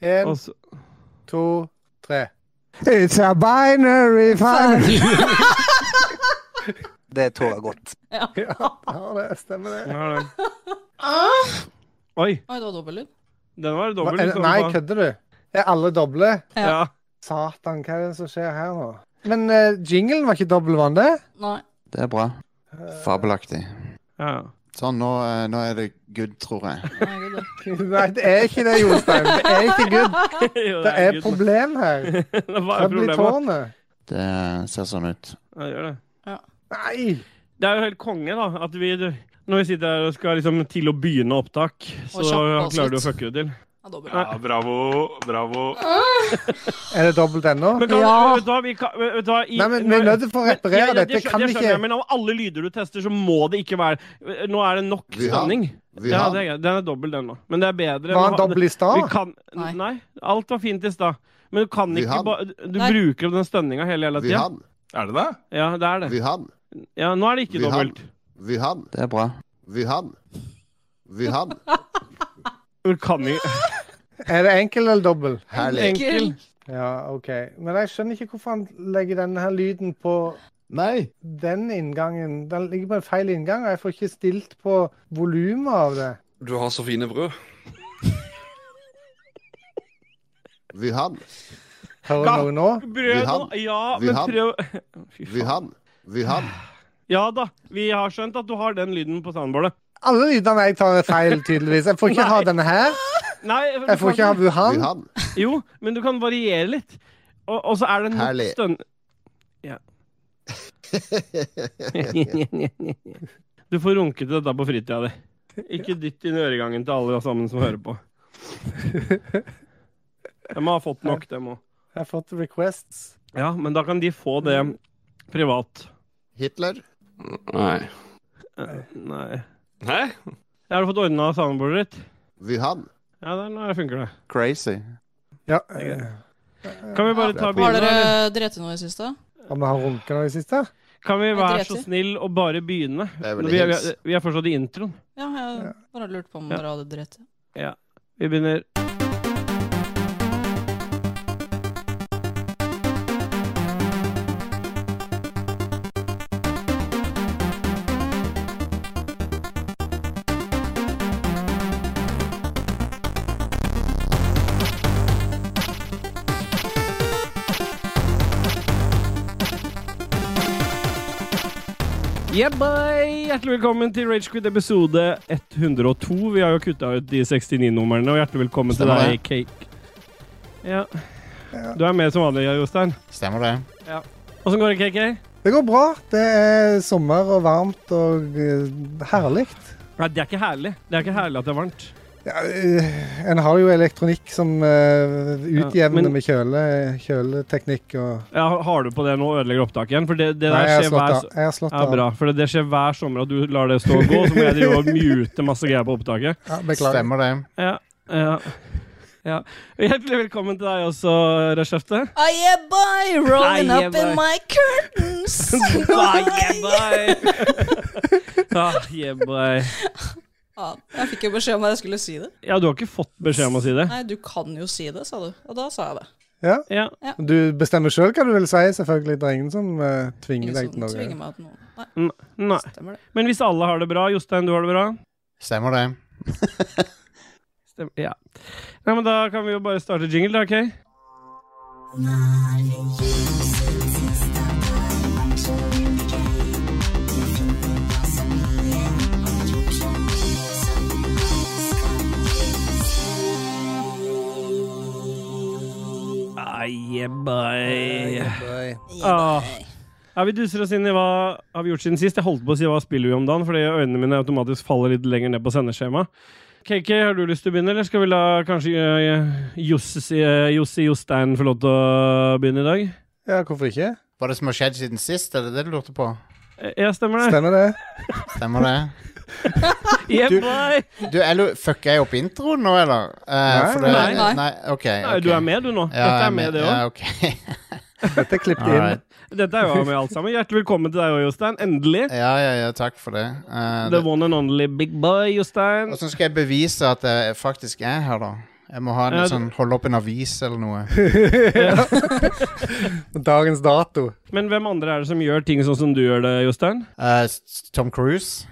En, Og så- to, tre. It's a binary final. Det tåler godt. Ja, ja, det stemmer det. Ja, det- Ah. Oi, Oi, det var dobbellyd. den var Hva, dobbel. er, liksom, det- eh, nei, faen. kødder du? Er alle doble? Ja. Satan, hva er det som skjer her nå? Men eh, jinglen var ikke dobbel, var den det? Nei. Det er bra. Eh. Fabelaktig. ja. Sånn, nå, eh, nå er det good, tror jeg. Nei, gud, det- Nei, det er ikke det, Jostein. Det er ikke good. Jo, Det er gutt. et problem her. Hva er Trøbbel i problemet? tårnet. Det ser sånn ut. Ja, det gjør det. Nei! Det er jo helt konge, da. At vi, når vi sitter her og skal liksom til å begynne opptak, så Og kjapt klarer du å avslutt. fucke det til. Ja, dobbel. Nei. Ja, bravo. Bravo. Er det dobbelt ennå? Men kan, Ja. vet du hva, vi kan, vet du hva i, Nei, men vi er nødt til å Ja, reparere ja, dette. skjø- Kan det skjønner ikke jeg, Men av alle lyder du tester, så må det ikke være Nå er det nok Vi har- spenning. Vi Ja, har det er greit. Den er dobbel, den nå. Men det er Var bedre. enn å han ha- dobbel i Vi stad? kan, Nei. nei, alt var fint i stad. Men du kan Vi ikke har- bare Du Nei. bruker opp den spenninga hele jævla Vi tida. han. Er det det? Ja, det er det. Vi han. Ja, nå er det ikke Vi har- dobbelt. Vi han. Det er bra. Vi han. Vi han. Du kan ikke Er det enkel eller dobbel? Herlig. Enkel. Ja, OK. Men jeg skjønner ikke hvorfor han legger denne her lyden på Nei. den inngangen. Den ligger på en feil inngang, og jeg får ikke stilt på volumet av det. Du har så fine brød. Vi han. Hører noen nå? Brød Vi har- nå- Ja, vi men har- prøv Fy Vi faen. han. Vi han. Ja da. Vi har skjønt at du har den lyden på soundboardet. Alle lydene jeg tar, er feil, tydeligvis. Jeg får ikke ha denne her. Nei, du Jeg får ikke ha kan- Vi Wuhan. han. Jo, men du kan variere litt. Og, og så er det nok Herlig. stønn... Ja. du får runke til dette på fritida di. Ikke dytt inn i øregangen til alle sammen som hører på. De har fått nok, dem òg. Jeg har fått requests. Ja, men da kan de få det Mm. privat. Hitler. Nei. Eh, Nei. Hæ? Har du fått ordna soundboardet ditt? Vi han. Ja, der, nå funker det. Crazy. Ja. eh, er Kan vi bare ta Har begynne? eller? dere drept noe i det siste? Om jeg har runka nå i det siste? Kan vi være driter så i. snill og bare begynne? Det er vel Vi er, hils. vi er fortsatt i introen. Ja, jeg bare lurte på om Ja. dere hadde drept. Vi begynner. Yeah, boy! Hjertelig velkommen til Ragequid episode 102. Vi har jo kutta ut de 69-numrene, og hjertelig velkommen Stemmer til deg, Cake. Ja. Du er med som vanlig, Jostein. Stemmer det? Åssen går det, KK? Det går bra. Det er sommer og varmt og eh, herlig. Nei, det er ikke herlig. Det er ikke herlig at det er varmt. Ja, eh, en har jo elektronikk som eh, Ja, utjevner men- med kjøle, kjøleteknikk og Ja, har du på det nå og ødelegger opptaket igjen? For det, det Nei, der jeg har skjer slått hver av. Jeg har slått ja, av. bra. For det, det skjer hver sommer at du lar det stå og gå, så må jeg drive og mute masse greier på opptaket. Ja, beklager. Stemmer det? Ja, ja. ja. Hjertelig velkommen til deg også, Reshefte. I am by Ah, I rolling am up in by. my curtains. Ah, yeah, boy. ja, jeg fikk jo beskjed om at jeg skulle si det. ja, du har ikke fått beskjed om å si det? Nei, du kan jo si det, sa du. Og da sa jeg det. Ja. Du bestemmer sjøl hva du vil si, selvfølgelig. Det er ingen som eh, tvinger Ingen deg til som noe. tvinger meg til noe. Nei, Nei. stemmer det. Men hvis alle har det bra, Jostein, du har det bra? Stemmer det? Stem ja. Nei, men da kan vi jo bare starte jingle, da, OK? Ah, yeah, boy. Ah. Ja, Vi duser oss inn i hva har vi gjort siden sist. Jeg holdt på å si hva spiller vi om dagen, fordi øynene mine automatisk faller litt lenger ned på sendeskjemaet. KK, har du lyst til å begynne, eller skal vi la kanskje eh, Josse si- eh, Josse Jostein få lov til å begynne i dag? Ja, hvorfor ikke? Hva er det som har skjedd siden sist? Er det det du lurte på? Eh, Ja, stemmer det. Stemmer det? Stemmer det? Yeah, Du- boy! Du, Elu, fucker jeg opp introen nå, eller? Eh, Nei, for det, nei, nei. nei. OK. Nei, du er med, du, nå. Ja, Dette jeg er med, det òg. Ja, ok. Dette er klippet inn. Alright. Dette er jo med alt sammen. Hjertelig velkommen til deg òg, Jostein. Endelig. Ja, ja, ja, takk for det. Eh, The det one and only big boy, Jostein. Åssen skal jeg bevise at jeg faktisk er her, da? Jeg må ha en Ja, litt sånn holde opp en avis eller noe. Dagens dato. Men hvem andre er det som gjør ting sånn som du gjør det, Jostein? Eh, s- s- Tom Cruise.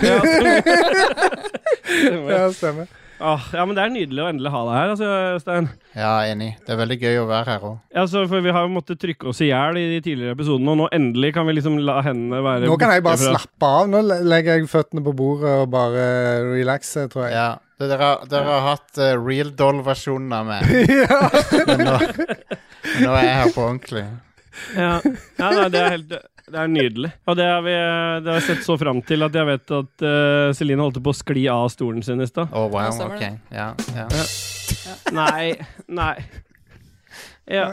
Ja, stemmer. Ja, stemmer. Ah, ja, men det er nydelig å endelig ha deg her, altså, Jostein. Ja, enig. Det er veldig gøy å være her òg. Ja, så for vi har jo måttet trykke oss i hjel i de tidligere episodene, og nå endelig kan vi liksom la hendene være Nå kan jeg bare borte fra- slappe av. Nå le- legger jeg føttene på bordet og bare relaxer, tror jeg. Ja. Det- Dere, dere har hatt eh, real doll-versjonen av meg, Ja. men nå, men nå er jeg her på ordentlig. Ja, ja nei, det er helt det er nydelig. Og det har vi det har jeg sett så fram til at jeg vet at eh, Celine holdt på å skli av stolen sin i stad. Å, Oh, wow. Ja, stemmer Ok. det. Ja, ja. Nei. Nei. Ja.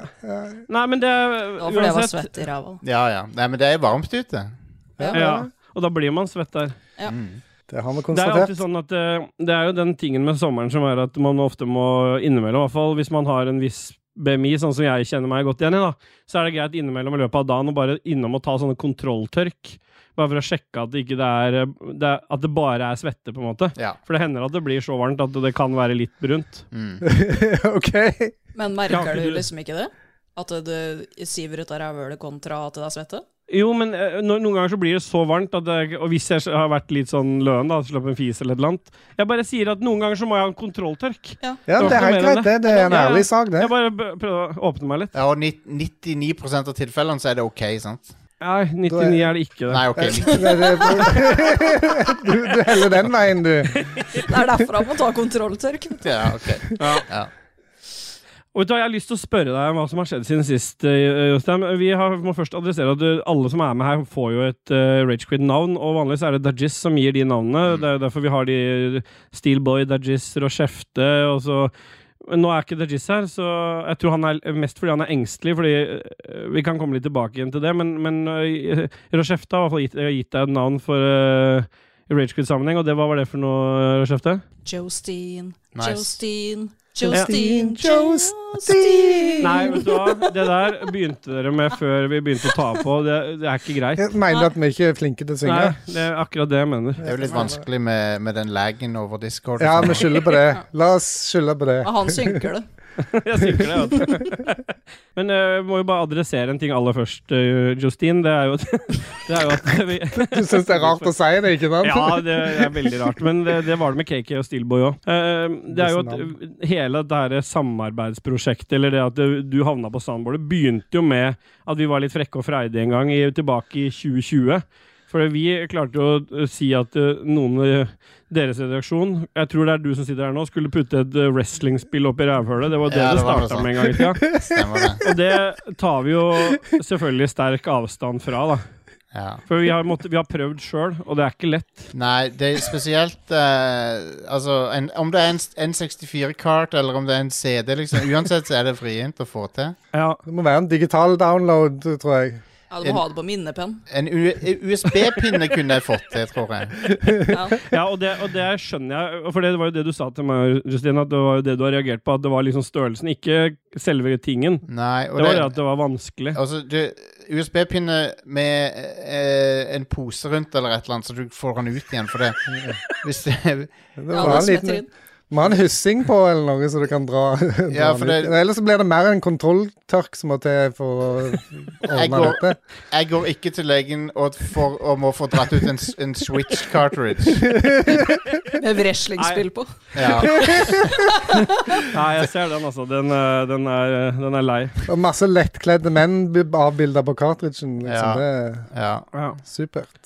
Nei, men det Det var fordi jeg var svett i ræva. ja, ja. Nei, men det er varmt ute. Mm. Ja. Ja, og da blir man svett der. Det har vi Det er jo alltid konstatert. sånn at eh, det er jo den tingen med sommeren som er at man ofte må innimellom, i hvert fall hvis man har en viss BMI, sånn som jeg kjenner meg godt igjen i, da, så er det greit innimellom i løpet av dagen å bare innom og ta sånne kontrolltørk. Bare for å sjekke at det, ikke det er, eh, det er At det bare er svette, på en måte. Ja. For det hender at det blir så varmt at det kan være litt brunt. Mm. ok. Men Ja, ikke merker du du- liksom ikke det? At det siver ut av rævhølet kontra at det er svette? Jo, men eh, no- noen ganger så blir det så varmt at jeg, Og hvis jeg har vært litt sånn løen, da, slapp en fis eller et eller annet Jeg bare sier at noen ganger så må jeg ha en kontrolltørk. Ja, det er helt greit, det. Det er en Ja, ja. ærlig sak, det. Jeg bare b- prøver å åpne meg litt. Ja, og nitt- 99 av tilfellene så er det OK, sant? Nei, 99 er det ikke. det Nei, OK. Eh, Det- det- Du, du heller den veien, du. Det er derfor han må ta kontrolltørk. Ja, ok. Ja. Og vet du hva, Jeg har lyst til å spørre deg om hva som har skjedd siden sist. eh, Jostein. Vi har, må først adressere at eh, alle som er med her, får jo et eh, Rage Ragequid-navn. Og vanligvis er det Dajis som gir de navnene. Det er jo derfor vi har de Steelboy, Dajis, Rochefte og så Men Nå er ikke Dajis her, så jeg tror han er mest fordi han er engstelig. Fordi eh, Vi kan komme litt tilbake igjen til det, men, men eh, Rochefte har i hvert fall gitt, gitt deg et navn for eh, i Rage Ragequid-sammenheng, og det, hva var det for noe, Rochefte? Jostin, Nice. Jostin, Jostin, Jostin, Jostin. Jostin. Nei, vet du hva? Det der begynte dere med før vi begynte å ta på. Det, det er ikke greit. Jeg mener at vi ikke er flinke til å Nei, synge. det er akkurat det jeg mener. Det er jo litt vanskelig med, med den laggen over Discord. og Ja, sånn. vi skylder på det. La oss skylde på det. Og han synker det. Jeg synker det, vet du. Men eh, jeg må jo bare adressere en ting aller først, eh, Justine. Det er jo, det er jo at vi Du syns det er rart å si det, ikke sant? Ja, det er veldig rart. Men det, det var det med KK og Steelboy òg. det er jo at eh, hele det her samarbeidsprosjektet, eller det at du- du havna på sandbordet, begynte jo med at vi var litt frekke og freidige en gang i, tilbake i 2020. For vi klarte jo å si at eh, noen i deres redaksjon, jeg tror det er du som sitter her nå, skulle putte et eh, wrestlingspill opp i rævhølet. Det var det Ja, det det var noe starta med en gang i tida. Stemmer det. Og det tar vi jo selvfølgelig sterk avstand fra, da. Ja. For vi har, måttet- vi har prøvd sjøl, og det er ikke lett. Nei, det er spesielt eh, Altså, en, om det er en N64-kart eller om det er en CD, liksom. Uansett så er det vrient å få til. Ja, Det må være en digital download, tror jeg. Ja, du må ha det på minnepenn. En U- USB-pinne kunne jeg fått til, tror jeg. Ja. Ja, og det, og det skjønner jeg, for det var jo det du sa til meg, Justine, at det var jo det du har reagert på, at det var liksom størrelsen, ikke selve tingen. Nei, og Det var det det, at det var vanskelig. altså, du USB-pinne med eh, en pose rundt eller et eller annet, så du får den ut igjen. For det Hvis det Det Ja, var en det smetter liten inn. Må ha en hyssing på eller noe, så du kan dra, dra Ja, for den ut. det- Ellers så blir det mer en kontrolltørk som må til for å Jeg ordne går- dette. Jeg går ikke til legen og, får, og må få dratt ut en, s- en switch cartridge. Med wrestlingspill på. Ja. Nei, jeg ser den, altså. Den, eh, den, er, den er lei. Og masse lettkledde menn avbilda på cartridgen. Liksom. Ja. Det er ja. Ja. supert.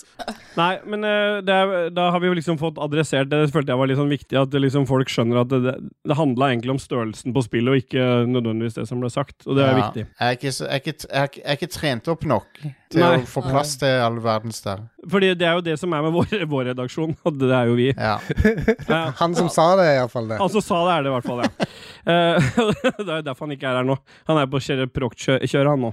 Nei, men eh, det er, da har vi jo liksom fått adressert det. følte jeg var litt sånn viktig, at det liksom folk skjønner at det, det, det handla egentlig om størrelsen på spillet, og ikke nødvendigvis det som ble sagt. Og det er ja. viktig. Jeg er, ikke, så- jeg, er ikke, jeg, er ikke, jeg er ikke trent opp nok til Nei. å få plass til all verdens der. Fordi det er jo det som er med vår, vår redaksjon, og det er jo vi. Ja. Ja. Han som sa det, er iallfall det. Han som Altså, sa det, er det i hvert fall, ja. Eh, det er jo derfor han ikke er her nå. Han er på Chereproc-kjøret, han nå.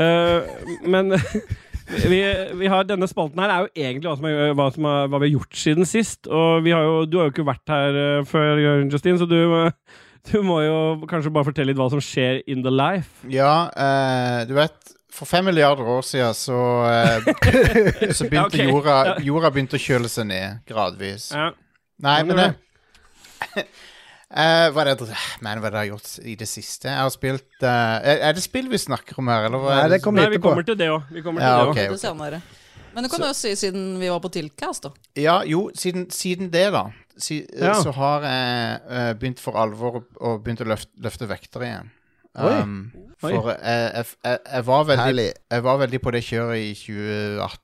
Eh, men vi, vi har, denne spalten her er jo egentlig hva, som er, hva, som er, hva vi har gjort siden sist. Og vi har jo, du har jo ikke vært her eh, før, Justine, så du, eh, du må jo kanskje bare fortelle litt hva som skjer in the life. ja eh, du vet For fem milliarder år siden så, eh, så Ja, ok. begynte jorda, jorda begynte å kjøle seg ned gradvis. Ja. Nei, men Skjønner det du? Eh, hva, er det, jeg- man, hva er det jeg har gjort i det siste? Jeg har spilt eh, er, er det spill vi snakker om her, eller? Hva Nei, er det kommer Nei, vi etterpå. kommer til det òg. Vi kommer til Ja, det ok, også. Det ok. senere. Men du kan jo si siden vi var på Tilcast, da. Ja, jo, siden, siden det, da, si, eh, Ja. så har jeg eh, begynt for alvor å- å begynt å løfte, løfte vekter igjen. Oi. Um, Oi. For eh, jeg, jeg, jeg, var veldig, Herlig. jeg var veldig på det kjøret i 2018,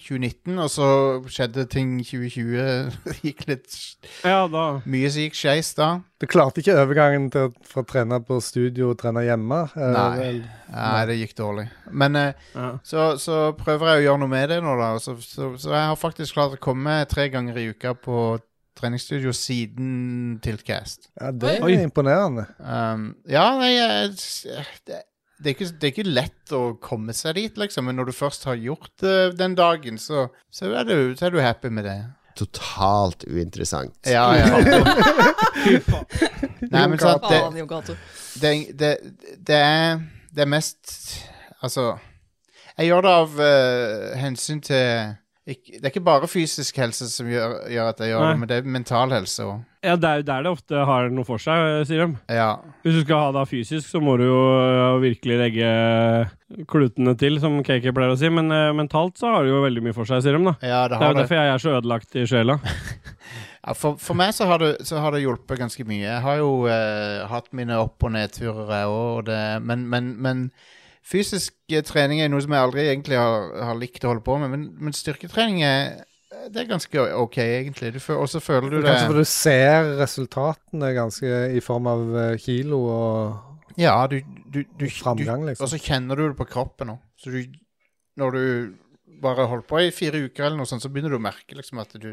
2019, og så skjedde ting i 2020. Det gikk litt s- Ja, da. mye som gikk skeis da. Du klarte ikke overgangen til å fra trene på studio og trene hjemme? eh, Nei. vel. Nei, det gikk dårlig. Men eh, Ja. Så, så prøver jeg å gjøre noe med det nå, da. og Så, så, så jeg har faktisk klart å komme tre ganger i uka på treningsstudio siden Tiltcast. Ja, det Oi. er imponerende. Um, ja, nei, jeg, det, det, er ikke, det er ikke lett å komme seg dit, liksom. Men når du først har gjort det den dagen, så, så, er, du, så er du happy med det. Totalt uinteressant. Ja, ja. Nei, men så at det, Faen, Jon Cato. det, det, det er Det er mest Altså Jeg gjør det av eh, hensyn til ikk- Det er ikke bare fysisk helse som gjør, gjør at jeg gjør Nei. det, men det er mental helse òg. ja, det er jo der det ofte har noe for seg, eh, sier de. Ja. Hvis du skal ha det fysisk, så må du jo ja, virkelig legge klutene til, som KK pleier å si. Men eh, mentalt så har det jo veldig mye for seg, sier de. da. ja, det Det er har jo det. derfor jeg er så ødelagt i sjela. Ja, for, for meg så har, det, så har det hjulpet ganske mye. Jeg har jo eh, hatt mine opp- og nedturer, jeg òg, men, men, men fysisk eh, trening er noe som jeg aldri egentlig har, har likt å holde på med. Men, men styrketrening er, eh, det er ganske OK, egentlig. Du fø- Og så føler du det Kanskje fordi du ser resultatene ganske i form av eh, kilo og Ja, du, du, du, du framgang, Og liksom. så kjenner du det på kroppen nå. Så du, når du bare holder på i fire uker eller noe sånt, så begynner du å merke liksom at du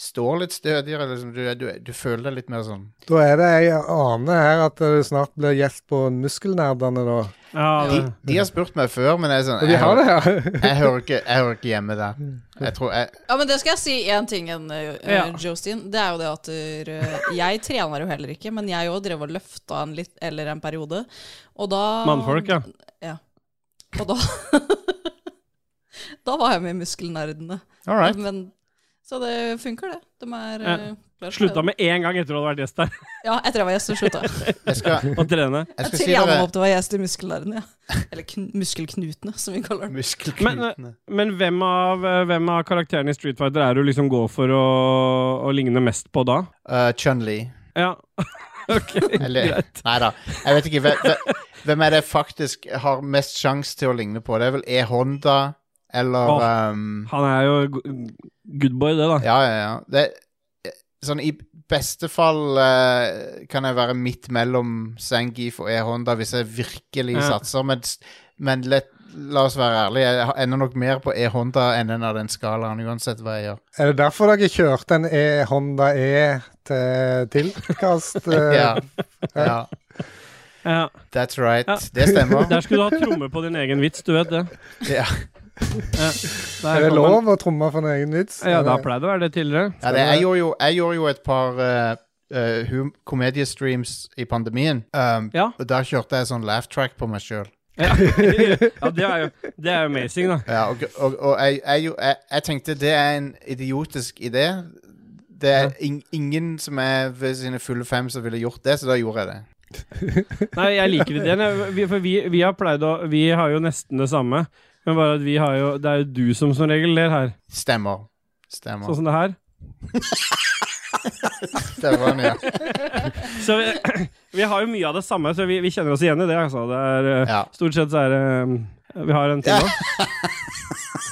står litt stødigere. Liksom, du, du, du føler deg litt mer sånn Da er det ei ane her at du snart blir gjest på Muskelnerdene, da. Ja, De, det- de har spurt meg før, men jeg er sånn Og de Jeg, har det hører, her. jeg, hører, ikke, jeg hører ikke hjemme der. Mm. Jeg tror jeg Ja, men det skal jeg si én ting enn eh, Ja. Jostein. Det er jo det at eh, jeg trener jo heller ikke, men jeg òg drev og løfta en litt, eller en periode. Og da Mannfolk, ja. Og da Da var jeg med i Muskelnerdene. All right. Men, så det funker, det. De er Ja. eh, klare for Slutta det. med en gang etter å ha vært gjest der, Ja, etter jeg var gjest, så slutta jeg. Jeg skal, å trene. jeg Jeg skal si trener meg dere opp til å være gjest i Muskelnerdene, ja. Eller kn Muskelknutene, som vi kaller det. Muskelknutene. Men eh, hvem av, eh, hvem av karakterene i Street Fighter er du liksom går for å, å ligne mest på da? Uh, Chun-Li. Ja, ok, Eller greit. Nei da. Jeg vet ikke. Hvem, hvem- hvem er det jeg faktisk har mest sjanse til å ligne på? Det er vel E-Honda eller Åh. um, Han er jo go- good boy, det, da. Ja, ja, ja. Det, sånn i beste fall eh, kan jeg være midt mellom Zangief og E-Honda hvis jeg virkelig Ja. satser, men, s- men let, la oss være ærlige, jeg har- ender nok mer på E-Honda enn en av den skalaen, uansett hva jeg gjør. Er det derfor dere kjørte en e Honda E til tilkast? eh? Ja, ja Ja. that's right. Ja. Det stemmer. Der skulle du ha tromme på din egen vits, du vet det. Ja. Der Er det kom den. lov å tromme for en egen vits? Ja, da Eller- pleide det å være det tidligere. Ja, det, jeg, gjorde jo, jeg gjorde jo et par eh, eh, hum komediestreams i pandemien, um, Ja. og der kjørte jeg sånn laugh track på meg sjøl. Ja, ja det, er jo, det er jo amazing, da. Ja, og, og, og jeg, jeg, jo- jeg, jeg tenkte det er en idiotisk idé. Det er ing- ingen som er ved sine fulle fem som ville gjort det, så da gjorde jeg det. Nei, jeg liker ideen. jeg- Vi, for vi, vi har pleid å Vi har jo nesten det samme. Men bare at vi har jo Det er jo du som som regel ler her. Stemmer. Stemmer. Sånn som det her. Det var den, ja. Så vi, vi har jo mye av det samme, så vi, vi kjenner oss igjen i det. Altså. det er, eh, Ja. Stort sett så er det eh, Vi har en time òg.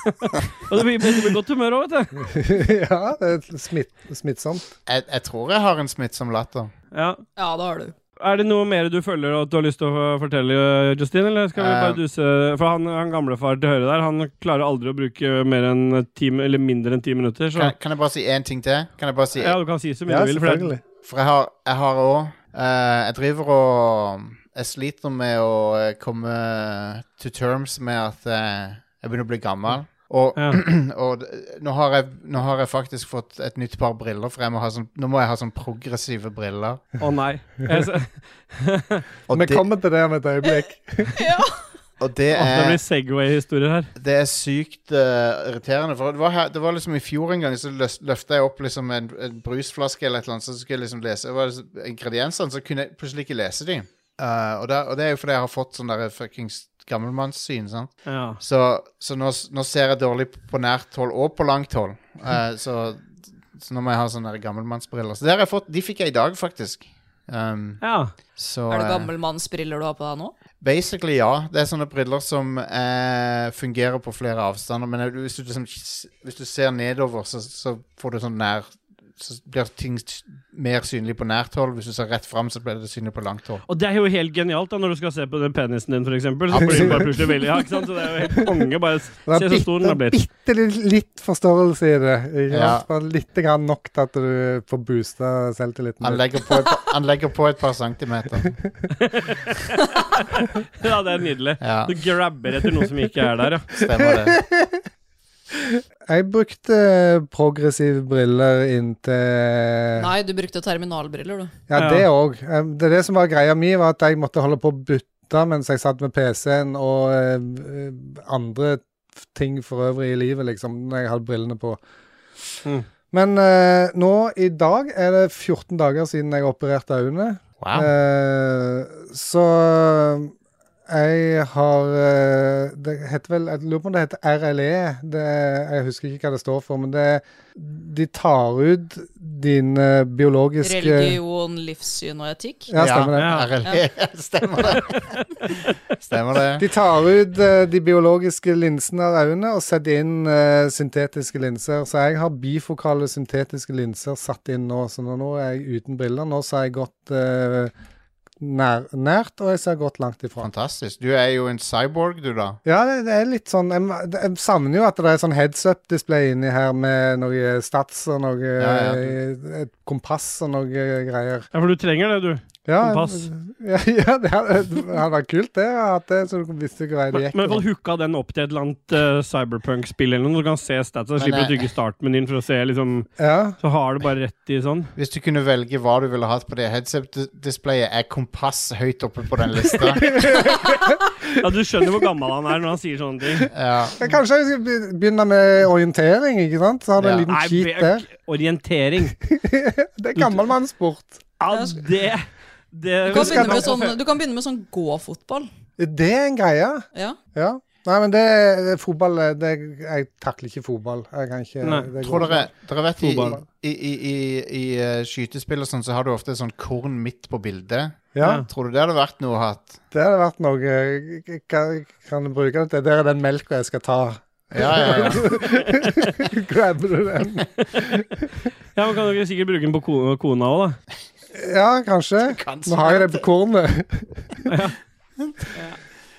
Og det blir, det blir godt humør òg, vet du. Eh, ja, det er smitt, smittsomt. Jeg, jeg tror jeg har en smittsom latter. Ja. Ja, det har du. Er det noe mer du føler at du har lyst til å fortelle, Justin? Eller skal vi bare Eh. duse For han, han gamlefar til høyre der, han klarer aldri å bruke mer enn ti, eller mindre enn ti minutter. Så Kan, kan jeg bare si én ting til? Kan jeg bare si ja, du kan si så mye Ja, du vil. For det, selvfølgelig. For jeg har, jeg har også eh, Jeg driver og Jeg sliter med å eh, komme to terms med at eh, jeg begynner å bli gammel. Og, Ja. og d- nå, har jeg, nå har jeg faktisk fått et nytt par briller, for jeg må ha sånn, nå må jeg ha sånn progressive briller. å nei. Jeg, s- Og Vi det, kommer til det om et øyeblikk. Ja. Og det Åh, det er blir Segway-historier her. Det er sykt eh, irriterende. For det var, her, det var liksom I fjor en gang så løfta jeg opp liksom en, en brusflaske eller et eller annet, så skulle jeg liksom lese det var liksom ingrediensene, så kunne jeg plutselig ikke lese dem. og, da- og det er jo fordi jeg har fått sånn der fuckings gammelmannssyn. sant? Ja. Så, så nå, s- nå ser jeg dårlig p- på nært hold og på langt hold. Eh, så, så nå må jeg ha sånne der gammelmannsbriller. Så det har jeg fått, de fikk jeg i dag, faktisk. Um, ja. så, Er det eh, gammelmannsbriller du har på deg nå? Basically, ja. Det er sånne briller som eh, fungerer på flere avstander. Men er du- hvis du, liksom, s- hvis du ser nedover, så, så får du sånn nær Så blir ting s- mer synlig på nært hold. Hvis du ser rett fram, så blir det synlig på langt hold. Og det er jo helt genialt da, når du skal se på den penisen din, for eksempel. Så blir det bare plutselig veldig, ja, ikke sant? Så det er jo helt konge. Bare Det er se så stor den har blitt. bitte litt, litt forstørrelse i det. Ikke Ja. sant? Bare litt grann nok til at du får boosta selvtilliten. Han litt. legger på et, pa- han legger på et par centimeter. Ja, det er nydelig. Ja, Du grabber etter noe som ikke er der, ja. stemmer det. Jeg brukte progressive briller inntil Nei, du brukte terminalbriller, du. Ja, Ja. det òg. Det, er det som var greia mi, var at jeg måtte holde på å bytte mens jeg satt med PC-en og eh, andre f- ting for øvrig i livet, liksom, når jeg hadde brillene på. Mm. Men eh, nå i dag er det 14 dager siden jeg opererte øynene. Wow. Eh, så jeg har eh, Det heter vel Jeg lurer på om det heter RLE. Det, jeg husker ikke hva det står for, men det De tar ut dine biologiske Religion, livssyn og etikk. ja, stemmer det. Ja. RLE. Stemmer det. Stemmer det. De tar ut eh, de biologiske linsene av øynene og setter inn eh, syntetiske linser. Så jeg har bifokale syntetiske linser satt inn nå, så nå- nå er jeg uten briller. Nå så har jeg gått eh, nær, nært, og jeg ser godt langt ifra. Fantastisk. Du er jo en cyborg, du, da. Ja, det, det er litt sånn Jeg, jeg savner jo at det er sånn heads-up-display inni her med noe stats og noe Ja, ja. eh, Et kompass og noe greier. Ja, for du trenger det, du. Ja, Kompass. Ja, ja det hadde det hadde vært kult, det. At det, så du visste hvilken vei det Men gikk. men i hvert fall hooka den opp til et eller annet eh, cyberpunk-spill eller noe. Du kan se statsa, Men, slipper å eh, tygge startmenyen for å se, liksom. ja. Så har du bare rett i sånn. Hvis du kunne velge hva du ville hatt på det headset-displayet, er kompass høyt oppe på den lista. Ja, du skjønner hvor gammel han er når han sier sånne ting. Ja. Ja, Kanskje jeg skal be- begynne med orientering, ikke sant? Så har du en Ja. liten cheat der. be- orientering. Det er gammelmannssport. Ja, det det altså, Du kan begynne med ta sånn, du kan begynne med sånn gå-fotball. Det er en greie, Ja. ja. Nei, men det er fotball eh, det, Jeg takler ikke fotball. Jeg kan ikke Nei. det går Tror dere, ikke. dere vet i, Fotball. i, i, i, i eh, skytespill og sånn, så har du ofte sånn korn midt på bildet. Ja, Ja. Tror du det hadde vært noe å ha hatt? det hadde vært noe jeg jeg kan, jeg kan bruke det til. Der er den melka jeg skal ta. Ja, ja, ja. Grabber du den? Ja, man kan jo sikkert bruke den på ko- kona òg, da. Ja, kanskje. Nå har jeg det på kornet.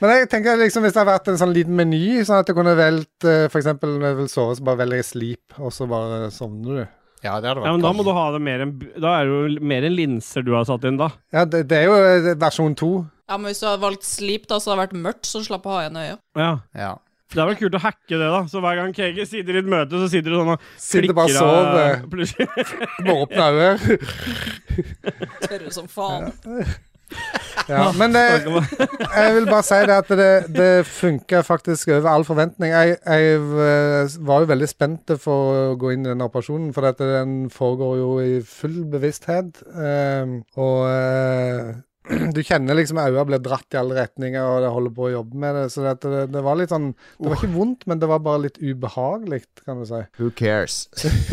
Men jeg tenker liksom hvis det hadde vært en sånn liten meny, sånn at du kunne valgt eh, for eksempel når du vil sove, så bare velger jeg sleep, og så bare sovner du. Ja, det hadde vært Ja, men da konge. må du ha det mer enn b- Da er det jo l- mer enn linser du har satt inn, da. Ja, det, det er jo eh, versjon to. ja, men hvis du hadde valgt sleep, da, så hadde det vært mørkt, så slapp å ha igjen øya. Ja. Ja. Det er vel kult å hacke det, da. Så hver gang KG sitter i et møte, så sitter du sånn og Sitter bare og sover. plutselig. Må åpne øyne. Tørre som faen. Ja, men eh, det, jeg vil bare si det at det, det funker faktisk over all forventning. Jeg, jeg eh, var jo veldig spent for å gå inn i den operasjonen, for at den foregår jo i full bevissthet. eh, og eh, du kjenner liksom øynene blir dratt i alle retninger, og det holder på å jobbe med det. Så det, at det, det var litt sånn Det var ikke vondt, men det var bare litt ubehagelig, kan du si. Who cares?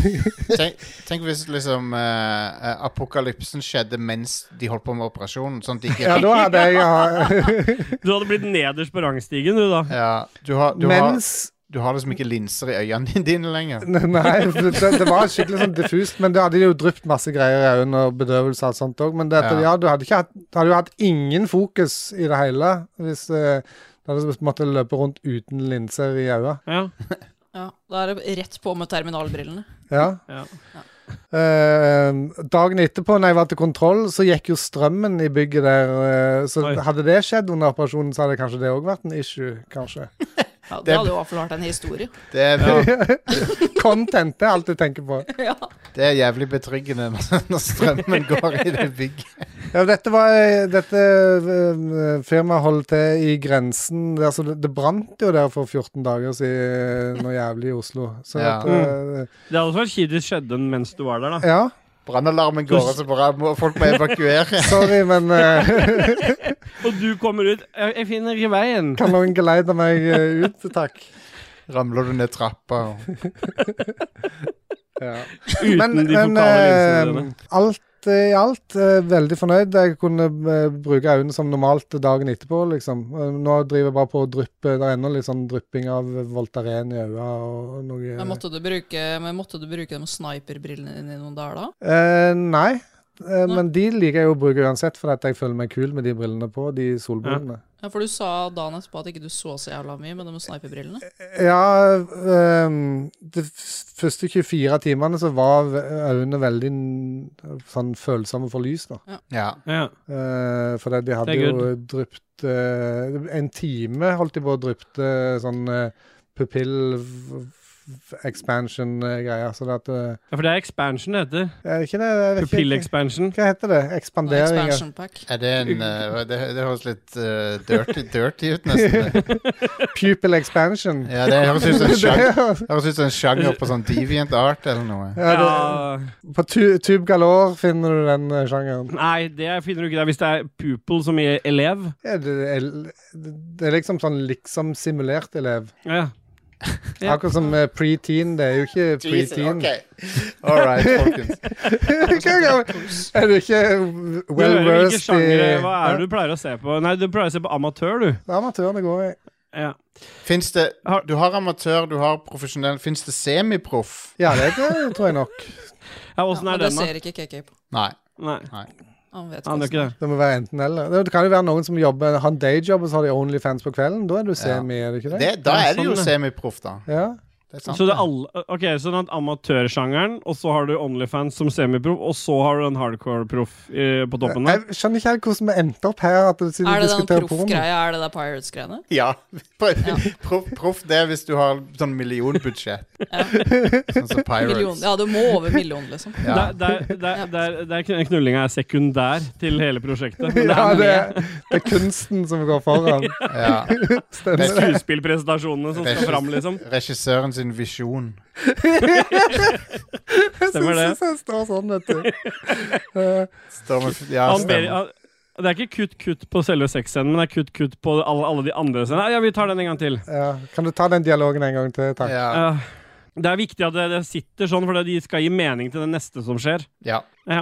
Tenk, tenk hvis liksom eh, eh, apokalypsen skjedde mens de holdt på med operasjonen. Sånn at de Ja, ikke da hadde jeg eh, Du hadde blitt nederst på rangstigen, du, da. ja, du, har, du, har, Mens du har liksom ikke linser i øynene dine lenger. Nei, for det, det var skikkelig sånn diffust, men du hadde jo drypt masse greier i øynene og bedøvelse og alt sånt òg. Men det, at- Ja. ja, du hadde, ikke hatt, du hadde jo hatt ingen fokus i det hele hvis eh, du hadde måttet løpe rundt uten linser i øynene. Ja. Ja, Da er det rett på med terminalbrillene. Ja. Ja. Eh, dagen etterpå, når jeg var til kontroll, så gikk jo strømmen i bygget der. eh, så Oi. hadde det skjedd under operasjonen, så hadde kanskje det òg vært en issue, kanskje. Ja, det Det- hadde jo i hvert fall vært en historie. Det er, vel- Content det er alt du tenker på. Ja. det er jævlig betryggende når strømmen går i det bygget. Ja, dette var Dette eh, firmaet holdt til i grensen Det- altså, det, det brant jo der for 14 dager siden, noe jævlig i Oslo. Så Ja. at, eh, Det hadde også vært kjipt hvis det skjedde en mens du var der, da. ja. Brannalarmen går, og så bare må folk må evakuere. Sorry, men eh, Og du kommer ut Jeg, jeg finner ikke veien. kan noen geleide meg eh, ut? Takk. Ramler du ned trappa og Ja. Uten Men, de men fokale linsene eh, dine. alt i alt eh, veldig fornøyd. Jeg kunne eh, bruke øynene som normalt dagen etterpå, liksom. Eh, Nå driver jeg bare på å dryppe. Det er ennå litt sånn drypping av Voltaren i øynene og noe Men måtte, du bruke, men måtte du bruke de sniperbrillene dine i noen dager da? Eh, nei. Eh, Nei. Men de liker jeg jo å bruke uansett, for at jeg føler meg kul med de brillene på. De solbrillene. Ja, For du sa dagen etterpå at ikke du så så jævla mye med de sniperbrillene. Ja, ehm, de f- første 24 timene så var v- øynene veldig n- sånn følsomme for lys, da. Ja. Ja. Eh, for det- de hadde Det er jo drypt eh, En time holdt de på å dryppe sånn eh, pupill v- v- expansion-greier. Så det at eh, ja, for det er expansion det heter. Er det ikke det? Jeg vet ikke- Pupill-expansion. Hva heter det? Ekspandering? ja. Expansion pack. Er det en eh, det, det høres litt eh, dirty, dirty ut, nesten. det. Pupil expansion. Ja, det høres ut som en Det sjanger, er- høres ut som en sjanger på sånn deviant art eller noe. Ja, det, Ja. på tu, Tube Galore finner du den eh, sjangeren. Nei, det finner du ikke der. Hvis det er pupil som i elev Ja, det, er, det er liksom sånn liksom simulert elev. ja. Ja. Akkurat som eh, preteen. Det er jo ikke preteen. All right, folkens. er du ikke Du well hører hvilke versed i sjangere Hva er det Ja, du pleier å se på? Nei, du pleier å se på amatør, du. det er amatør det går i. Ja. Fins det Har- Du har amatør, du har profesjonell. Fins det semiproff? Ja, det, det tror jeg nok. Ja, Ja, Åssen men er det den, da? ser ikke KK på. Nei. Nei, Han vet han gjør hva som ikke er. det. Det må være enten eller. Det kan jo være noen som jobber, har en dayjob og så har de Onlyfans på kvelden. Da er du semi, er det ikke det? Det, da Ja, er du jo sånn, semiproff, da. Ja. Det Sånn, er sant. Så det er alle, ok, så den amatørsjangeren, og så har du Onlyfans som semiproff, og så har du en hardcore-proff eh, på toppen der. Jeg skjønner ikke helt hvordan vi endte opp her. At du Er sitter og det den diskuterer porno. proffgreia? Er det der Pirates-greiene? Ja. Proff, proff det er hvis du har sånn millionbudsjett. Ja. Sånn som Million. Pirates. Ja, du må over million, liksom. Ja. Der, der, der, der, der kn- knullinga er sekundær til hele prosjektet. Men det Ja, er det med er, det er kunsten som går foran. Ja. Stemmer det? skuespillpresentasjonene som skal fram, liksom. Regissøren sin visjon. Stemmer det. Jeg synes jeg står sånn, vet du. Eh, Står med, ja, Han ber, stemmer. han, det er ikke kutt kutt på selve sexscenen, men det er kutt kutt på alle, alle de andre scenene. Nei, Ja, vi tar den en gang til. ja. Kan du ta den dialogen en gang til? Takk. Ja. Eh, det er viktig at det, det sitter sånn, for det- de skal gi mening til det neste som skjer. ja. Det er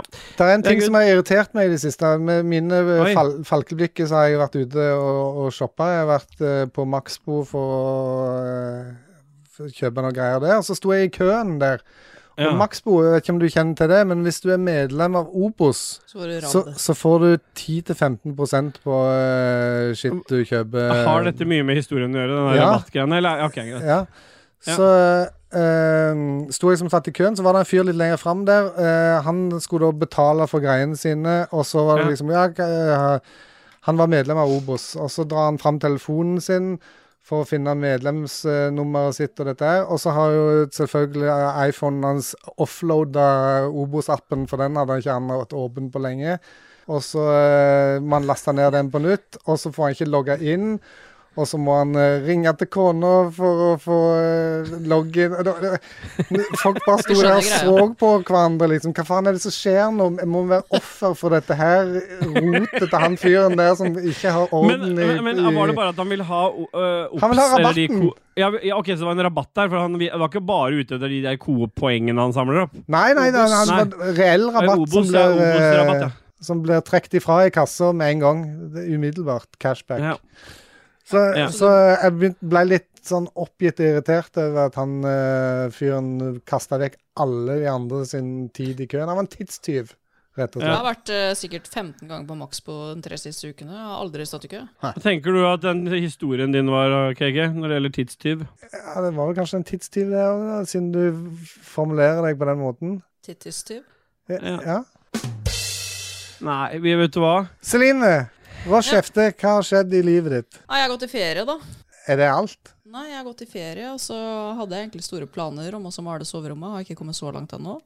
en ting Det er som har irritert meg i det siste. Med mine eh, Oi. fal falkeblikket så har jeg vært ute og, og shoppa. Jeg har vært eh, på Maxbo for å eh, for å kjøpe noen greier der. Og så sto jeg i køen der. Og Ja. Maxbo, jeg vet ikke om du kjenner til det, men hvis du er medlem av Obos, Så var det så, radd. så får du 10-15 på eh, shit du kjøper. Har dette mye med historien å gjøre, den der Eh. Ja. rabattgreiene? Eller, ok, greit. Ja. Ja. Så uh, sto jeg som satt i køen, så var det en fyr litt lenger fram der. Eh, han skulle da betale for greiene sine, og så var det Ja. liksom Ja, eh, han var medlem av Obos, og så drar han fram telefonen sin for å finne medlemsnummeret sitt og dette her. Og så har jo selvfølgelig eh, iPhonen hans offloada Obos-appen, for den hadde han ikke han hatt åpen på lenge. Og så eh, må han laste ned den på nytt, og så får han ikke logge inn. Og så må han eh, ringe til kona for å få uh, login Og da- da- Folk bare sto der Vi skjønner og greia. så på hverandre. liksom. Hva faen er det som skjer nå? Jeg må være offer for dette her rotet til han fyren der som ikke har Men, orden i men, men var det bare at han vil ha ø, Ops? Han vil ha eller de rabatten. ko- ja, ja, ok, så det var en rabatt der, for han vi- var ikke bare ute etter de der Coop-poengene han samler opp. Nei, nei, det Obos. er en reell rabatt som Obos, ja, blir, eh, Obos-rabatt, ja. som blir trukket ifra i kassa med en gang. Det er Umiddelbart. Cashback. Ja. Så, Ja. så jeg begynt- ble litt sånn oppgitt og irritert over at han eh, fyren kasta vekk alle de andre sin tid i køen. Han var en tidstyv, rett og Ja. Jeg slett. har vært eh, sikkert 15 ganger på maks på de tre siste ukene. Jeg har aldri stått i kø. Tenker du at den historien din var KG, når det gjelder tidstyv? Ja. det var vel kanskje en tidstyv, det òg, siden du formulerer deg på den måten. Tittistyv. Ja. Ja. Nei, vi vet du hva? Celine, rå kjefte, hva har skjedd i livet ditt? Nei, jeg har gått i ferie, da. Er det alt? Nei, jeg har gått i ferie, og så hadde jeg egentlig store planer om å så male soverommet. Har ikke kommet så langt ennå.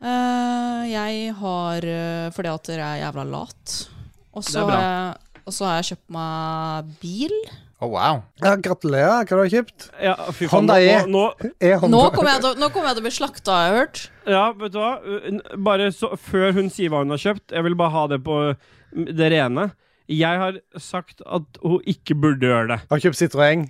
Eh, jeg har eh, Fordi at jeg er jævla lat. Og Det så er bra. har jeg, og så har jeg kjøpt meg bil. Å, wow. Ja, gratulerer. Hva har du kjøpt? Ja, fy faen, Honda nå, E. nå, Er Nå Honda- kommer jeg til, å- nå kommer jeg til å bli slakta, har jeg hørt. Ja, vet du hva? N- Bare så, før hun sier hva hun har kjøpt, jeg vil bare ha det på mm, det rene. Jeg har sagt at hun ikke burde gjøre det. Har kjøpt Citroën.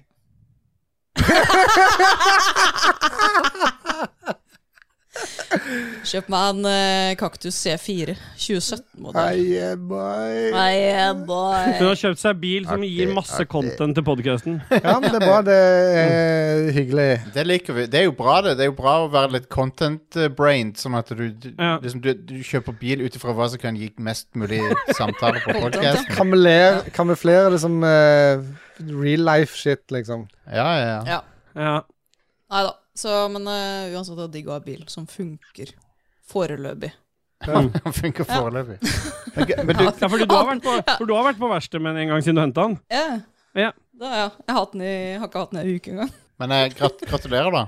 Kjøp meg en eh, kaktus C4 2017-modell. Hei, boy. Nei, Hun boy. har kjøpt seg bil som Artig, gir masse artig. content til podkasten. Ja, men det er bra. Det er hyggelig. Det liker vi. Det er jo bra, det. Det er jo bra å være litt content-brained, sånn at du, du, Ja. liksom, du, du kjøper bil ut ifra hva som kan gi mest mulig samtale på Content, podkasten. Kameler, kamuflere det som eh, real life shit, liksom. Ja, ja, ja. Ja. Ja. Nei da. Så, men eh, uansett, det er digg å ha bil som funker. Foreløpig. Det funker foreløpig. Men, g- men du, Ja, for, du har vært på, for du har vært på verksted med den en gang siden du henta den. Ja. Ja. Da, ja. Jeg har, hatt den i, jeg har ikke hatt den i en uke engang. men eh, grat gratulerer, da.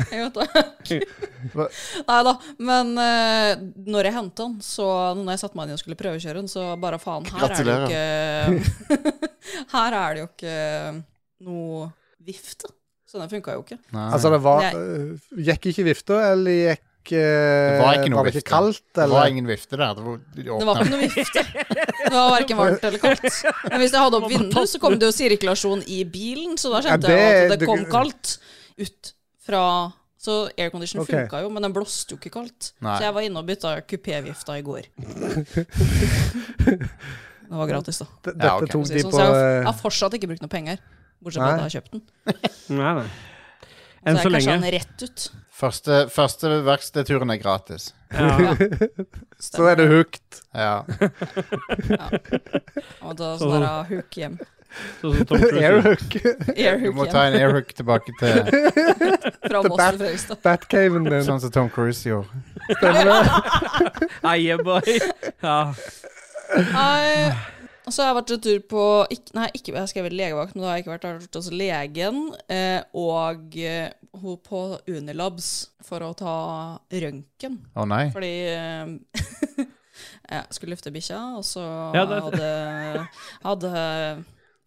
Jeg vet det. Nei da. Men eh, når jeg hentet den, så når jeg satte meg inn og skulle prøvekjøre den, så bare faen, her er det jo ikke Her er det jo ikke noe vifte. Så den funka jo ikke. Nei. Altså, det var Nei. eh, Gikk ikke vifta, eller gikk eh, Det var ikke noe Var det vifte. ikke kaldt, det var eller? ingen vifte der. Det var, de Det var åpnet- ikke noe vifte. Det var verken varmt eller kaldt. Men hvis jeg hadde opp vinduet, så kom det jo sirkulasjon i bilen, så da Ja, kjente jeg jo det- at det kom det- kaldt ut fra Så aircondition Ok. funka jo, men den blåste jo ikke kaldt. Nei. Så jeg var inne og bytta kupévifta i går. Det var gratis, da. D- Dette Ja, ok. tok sånn, Så de jeg på eh, har fortsatt ikke brukt noe penger, bortsett fra Nei. at jeg har kjøpt den. Nei, nei. Så Enn jeg så casha lenge. den rett ut. Første, første verkstedturen er gratis. Ja. Så er det hooked. Ja. Og da sånn der ah, hook hjem. Sånn som Tom Er Cruise. gjør. du hooked? Du må Airhook hjem ta en airhook tilbake til fra Moss til Fredrikstad. Batcaven din. sånn som Tom Cruise gjorde. Nei, jeg bare ja. Nei, og så har jeg vært en tur på ikk- Nei, ikke, jeg skrev legevakt, men da har jeg ikke vært. Jeg har vært hos legen eh, og eh, ho- på Unilabs for å ta røntgen. Å nei. Fordi eh, jeg skulle lufte bikkja, og så Ja, det- hadde, hadde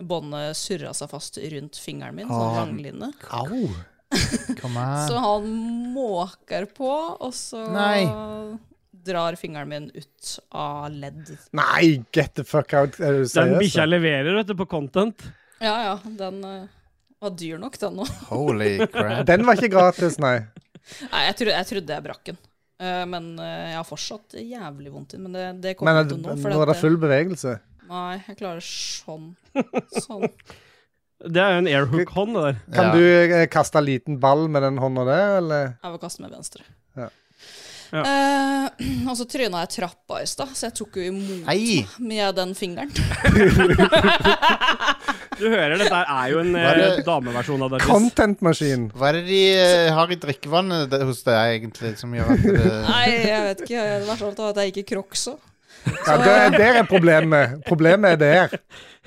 båndet surra seg fast rundt fingeren min, sånn Ah. langline. Au! Kom Så an. han måker på, og så Nei. drar fingeren min ut av ledd. Nei, get the fuck out. Er du Den seriøs? bikkja leverer, vet du, på content. Ja, ja, den eh, var dyr nok, den nå. Holy crap. Den var ikke gratis, nei. Nei, jeg, trodde, jeg trodde jeg brakk den. Eh, men eh, jeg har fortsatt jævlig vondt i den. Men det, det Men kommer er ikke det, til nå. nå For eh, er det full bevegelse. Nei, jeg klarer sånn. Sånn. Det er jo en airhook-hånd, det der. Kan Ja. du eh, kaste en liten ball med den hånda der, eller? Jeg vil kaste med venstre. Ja. Ja. Eh, og så tryna jeg trappa i stad, så jeg tok jo imot Hei! med den fingeren. Du hører, dette her er jo en Hva er eh, det- dameversjon av Darkis. Contentmaskin. Hva er det de eh, har i drikkevannet de- hos deg, egentlig, som gjør at det Nei, jeg vet ikke. Det verste av alt var at jeg gikk i crocs òg. Ja, det, der er problemet. Problemet er der.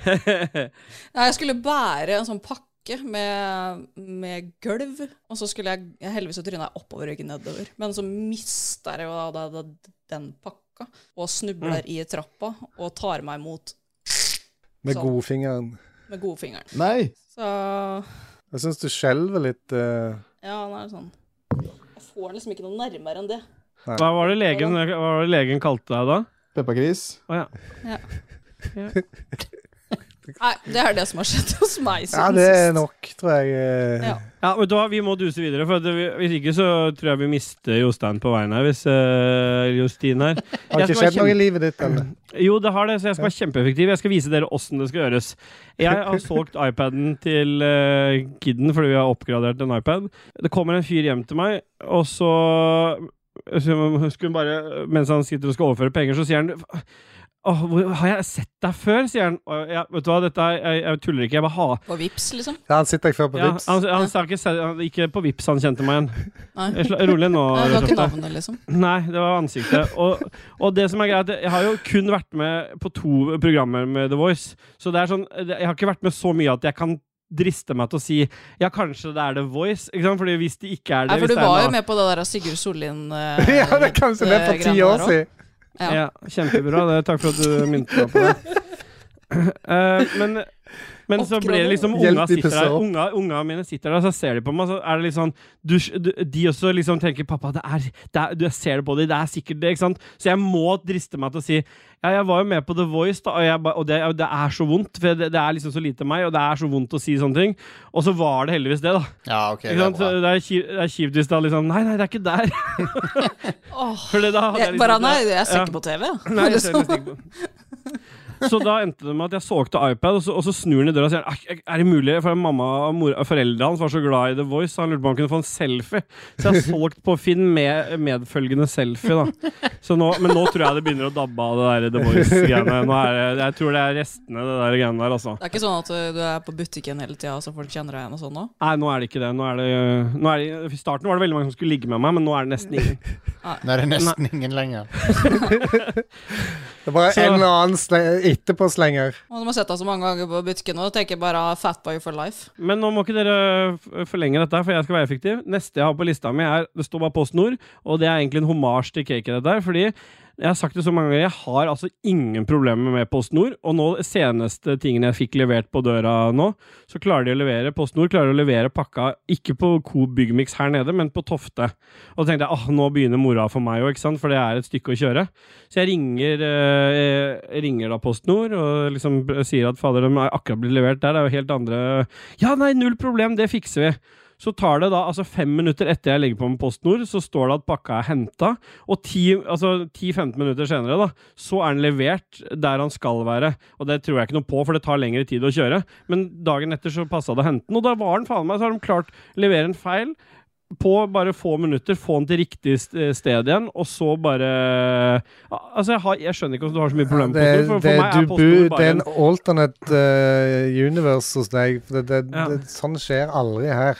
Nei, Jeg skulle bære en sånn pakke med, med gulv, og så skulle jeg, jeg heldigvis så tryna jeg oppover og ikke nedover. Men så mister jeg jo da, da, da, den pakka, og snubler i trappa og tar meg imot Med Sånn. godfingeren. med godfingeren. Nei! Så Jeg syns du skjelver litt. eh, ja, han er sånn Jeg får liksom ikke noe nærmere enn det. Hva var det legen, hva var det legen kalte deg da? Peppergris. Å ja. Nei, det er det som har skjedd hos meg ja, siden det er sist. nok, tror jeg. eh. Ja. Ja, vet du hva, vi må duse videre, for at vi, hvis ikke så tror jeg vi mister Jostein på veien her. Hvis, eh, Jostin her. Har Jeg ikke skal skjedd noe i være livet ditt, eller? kjempe- Jo, det har det, så jeg skal være kjempeeffektiv. Jeg skal vise dere åssen det skal gjøres. Jeg har solgt iPaden til uh, kiden fordi vi har oppgradert en iPad. Det kommer en fyr hjem til meg, og så så skulle hun bare, Mens han sitter og skal overføre penger, så sier han Åh, hvor, har jeg sett deg før? sier han. Og jeg, vet du hva, dette er, jeg, jeg tuller ikke. Jeg bare har På vips, liksom. Ja, han sitter jeg før på ja, Vipps. han, han sa ikke, se- han, ikke på vips han kjente meg igjen. Nei. Jeg sla- Rolig nå. Nei, det var ikke Rosette. navnet, liksom. Nei, det var ansiktet. Og, og det som er greit, jeg har jo kun vært med på to programmer med The Voice. Så det er sånn, det- jeg har ikke vært med så mye at jeg kan driste meg til å si ja, kanskje det er The Voice. Ikke sant? Fordi hvis det ikke er det Nei, for hvis du det er var jo noe- med på det der av Sigurd Sollien eh, ja, det er kanskje det for ti greiene år der også. siden. Ja. Ja, kjempebra. Det, takk for at du minnet meg på det. Eh, men men så blir det liksom Hjelp, unga de sitter pusser der, opp. unga, unga mine sitter der, så ser de på meg, så er det litt sånn du, du, De også liksom tenker 'Pappa, det er, det er, du, jeg ser det på deg, det er sikkert det', ikke sant? Så jeg må driste meg til å si ja, jeg var jo med på The Voice, da, og, jeg, ba- og det, og det er så vondt. For det, det er liksom så lite meg, og det er så vondt å si sånne ting. Og så var det heldigvis det, da. Ja, ok, det Ikke er sant? bra. Så Det er kjipt- det er kjipt hvis det er liksom Nei, nei, det er ikke der. Åh, For det da hadde jeg jeg, liksom bare ikke- nei, jeg ser Ja. ikke på TV. Nei, jeg ser liksom. nesten ikke på den. Så da endte det med at jeg solgte iPad, og så, og så snur han i døra og sier «Æsj, Er det mulig? For mamma og mor, foreldrene hans var så glad i The Voice, så han lurte på om han kunne få en selfie. Så jeg har solgt på Finn med medfølgende selfie, da. Så nå, men nå tror jeg det begynner å dabbe av det der The Voice-greiene. Nå er det, jeg tror det er restene, det der greiene der, altså. Det er ikke sånn at uh, du er på butikken hele tida, så folk kjenner deg igjen og sånn nå? Nei, nå er det ikke det. Nå er det, nå er det I starten var det veldig mange som skulle ligge med meg, men nå er det nesten ingen. Nå er det nesten ingen lenger. Det er bare Så- en eller annen sle- etterpåslenger. Og de har sett deg så mange ganger på butikken nå, tenker jeg bare ah, Fatboy for life. Men nå må ikke dere f- forlenge dette, her, for jeg skal være effektiv. Neste jeg har på lista mi, er Det står bare PostNord, og det er egentlig en hommage til cake. Dette, her, fordi jeg har sagt det så mange ganger, jeg har altså ingen problemer med PostNord. Og nå, seneste tingene jeg fikk levert på døra nå, så klarer de å levere PostNord klarer å levere pakka ikke på Coop Byggmix her nede, men på Tofte. Og da tenkte jeg ah, nå begynner mora for meg òg, ikke sant, for det er et stykke å kjøre. Så jeg ringer, eh, eh, ringer da PostNord og liksom b- sier at fader, de er akkurat blitt levert der, det er jo helt andre Ja, nei, null problem, det fikser vi. Så tar det da, altså fem minutter etter jeg legger på med PostNord, så står det at pakka er henta. Og ti- altså, 10-15 minutter senere, da, så er den levert der han skal være. Og det tror jeg ikke noe på, for det tar lengre tid å kjøre. Men dagen etter så passa det å hente den, og da var den faen meg, så har de klart å levere en feil. På bare få minutter, få den til riktig st- sted igjen, og så bare Altså, jeg, har, jeg skjønner ikke hvordan du har så mye problemer med Det, PostNord. For, det, for meg du er bor- PostNord det bare er en en alternate eh, universe hos deg. for Det, det, Ja. det, sånn skjer aldri her.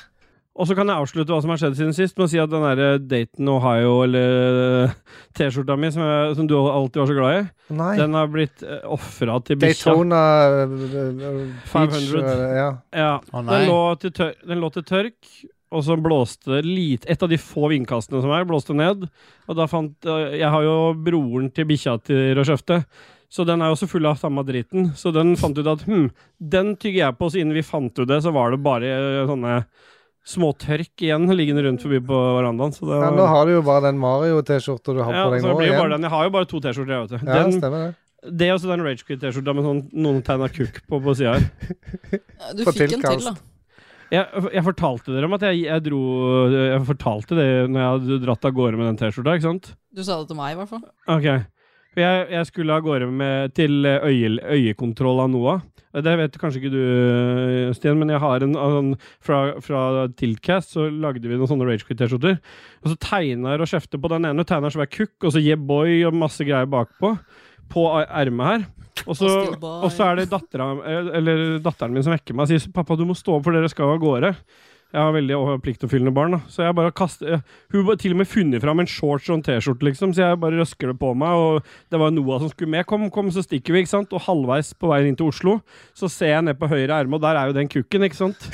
Og så kan jeg avslutte hva som har skjedd siden sist med å si at den der Dayton Ohio eller eh, T-skjorta mi, som, jeg, som du alltid var så glad i, Nei. den har blitt eh, ofra til bikkja. Daytona eh, eh, Beach 500. eh, ja. Ja, Å nei. den, lå til tør den lå til tørk, og så blåste det lite Et av de få vindkastene som er, blåste ned. Og da fant eh, Jeg har jo broren til bikkja til Rødskjefte. Så den er jo også full av samme driten. Så den fant ut at hm, den tygger jeg på. Så innen vi fant ut det, så var det bare eh, sånne småtørk igjen liggende rundt forbi på verandaen. Så det ja. Nå har du jo bare den Mario-T-skjorta du har Ja, på deg så det nå blir jo bare igjen. den. Jeg har jo bare to T-skjorter, jeg, vet du. Ja, Den, stemmer det. det og så den Rage Quit-T-skjorta med sånn, noen tegna kukk på på sida her. Eh, Du På fikk en tilkast. til, da. Jeg, jeg fortalte dere om at jeg, jeg dro Jeg fortalte det når jeg hadde dratt av gårde med den T-skjorta, ikke sant? Du sa det til meg, i hvert fall. Ok. For Jeg, jeg skulle av gårde med, til eh, øye, øyekontroll av Noah. Det vet kanskje ikke du, Sten, men jeg har en, en fra, fra Tiltcast så lagde vi noen sånne Rage Quit-T-skjorter. Og så tegner og kjefter på den ene. og Tegner svær kukk, og så yeah boy og masse greier bakpå. På a- ermet her. Og så, Og still boy. og så er det dattera, eller datteren min som vekker meg og sier pappa, du må stå opp, for dere skal av gårde. Jeg har veldig pliktoppfyllende barn, da. Så jeg bare kaster Hun har til og med funnet fram en shorts og en T-skjorte, liksom, så jeg bare røsker det på meg. Og det var Noah som skulle med. Kom, kom, så stikker vi, ikke sant. Og halvveis på veien inn til Oslo, så ser jeg ned på høyre erme, og der er jo den kukken, ikke sant.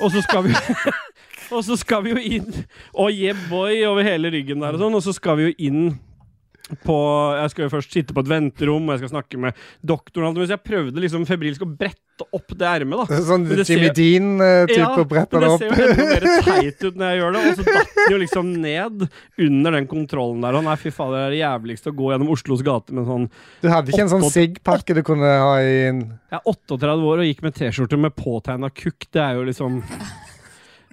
Og så skal vi Og så skal vi jo inn Og yeah boy over hele ryggen der og sånn, og så skal vi jo inn på, jeg skal jo først sitte på et venterom, og jeg skal snakke med doktoren. og alt mulig, Så jeg prøvde liksom febrilsk å brette opp det ermet. da Sånn Men det ser- Jimmy Dean-type ja, og bretter det men det opp. ser jo enda mer teit ut når jeg gjør det. Og så datt den jo liksom ned under den kontrollen der. Og nei, fy faen, det er det jævligste å gå gjennom Oslos gater med en sånn Du hadde ikke en sånn Oppåt- sigg-pakke du kunne ha i en Jeg er 38 år og gikk med T-skjorte med påtegna kukk. Det er jo liksom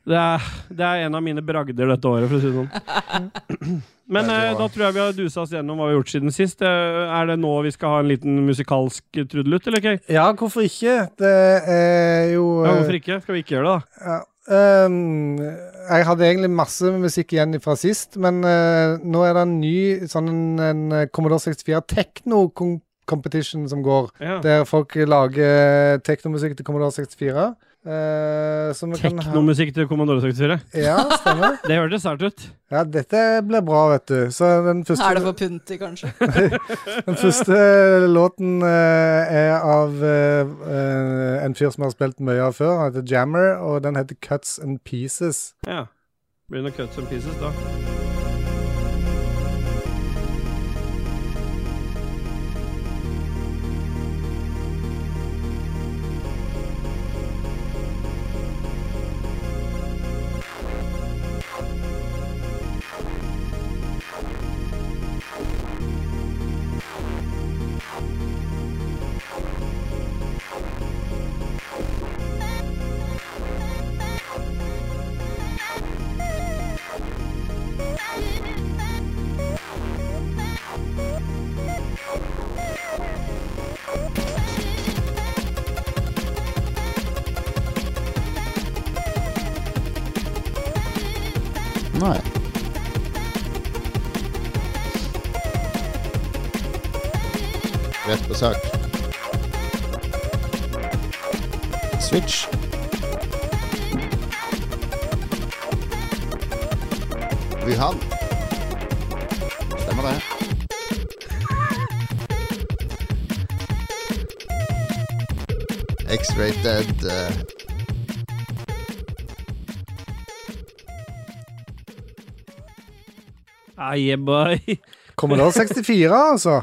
det er, det er en av mine bragder dette året, for å si det sånn. Men eh, da tror jeg vi har dusa oss gjennom hva vi har gjort siden sist. Eh, Er det nå vi skal ha en liten musikalsk trudelutt, eller ikke? Ja, hvorfor ikke? Det er jo eh, Ja, hvorfor ikke? Skal vi ikke gjøre det, da? Ja, ehm, jeg hadde egentlig masse musikk igjen fra sist, men eh, nå er det en ny sånn en, en Commodore 64 Techno Con- Competition som går. Ja. Der folk lager teknomusikk til Commodore 64. eh, som vi kan ha- Teknomusikk til Commodore 64. Ja, stemmer. Det hørtes sært ut. Ja, dette blir bra, vet du. Så den første, Er det for punti, kanskje? den første låten eh, er av eh, eh, en fyr som har spilt mye av før. Han heter Jammer, og den heter Cuts and Pieces. Ja. Blir det noe cuts and pieces, da? Nei. Rett på sak. Switch. Wuhan. Stemmer det. X-rated. eh, Aye, boy. Commodore 64, altså.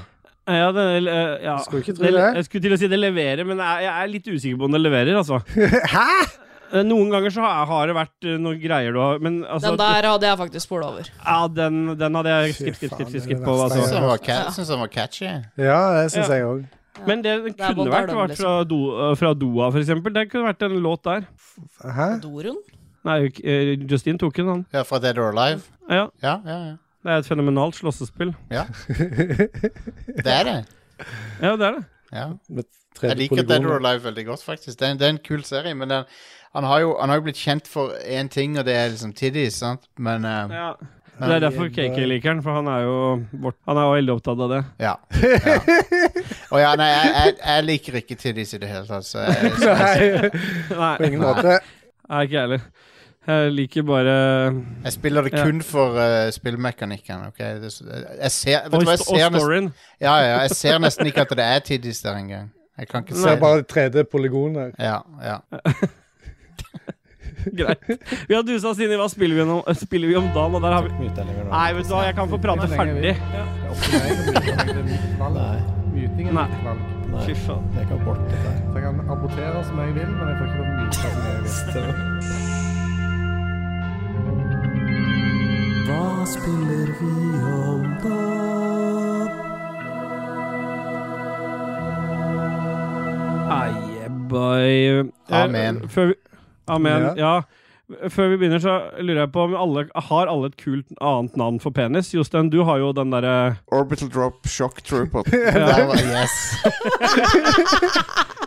Ja, det, eh, ja. Skulle ikke tro Det- det. Jeg skulle til å si det leverer, men jeg, jeg er litt usikker på om det leverer, altså. Hæ?! Eh, Noen ganger så har- har det vært eh, noen greier du har Men altså Den der hadde jeg faktisk spola over. Ja, den, den hadde jeg skipp, Fy skipp, skipp, faen, det skipp, er skipp det på. verste Syns Altså. jeg den var, ca- synes den var catchy. Ja, det syns Ja. jeg òg. Men det den Det er kunne Bob vært, Dylan, liksom. vært fra, do, eh, fra Doa, for eksempel. Det kunne vært en låt der. Hæ? Dorun? Nei, eh, Justin tok den, han. Ja, fra Dead or Alive. Ja, Ja, ja, ja. det er et fenomenalt slåssespill. Det er det. Ja, det er det. Ja. Med Jeg 3D liker Dead or polygoner. Alive veldig godt, faktisk. Det er, det er en kul serie, men den, han, har jo, han har jo blitt kjent for én ting, og det er liksom tiddies, sant? Men eh, Ja. Det er derfor KK liker den, for han er jo vårt, Han er jo veldig opptatt av det. ja. ja. Og ja, nei, jeg, jeg, jeg liker ikke tiddies i det hele tatt, så jeg, Nei, på Nei, ingen måte. jeg er ikke jeg heller. Jeg liker bare jeg spiller det Ja. kun for eh, spillmekanikken, OK? Det, jeg ser, vet Og, du hva, jeg st- og ser, nesten, storyen. ja, ja, jeg ser nesten ikke at det er tiddies der engang. Jeg kan ikke Så se er det. bare 3D-polygoner. Ja, ja. Greit. Vi har dusa oss inn i hva spiller vi om, spiller vi om dagen, og der har vi Nei, vet du hva, jeg kan få prate ferdig. Mytingen Nei. er valg. Fy faen. Så jeg kan abortere som jeg vil, men jeg får ikke lov å myte som jeg vil. Aye, boy. Eh, Amen. Før vi, amen, Ja. ja. Før vi begynner, så lurer jeg på om alle har alle et kult annet navn for penis. Jostein, du har jo den derre Orbital Drop Shock Trooper. Der var, yes.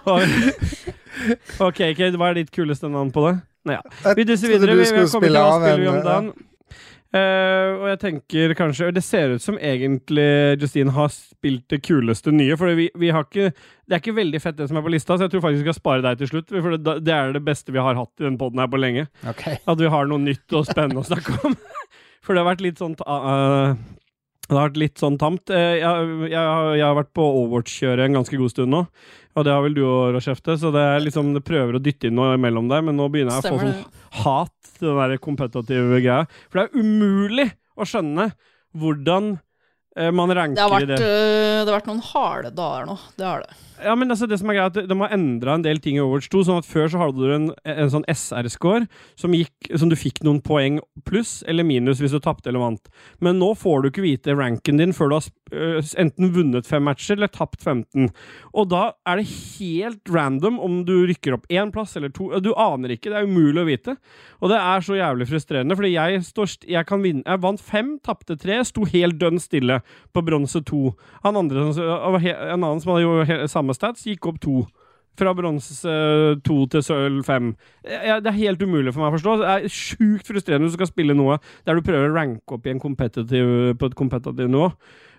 OK, Kate, hva er ditt kuleste navn på det? Nei, ja. Jeg Vi duser trodde videre. du Vi, vi har skulle kommet til spille hva av spiller vi en, om ja. dagen. Eh, og jeg tenker kanskje Det ser ut som egentlig Justine har spilt det kuleste nye. For vi, vi har ikke, det er ikke veldig fett, det som er på lista, så jeg tror faktisk vi skal spare deg til slutt. For det, det er det beste vi har hatt i den poden her på lenge. OK. At vi har noe nytt og spennende å snakke om. For det har vært litt sånn ta- eh, Det har vært litt sånn tamt. Eh, jeg, jeg, har- jeg har vært på Overwatch-kjøret en ganske god stund nå. Og det har vel du òg, Rochefte, så det er liksom det prøver å dytte inn noe imellom der. Men nå begynner jeg å få Stemmer sånn det. hat til den der kompetative greia. For det er umulig å skjønne hvordan eh, man ranker Det har, i vært, det. øh, det har vært noen harde dager nå. Det har det. Ja, men altså, det som er greit, er at De har endra en del ting i Overwatch 2. sånn at Før så hadde du en, en sånn SR-score som, gikk- som du fikk noen poeng pluss eller minus hvis du tapte eller vant. Men nå får du ikke vite ranken din før du har sp- øh, enten vunnet fem matcher eller tapt 15. Og da er det helt random om du rykker opp én plass eller to. Du aner ikke. Det er umulig å vite. Og det er så jævlig frustrerende, fordi jeg, står, st- jeg, kan vinne, jeg vant fem, tapte tre, sto helt dønn stille på bronse to. Han andre, som- og he- en annen som hadde jo he- samme stats, gikk opp to. Fra bronse eh, to til sølv fem. Jeg- jeg- Det er helt umulig for meg å forstå. Det er sjukt frustrerende hvis du skal spille noe der du prøver å ranke opp i en competitive, på et competitive nivå.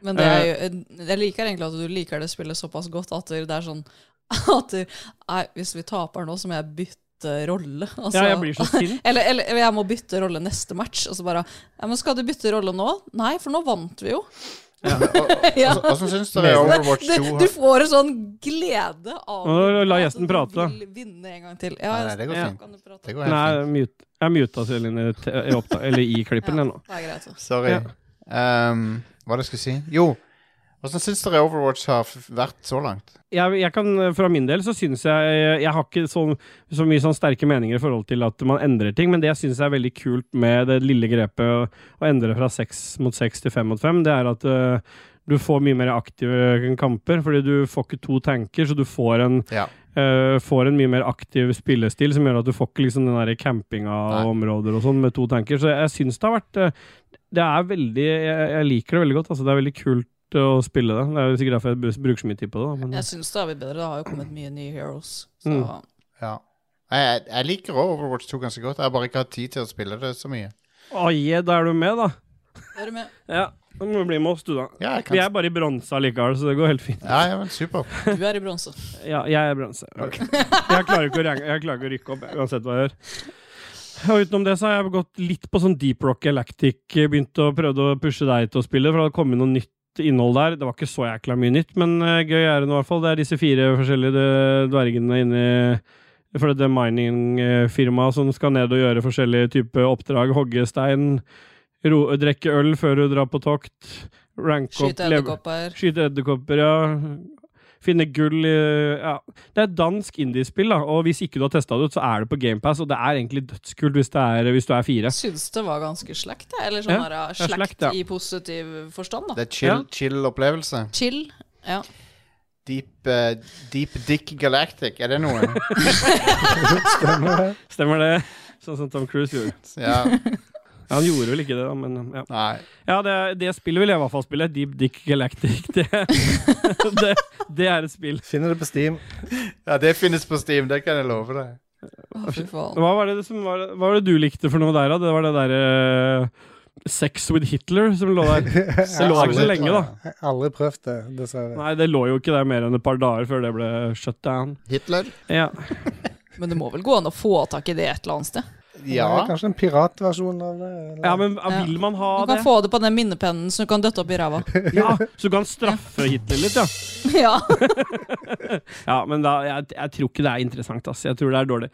Men det Eh, er jo, eh, jeg liker egentlig at du liker det spillet såpass godt at det er sånn at det- Nei, hvis vi taper nå, så må jeg bytte rolle. Altså, Ja, jeg blir så sint. Eller, eller eller jeg må bytte rolle neste match. Og så bare Ja, men skal du bytte rolle nå? Nei, for nå vant vi jo. Ja. Altså, Åssen syns dere Men Overwatch 2? det, du får en sånn glede av Nå la gjesten at prate, da. Du vil vinne en gang til. Ja, Nei, nei, det går Ja. fint. Kan du prate? Det går helt Nei, fint. mute. jeg muta selv inn i, te- i oppta- eller i klippen Ja, jeg nå. det er greit. så. Sorry. Ja. Ehm, hva det skulle si? Jo, åssen syns dere Overwatch har f- vært så langt? Jeg, jeg kan, for min del så syns jeg Jeg har ikke så, så mye sånn sterke meninger i forhold til at man endrer ting, men det jeg syns er veldig kult med det lille grepet å, å endre fra seks mot seks til fem mot fem, det er at øh, du får mye mer aktive kamper, fordi du får ikke to tanker, så du får en Ja. Eh, får en mye mer aktiv spillestil, som gjør at du får ikke liksom den der campinga Nei. og områder og sånn med to tanker. Så jeg syns det har vært eh, Det er veldig Jeg, jeg liker det veldig godt. Altså, det er veldig kult eh, å spille det. Det er jo sikkert derfor jeg br- bruker så mye tid på det. Da, men, Jeg syns det har blitt bedre. Det har jo kommet mye nye heroes. Så Mm. ja. Nei, Jeg, jeg liker også Overwatch 2 ganske godt. Jeg har bare ikke hatt tid til å spille det så mye. Å, je, da er du med, da. er du med. Ja, da må du bli med oss, du, da. Ja, jeg kan Vi er bare i bronse allikevel, så det går helt fint. ja, ja, men super. Du er i bronse. Ja, jeg er bronse. Jeg klarer ikke å, range, jeg klarer ikke å rykke opp, jeg, uansett hva jeg gjør. Og utenom det så har jeg gått litt på sånn Deep Rock Galactic. eh, Begynt å prøvde å pushe deg til å spille, for det hadde kommet noe nytt innhold der. Det var ikke så jækla mye nytt, men eh, gøy er det nå i hvert fall. Det er disse fire forskjellige eh, dvergene inni for det er miningfirmaet som skal ned og gjøre forskjellige typer oppdrag. Hogge stein, ro, drikke øl før du drar på tokt, ranke opp Skyte lev- edderkopper. Skyte edderkopper, ja. Finne gull i- ja. Det er dansk indiespill, da. Og hvis ikke du har testa det ut, så er det på GamePass. Og det er egentlig dødskult hvis, det er, hvis du er fire. Syns det var ganske slekt, jeg. Eller sånn Ja, der, det er slekt, slekt, ja. i positiv forstand, da. Det er chill, Ja. chill opplevelse. Chill. Ja. Deep, eh, Deep Dick Galactic, er det noe? eh, Stemmer det? Sånn som Tom Cruise gjorde. ja. Ja, han gjorde vel ikke det, da, men ja. Nei. ja det, det spillet vil jeg i hvert fall spille. Deep Dick Galactic. Det, det, det er et spill. Finner det på Steam. Ja, det finnes på Steam, det kan jeg love deg. Å, fy faen. Hva var det, som var, hva var det du likte for noe der, da? Det var det derre Sex with Hitler som lå der. Det lå der ikke så lenge, da. Jeg har aldri prøvd det, dessverre. Nei, det lå jo ikke der mer enn et par dager før det ble shut down. Hitler. Ja. Men det må vel gå an å få tak i det et eller annet sted? Ja. Det er kanskje en piratversjon av det. eller? Ja, men ja, vil man ha Du det? kan få det på den minnepennen som du kan døtte opp i ræva. Ja, Så du kan straffe Hitler litt, ja. ja. Ja, Men da, jeg, jeg tror ikke det er interessant, ass. Jeg tror det er dårlig.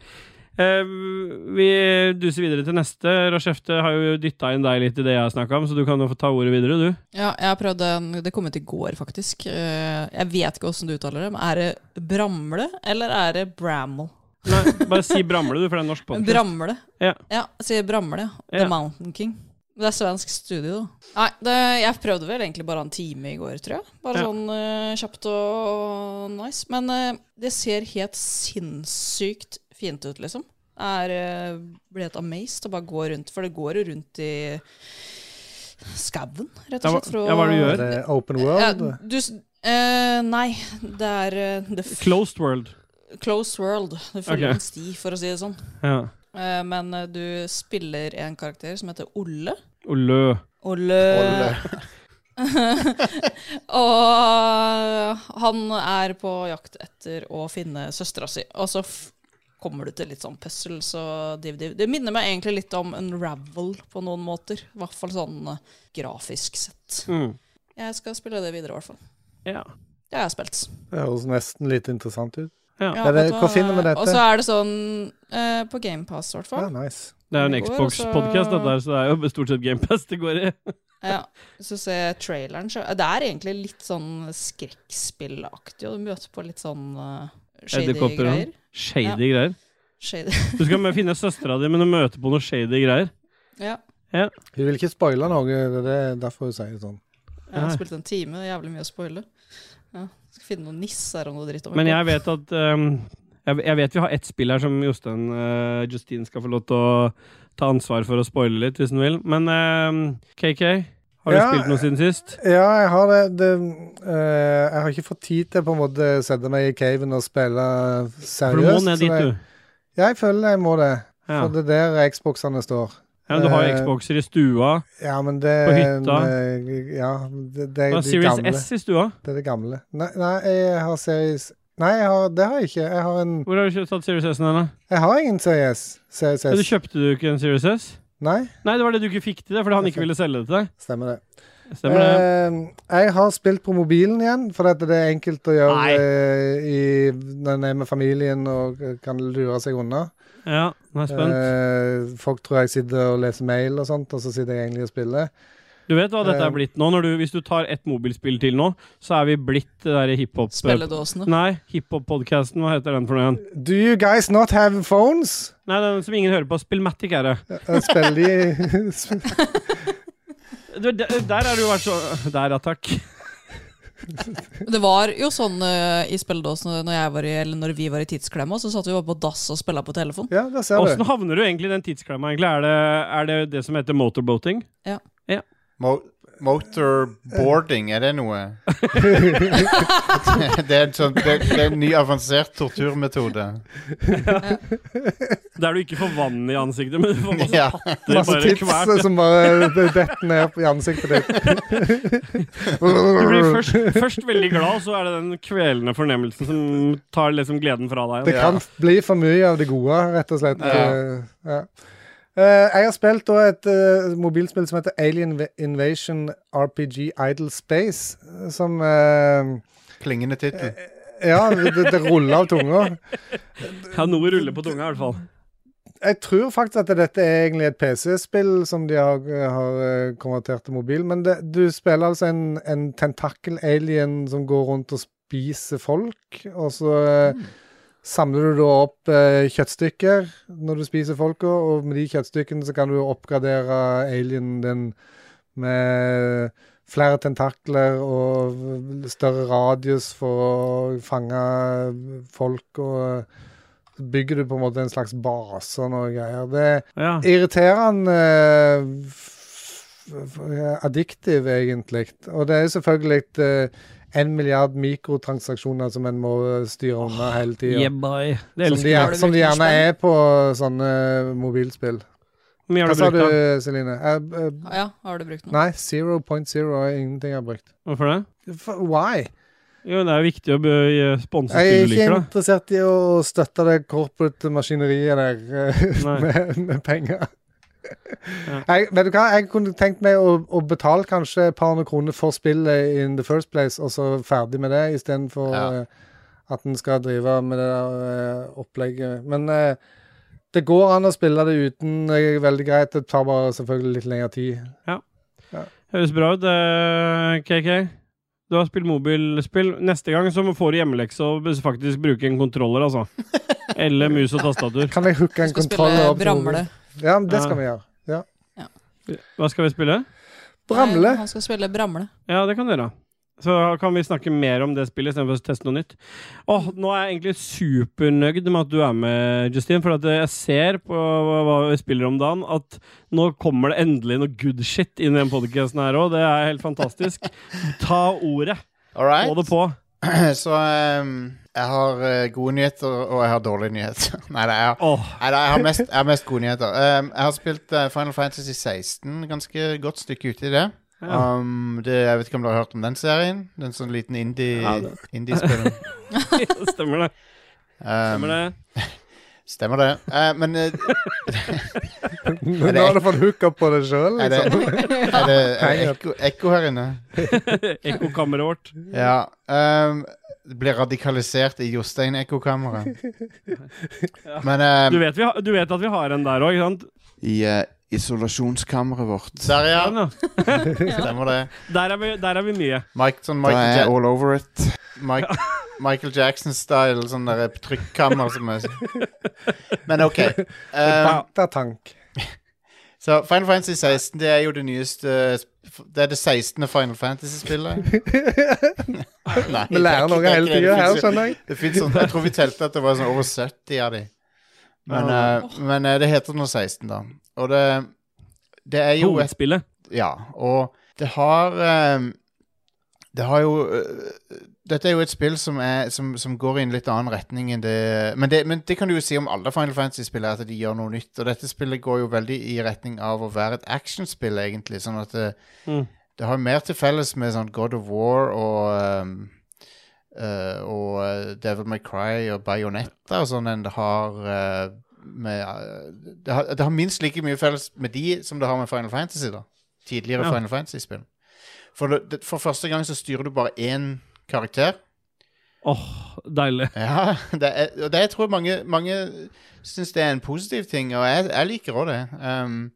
Eh, vi duser videre til neste. Rashefte har jo dytta inn deg litt i det jeg har snakka om, så du kan jo få ta ordet videre, du. ja, jeg prøvde en- Det kom ut i går, faktisk. Eh, Jeg vet ikke åssen du uttaler det, men er det Bramle eller er det Bramble? Nei, bare si Bramle, du, for det er norsk podcast. Bramle. Ja. ja jeg sier Bramle. Ja. The Mountain King. Det er svensk studio. Nei, det, jeg prøvde vel egentlig bare en time i går, tror jeg. Bare Ja. sånn eh, kjapt og nice. Men eh, det ser helt sinnssykt fint ut, liksom. Jeg er uh, ble helt amazed og bare går rundt, for det går jo rundt i skauen, rett Ja, og hva- slett. for å- ja, hva er det du gjør? Er det Open Ja, World? du, s- eh, nei, det er eh, The f Closed World. Closed World. Du følger Ok. en sti, for å si det sånn. Ja. Eh, men eh, du spiller en karakter som heter Olle. Olø. Olle. Olle. og han er på jakt etter å finne søstera si. Og så f kommer du til litt sånn puzzles og div, div. Det minner meg egentlig litt om Unravel på noen måter. I hvert fall sånn eh, grafisk sett. Mm. Jeg skal spille det videre, i hvert fall. Ja. Det har jeg spilt. Det høres nesten litt interessant ut. ja. Er det- vet du hvor finner vi dette? Og så er det sånn eh, på GamePass, i hvert fall. Ja, nice. Det er jo Det en går, Xbox-podkast, altså. dette her, så det er jo stort sett GamePass det går i. Ja, så ser jeg traileren. Så eh, det er egentlig litt sånn skrekkspillaktig, og du møter på litt sånn eh, shady Edderkopper og greier. Shady Ja. greier. Shady. Du skal med finne søstera di, men du møter på noe shady greier. ja. Hun vil ikke spoile noe, det er derfor hun sier sånn. Jeg har Ja. spilt en time, det er jævlig mye å spoile. Ja. Skal finne noen nisser og noe dritt. om Men det. jeg vet at ehm, jeg, jeg vet vi har ett spill her som Jostein eh, Justine skal få lov til å ta ansvar for å spoile litt, hvis han vil. Men ehm, KK, har du Ja. spilt noe siden sist? Ja, jeg har det. det eh, jeg har ikke fått tid til på en måte å sette meg i caven og spille seriøst. For du må ned så dit, jeg- du. Ja, jeg føler jeg må det. Ja. For det er der Xboxene står. Ja, du har jo eh, Xboxer i stua. Ja, men det På er en, hytta. eh, Ja, det, det Du er har de Series gamle. S i stua. Det er det gamle. Nei, nei jeg har Series Nei, jeg har, det har jeg ikke. Jeg har, en, Hvor har du kjøpt tatt Series S-en hen? da? jeg har ingen Series, Series Ja, du S. kjøpte du ikke en Series S? Nei, Nei, det var det du ikke fikk til det, fordi han ikke ville selge det til deg. stemmer det. Stemmer det? Eh, jeg har spilt på mobilen igjen, for at det er enkelt å gjøre Nei. eh, i, når en er med familien og kan lure seg unna. Ja, nå er jeg spent. Eh, folk tror jeg sitter og leser mail og sånt, og så sitter jeg egentlig og spiller. Du vet hva dette eh, er blitt nå? Når du, hvis du tar ett mobilspill til nå, så er vi blitt det derre hiphop... Spilledåsene. Nei, hiphop-podkasten. Hva heter den for noe igjen? Do you guys not have phones? Nei, den som ingen hører på. Spillmatic er det. Eh, Spiller de sp- Du, Der, der er du vært så Der, ja takk. Det var jo sånn eh, i spilledåsene når, jeg var i, eller når vi var i tidsklemma, så satt vi bare på dass og spilla på telefon. Ja, der ser Åssen du. havner du egentlig i den tidsklemma, egentlig? Er det, er det det som heter motorboating? Mo motorboarding, er det noe? det, er en sånn, det, det er en ny avansert torturmetode. Der du ikke får vann i ansiktet, men du får masse Ja. patter Masse bare tips kvert. som bare detter ned i ansiktet ditt. Du blir først, først veldig glad, og så er det den kvelende fornemmelsen som tar liksom gleden fra deg. Det kan bli for mye av det gode, rett og slett. Eh, ja. Eh, jeg har spilt da et eh, mobilspill som heter Alien Inv- Invasion RPG Idle Space, som eh, Klingende tittel. Ja, det, det ruller av tunga. Ja, noe ruller på tunga, i hvert fall. Jeg tror faktisk at dette er egentlig et PC-spill som de har, har eh, konvertert til mobil, men det, du spiller altså en, en tentakel-alien som går rundt og spiser folk, og så eh, samler du da opp eh, kjøttstykker når du spiser folka, og med de kjøttstykkene så kan du oppgradere alienen din med flere tentakler og større radius for å fange eh, folk og så bygger du på en måte en slags base og noe greier. Det Ja. er irriterende eh, f- f- addiktiv, egentlig. Og det er jo selvfølgelig eh, en milliard mikrotransaksjoner som en må styre unna hele tida. Yeah, bye. Som, Det de, elsker jeg. er- som de gjerne er på sånne mobilspill. Hvor Hva mye har du sa du, brukt, da? Celine? Eh, eh, Ja, har du brukt noe? nei, 0.0 er ingenting jeg har brukt. Hvorfor det? For, why? Jo, det er jo viktig å be- sponse Jeg er spill du ikke liker, da. interessert i å støtte det corporate maskineriet der eh, Nei. med, med penger. Ja. Jeg, vet du hva, jeg kunne tenkt meg å, å betale kanskje et par hundre kroner for spillet in the first place, og så ferdig med det, istedenfor Ja. eh, at en skal drive med det der eh, opplegget. Men eh, det går an å spille det uten eh, veldig greit. Det tar bare selvfølgelig litt lengre tid. Høres bra ut, eh, KK. Du har spilt mobilspill. Neste gang så får du hjemmelekse og bes- faktisk bruke en kontroller, altså. Eller mus og tastatur. Kan jeg hooke en Skal kontroller spille opp? til Bramle. mobilen? Ja, men det Ja. skal vi gjøre. Ja. Hva skal vi spille? Bramle. Nei, han skal spille Bramle. Ja, det kan dere. Så kan vi snakke mer om det spillet istedenfor å teste noe nytt. Åh, nå er jeg egentlig supernøyd med at du er med, Justin. For at jeg ser på hva hva vi spiller om dagen, at nå kommer det endelig noe good shit inn i den podkasten her òg. Det er helt fantastisk. Ta ordet. All right? Få det på. Så ehm, jeg har eh, gode nyheter, og jeg har dårlige nyheter. Nei, det er Åh, Nei, nei, jeg har mest, jeg har mest gode nyheter. Ehm, jeg har spilt eh, Final Fantasy 16 ganske godt stykke ute i det. Ja. Um, det. Jeg vet ikke om dere har hørt om den serien? Den sånn liten indie- Ja, det- indie-spillen. stemmer det. Ehm, Stemmer det. stemmer det. Eh, men eh, Nå har du fått hooka på det sjøl, er det, liksom. er det, er det ekko, ekko her inne? Ekkokammeret vårt. Ja. ehm, det blir radikalisert i Jostein-ekkokammeret. Men Du ehm, vet, vi har, du vet at vi har en der òg, ikke sant? I eh, isolasjonskammeret vårt. der, ja. Den, Sånn, ja. Stemmer det. Der, er vi, der er vi mye. Mike, sånn Da er Michael, jeg ja all over it. Mike, Michael Jackson-style, sånn der trykkammer som er Men OK. Eh, Um, Datatank. så Final Fantasy 16, det er jo det nyeste Det er det 16. Final Fantasy-spillet. Nei, Vi lærer det er ikke- det noe hele er ikke det. tida her, Det finnes jo- skjønner jeg. Det finnes sånn, jeg tror vi telte at det var sånn over 70 av de. Men, eh, men eh, det heter nå 16, da. Og det, det er Oh, jo et Hovedspillet. Ja, og det har ehm, Det har jo øh, Dette er jo et spill som, er, som, som går i en litt annen retning enn det Men det, men det kan du jo si om alle Final Fantasy-spill, er at de gjør noe nytt. Og dette spillet går jo veldig i retning av å være et actionspill, egentlig. Sånn at det, Mm. det har mer til felles med sånn God of War og ehm, eh, og eh, Devil May Cry og Bayonetta og sånn enn det har eh, med eh, det, har, det har minst like mye felles med de som det har med Final Fantasy, da tidligere Ja. Final Fantasy-spill. For, det- det- for første gang så styrer du bare én karakter. Åh, deilig. Ja, det er, og det jeg tror mange, mange syns det er en positiv ting, og jeg, jeg liker òg det. Um,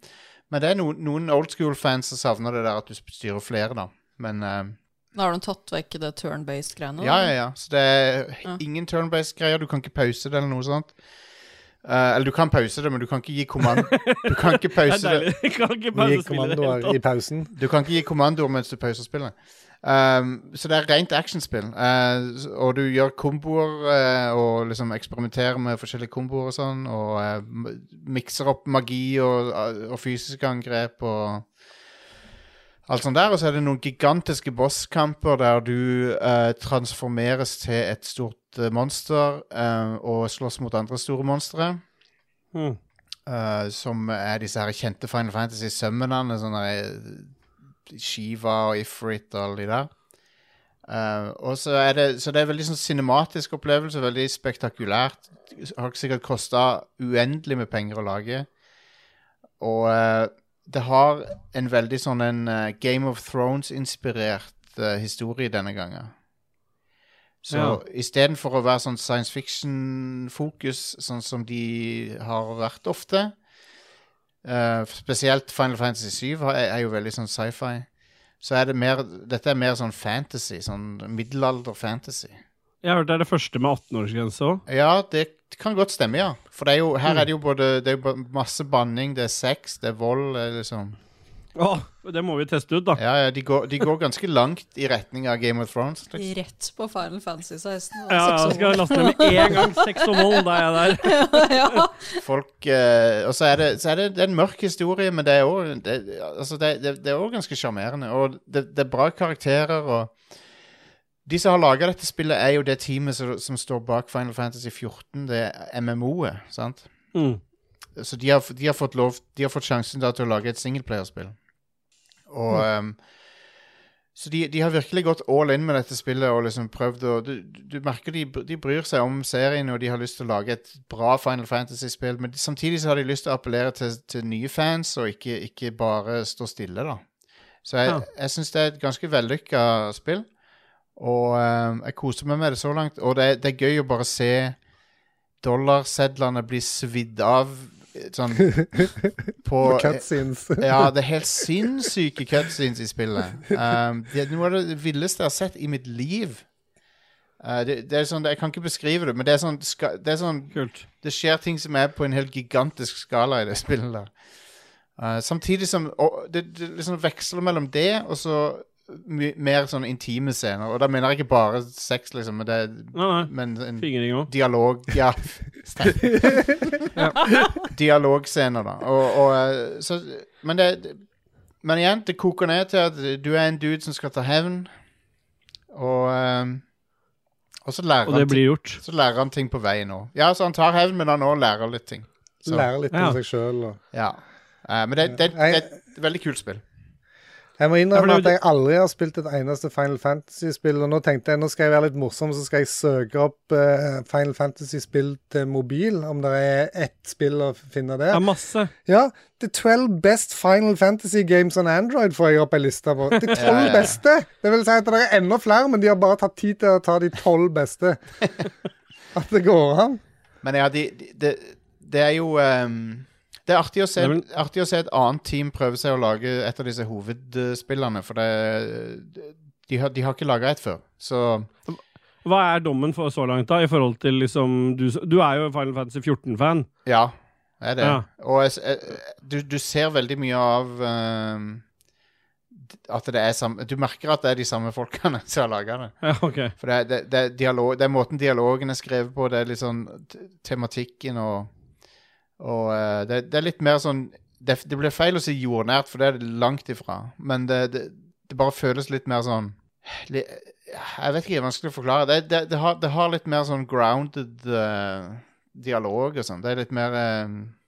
men det er no, noen old school-fans som savner det der at du styrer flere, da. Men um, Da har de tatt vekk det turn-based-greiene. da. ja, ja, ja. Så det er Ja. ingen turn-based-greier. Du kan ikke pause det eller noe sånt. Eh, eller du kan pause det, men du kan ikke gi kommand... Du kan ikke Det er pause det. deilig. Jeg kan Vi ikke pause gikk spillet i det hele kommandoer tatt. i pausen. Du kan ikke gi kommandoer mens du pauser spillet. Ehm, så det er rent actionspill. Eh, s- og du gjør komboer eh, og liksom eksperimenterer med forskjellige komboer og sånn. Og eh, m- mikser opp magi og, uh, og fysiske angrep og alt sånt der. Og så er det noen gigantiske bosskamper der du eh, transformeres til et stort eh, monster eh, og slåss mot andre store monstre. Mm. Eh, som er disse her kjente Final Fantasy-sømmenene. Sånne eh, Shiva og Ifrit og alle de der. Eh, og så er det Så det er veldig sånn cinematisk opplevelse, veldig spektakulært. Har ikke sikkert kosta uendelig med penger å lage. Og eh, det har en veldig sånn en eh, Game of Thrones-inspirert eh, historie denne gangen. Så Ja. istedenfor å være sånn science fiction-fokus, sånn som de har vært ofte eh, Spesielt Final Fantasy 7 har- er, er jo veldig sånn sci-fi. Så er det mer Dette er mer sånn fantasy. Sånn middelalder-fantasy. Jeg har hørt det er det første med 18-årsgrense òg. Ja, det kan godt stemme, ja. For det er jo, her er det jo både Det er jo ba- masse banning, det er sex, det er vold, det er liksom. Det må vi teste ut, da. Ja, ja, de går, de går ganske langt i retning av Game of Thrones. liksom. Rett på Final Fantasy 16. og Ja, ja, seksual- jeg skal laste ned med en gang. Sex og vold, da er jeg der. ja. Folk eh, Og så er det, så er det, det er en mørk historie, men det er òg det, altså det, det, det er også ganske sjarmerende. Og det, det er bra karakterer og De som har laga dette spillet, er jo det teamet som, som står bak Final Fantasy 14, det MMO-et, sant? Mm. Så de har, de har fått lov De har fått sjansen da til å lage et singelplayerspill. Og ehm, Så de, de har virkelig gått all in med dette spillet og liksom prøvd å Du, du merker de, br- de bryr seg om serien, og de har lyst til å lage et bra Final Fantasy-spill, men samtidig så har de lyst til å appellere til, til nye fans, og ikke, ikke bare stå stille, da. Så jeg, Ja. jeg syns det er et ganske vellykka spill, og ehm, jeg koser meg med det så langt. Og det, er- det er gøy å bare se dollarsedlene blir svidd av eh, sånn på Og eh, cutscenes. Ja, det er helt sinnssyke cutscenes i spillet. Um, det er noe av det villeste jeg har sett i mitt liv. Uh, det, det er sånn, Jeg kan ikke beskrive det, men det er sånn, ska- det, er sånn Kult. det skjer ting som er på en helt gigantisk skala i det spillet der. Eh, samtidig som og det, det liksom veksler mellom det og så my, mer sånn intime scener. Og da mener jeg ikke bare sex, liksom, men, det, er- Nei, nei. men en Fingring òg. Dialog, ja. Dialogscener, da. Og, og, eh, så, men, det, men igjen, det koker ned til at du er en dude som skal ta hevn, og, eh, og så, lærer Og det han ting, blir gjort. så lærer han ting på veien òg. Ja, så han tar hevn, men han òg lærer litt ting. Så, Lære litt Ja. om seg sjøl og ja. Eh, men det, det, det, Jeg- er et veldig kult spill. Jeg må Ja, for det innrømme er at jo- jeg aldri har spilt et eneste Final Fantasy-spill. Og nå tenkte jeg nå skal jeg være litt morsom, så skal jeg søke opp eh, Final Fantasy-spill til mobil. Om det er ett spill å finne Det der. er masse. Ja, The 12 Best Final Fantasy Games on Android får jeg opp ei liste på. De 12 Ja, ja. beste! Det vil si at det er enda flere, men de har bare tatt tid til å ta de 12 beste. At det går an. Men ja, de, de, det- det er jo ehm, Det er artig å, se, Det er vel- artig å se et annet team prøve seg å lage et av disse hovedspillene, for det De har, de har ikke laga et før, så Hva er dommen for så langt, da? I forhold til liksom Du, du er jo Final Fantasy 14-fan. ja. Det er det. Ja. Og jeg, s- jeg, du, du ser veldig mye av ehm, at det er samme Du merker at det er de samme folkene som har laga det. Ja, ok. For det, er- det, det, er dialog, det er måten dialogen er skrevet på, det er litt sånn t- tematikken og Og eh, det, det er litt mer sånn Det, det blir feil å si jordnært, for det er det langt ifra. Men det, det, det bare føles litt mer sånn li, Jeg vet ikke, det er vanskelig å forklare. Det, det, det, har, det har litt mer sånn grounded eh, dialog og sånn. Det er litt mer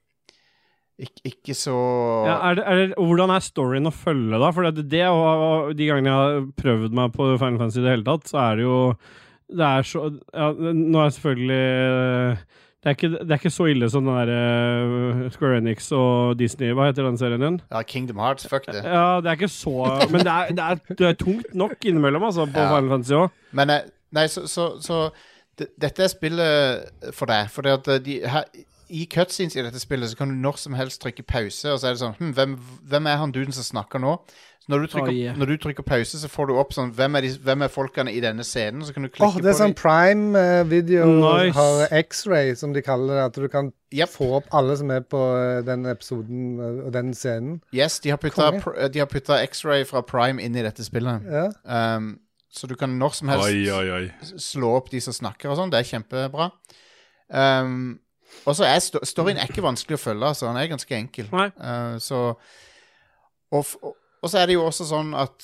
eh, ikke, ikke så Ja, er det, er det, og hvordan er storyen å følge, da? For det, det er jo- de gangene jeg har prøvd meg på Final Fantasy i det hele tatt, så er det jo Det er så ja, Nå er selvfølgelig Det er, ikke, det er ikke så ille som den der eh, Square Enix og Disney. Hva heter den serien igjen? Ja, Kingdom Hearts, fuck det. Ja, det er ikke så Men det er, det er, det er tungt nok innimellom, altså, på Ja. Final Fantasy òg. Men eh, nei, så, så, så d- dette er spillet for deg. For at eh, de, her, i cutscenes i dette spillet så kan du når som helst trykke pause, og så er det sånn hm, hvem, hvem er han duden som snakker nå? Så når du, trykker, Å, yeah. når du trykker pause, så får du opp sånn Hvem er, de, hvem er folkene i denne scenen? Så kan du klikke Åh, det er på sånn dem. prime eh, video Nice. har X-ray, som de kaller det. At du kan Yep. få opp alle som er på eh, den episoden eh, og den scenen. Yes, de har putta Konge. pr- eh, de har putta X-ray fra Prime inn i dette spillet. Ja. Um, så du kan når som helst Oi, oi, oi. slå opp de som snakker og sånn. Det er kjempebra. Um, og så er sto- storyen er ikke vanskelig å følge, altså. Den er ganske enkel. Nei. Uh, så og, f- og og så er det jo også sånn at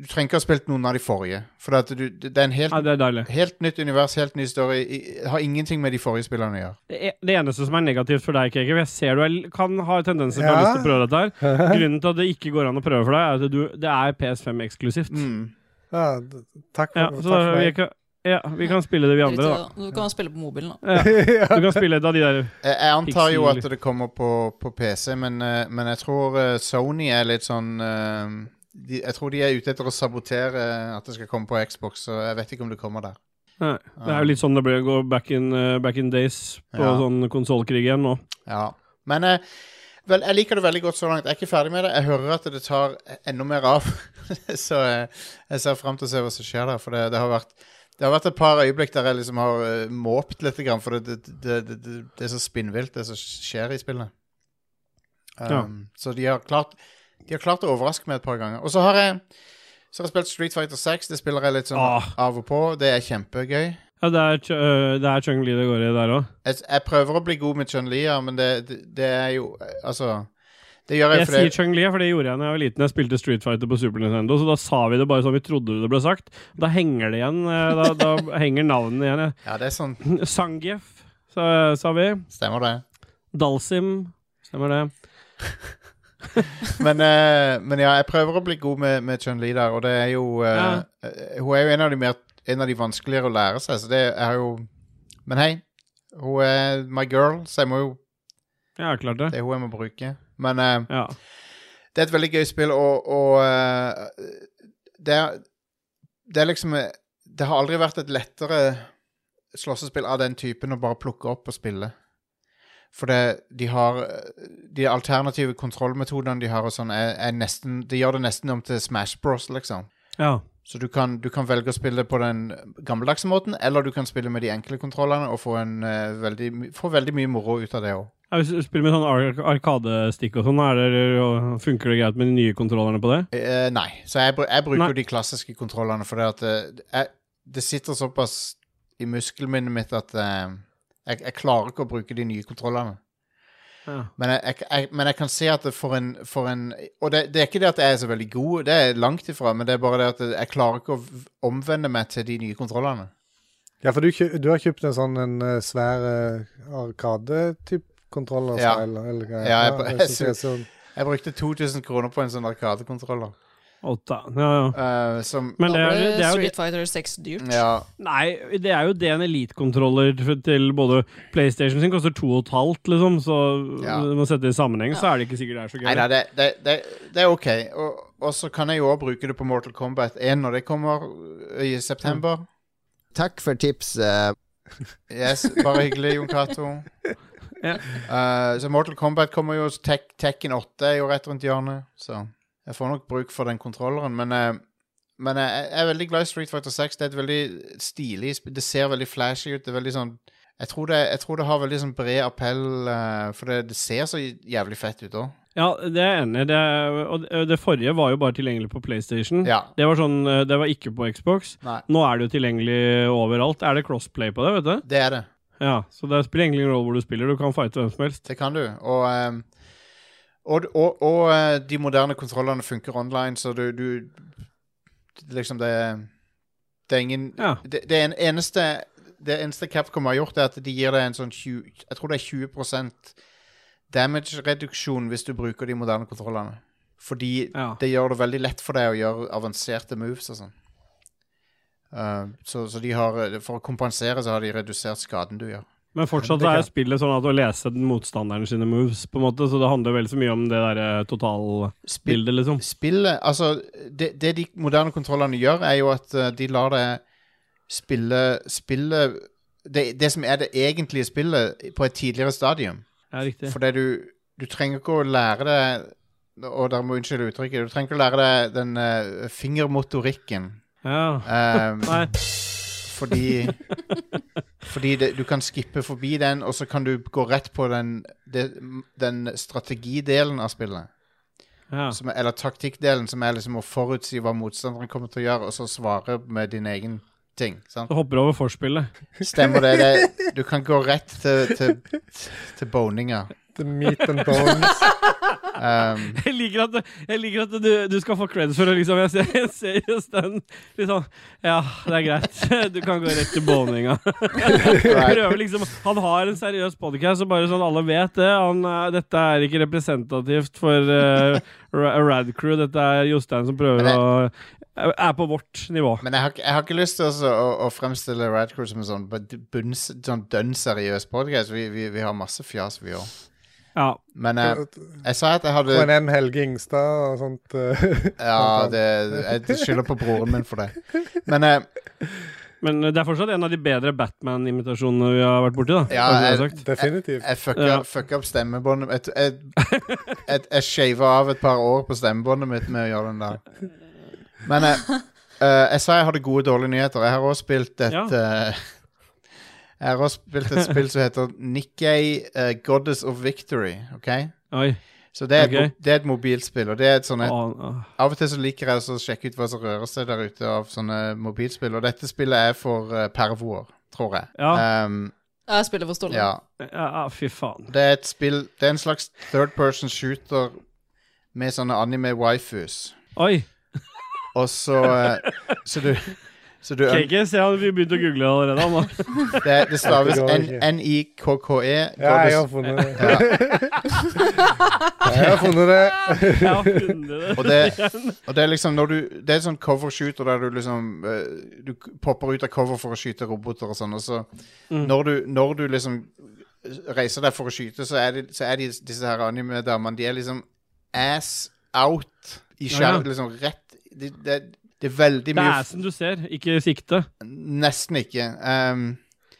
du trenger ikke ha spilt noen av de forrige. For at du, det er en helt, Ja, det er deilig. helt nytt univers, helt ny story. i- Har ingenting med de forrige spillerne å gjøre. Det, e- det eneste som er negativt for deg, Keke, for jeg ser du er, l- kan ha tendenser til å ha Ja. lyst til å prøve dette her Grunnen til at det ikke går an å prøve for deg, er at du, det er PS5 eksklusivt. Mm. ja, d- takk for, Ja, takk så da, for vi, meg. kan, ja, vi kan spille det, vi andre, da. Du kan spille på mobilen, da. Du kan spille et av de der Jeg, jeg antar jo at Pixel. det kommer på, på PC, men, eh, men jeg tror eh, Sony er litt sånn eh, de, Jeg tror de er ute etter å sabotere eh, at det skal komme på Xbox, så jeg vet ikke om det kommer der. Nei, Det er jo litt sånn det ble å gå back in, eh, back in days på Ja. sånn konsollkrig igjen nå. Ja. Men eh, vel, jeg liker det veldig godt så langt. Jeg er ikke ferdig med det. Jeg hører at det tar enda mer av, så eh, jeg ser fram til å se hva som skjer der. For det, det har vært det har vært et par øyeblikk der jeg liksom har eh, måpt litt, grann, for det, det, det, det, det, det er så spinnvilt, det som skjer i spillet. Um, Ja. Så de har, klart, de har klart å overraske meg et par ganger. Og så har jeg så har jeg spilt Street Fighter 6. Det spiller jeg litt sånn Ah. av og på. Det er kjempegøy. Ja, det er, Ch- øh, det er Chung-Li det går i der òg. Jeg, jeg prøver å bli god med Chun-Li, ja, men det, det, det er jo Altså Det gjør jeg Jeg sier fordi Chung-Li, for det gjorde jeg da jeg var liten. Jeg spilte Street Fighter på Super Nintendo, så da sa vi det bare sånn vi trodde det ble sagt. Da henger det igjen. eh, Da, da henger navnene igjen. ja. Ja, det er sånn. Sangief, sa, sa vi. Stemmer det. Dalsim. Stemmer det. Men, eh, men ja, jeg prøver å bli god med, med Chun-Li der, og det er jo eh, Ja. eh, Hun er jo en av, de mer, en av de vanskeligere å lære seg, så det er jo Men hei, hun er my girl, så jeg må jo Ja, klart det. Det er hun jeg må bruke. Men eh, Ja. Det er et veldig gøy spill, og, og eh, det, er, det er liksom eh, Det har aldri vært et lettere slåssespill av den typen å bare plukke opp og spille. For det, de har eh, De alternative kontrollmetodene de har, og sånn, er, er nesten De gjør det nesten om til Smash Bros, liksom. ja. Så du kan, du kan velge å spille på den gammeldagse måten, eller du kan spille med de enkle kontrollene og få, en, eh, veldig, my- få veldig mye moro ut av det òg. Ja, Hvis du spiller med sånn ar arkadestikk og sånn, er det- og funker det greit med de nye kontrollerne på det? Eh, nei, så jeg, bru- jeg bruker Nei. jo de klassiske kontrollene, for det at eh, jeg, det sitter såpass i muskelminnet mitt at eh, jeg, jeg klarer ikke å bruke de nye kontrollene. Ja. Men jeg, jeg, jeg, men jeg kan se at det for en, for en Og det, det er ikke det at jeg er så veldig god, det er langt ifra, men det er bare det at jeg klarer ikke å v- omvende meg til de nye kontrollene. Ja, for du, kjø- du har kjøpt en sånn en eh, svær uh, arkade-type kontroller? Ja. Eller, eller, hva? Ja, jeg- jeg synes det er sånn. Jeg brukte 2000 kroner på en sånn arkadekontroller. Åtta. Ja, ja. eh, som Men det Da er, ble det er jo Street Fighter 6 dyrt. Ja. Nei, det er jo det en elitekontroller f- til både PlayStation sin koster to og et halvt, liksom, så Ja. når man setter det i sammenheng, så er det ikke sikkert det er så gøy. Nei, nei, det, det, det, det er OK. Og, og så kan jeg jo òg bruke det på Mortal Kombat 1 når det kommer i september. Mm. Takk for tipset. Yes, Bare hyggelig, Jon Cato. Ja. Eh, så Mortal Kombat kommer jo Tek, Tekken 8 er jo rett rundt hjørnet, så jeg får nok bruk for den kontrolleren. Men, eh, men jeg, jeg er veldig glad i Street Fighter 6. Det er et veldig stilig spill. Det ser veldig flashy ut. Det er veldig sånn jeg tror, det, jeg tror det har veldig sånn bred appell, eh, for det, det ser så jævlig fett ut òg. Ja, det er jeg enig i. Det er- Og det- det forrige var jo bare tilgjengelig på PlayStation. Ja. Det var sånn, eh, det var ikke på Xbox. Nei. Nå er det jo tilgjengelig overalt. Er det crossplay på det, vet du? Det er det. Ja, så det spiller egentlig ingen rolle hvor du spiller, du kan fighte hvem som helst. Det kan du. Og, ehm, og, og, og eh, de moderne kontrollene funker online, så du, du Liksom, det Det er ingen Ja. det, det, er en eneste, det eneste Capcom har gjort, er at de gir deg en sånn 20 Jeg tror det er 20 damage-reduksjon hvis du bruker de moderne kontrollene. Fordi Ja. det gjør det veldig lett for deg å gjøre avanserte moves og sånn. Eh, så, så de har For å kompensere så har de redusert skaden du gjør. Men fortsatt så er jo spillet sånn at å lese den motstanderen sine moves, på en måte, så det handler vel så mye om det derre Spill- totalbildet, liksom. Spillet Altså, det, det de moderne kontrollene gjør, er jo at eh, de lar det spille Spillet det, det som er det egentlige spillet, på et tidligere stadium. Ja, riktig. Fordi du, du trenger ikke å lære det Og der må unnskylde uttrykket. Du trenger ikke å lære deg den eh, fingermotorikken. Ja. Ehm, Nei. fordi Fordi det, du kan skippe forbi den, og så kan du gå rett på den, det- den strategidelen av spillet. Ja. Som er, eller taktikkdelen, som er liksom å forutsi hva motstanderen kommer til å gjøre, og så svare med din egen ting. Sant? Så hopper du over forspillet. Stemmer det, det? Du kan gå rett til, til, til boninga. The meat and bones. Ehm, Jeg liker at, jeg liker at du, du skal få creds for det, liksom. Jeg ser, jeg ser just den liksom Ja, det er greit. Du kan gå rett til boninga. Prøver liksom Han har en seriøs podcast, så bare sånn alle vet det. Han, eh, dette er ikke representativt for uh, Radcrew. Dette er Jostein som prøver Men det- å eh, Er på vårt nivå. men jeg har, ikke- jeg har ikke lyst til også å, å fremstille Radcrew som en sånn, bud- bunns, sånn dønn seriøs podcast. Vi, vi, vi har masse fjas, vi òg. Ja. Men jeg, jeg sa at jeg hadde KNM Helge Ingstad og sånt. eh, Ja, det, jeg skylder på broren min for det. Men eh, Men det er fortsatt en av de bedre Batman-imitasjonene vi har vært borti, da. Ja, kanskje jeg- det er sagt. definitivt. jeg fucka, Ja. fucka opp stemmebåndet Jeg, jeg, jeg, jeg shava av et par år på stemmebåndet mitt med å gjøre den der. Men eh, eh, jeg sa jeg hadde gode og dårlige nyheter. Jeg har også spilt et Ja. eh, Jeg har også spilt et spill som heter Nikkei eh, Goddess of Victory. ok? Oi. Så det er, et, Ok. mo- det er et mobilspill, og det er et sånn et Å, å. Av og til så liker jeg også å sjekke ut hva som rører seg der ute av sånne mobilspill, og dette spillet er for eh, pervoer, tror jeg. Ja. Ehm, Jeg spiller for Ståle. ja. Ja, ja, fy faen. Det er et spill Det er en slags third person shooter med sånne anime-wifus. Oi. Og så eh, Så du så du, KK, se, han begynte å google allerede. Han, da. det, det staves Det går N- ikke. N-I-K-K-E. Ja, jeg har Goddess- funnet det. Jeg har funnet det. Jeg har funnet det. Og det, og det er liksom når du Det er sånn covershooter der du liksom eh, Du k- popper ut av cover for å skyte roboter og sånn, og så Mm. når, du, når du liksom reiser deg for å skyte, så er, de, så er de, disse her anime-damene De er liksom ass out i Ja, skjermen, ja. liksom rett Det det- det er veldig Det mye er assen du ser, ikke siktet. Nesten ikke. Ehm,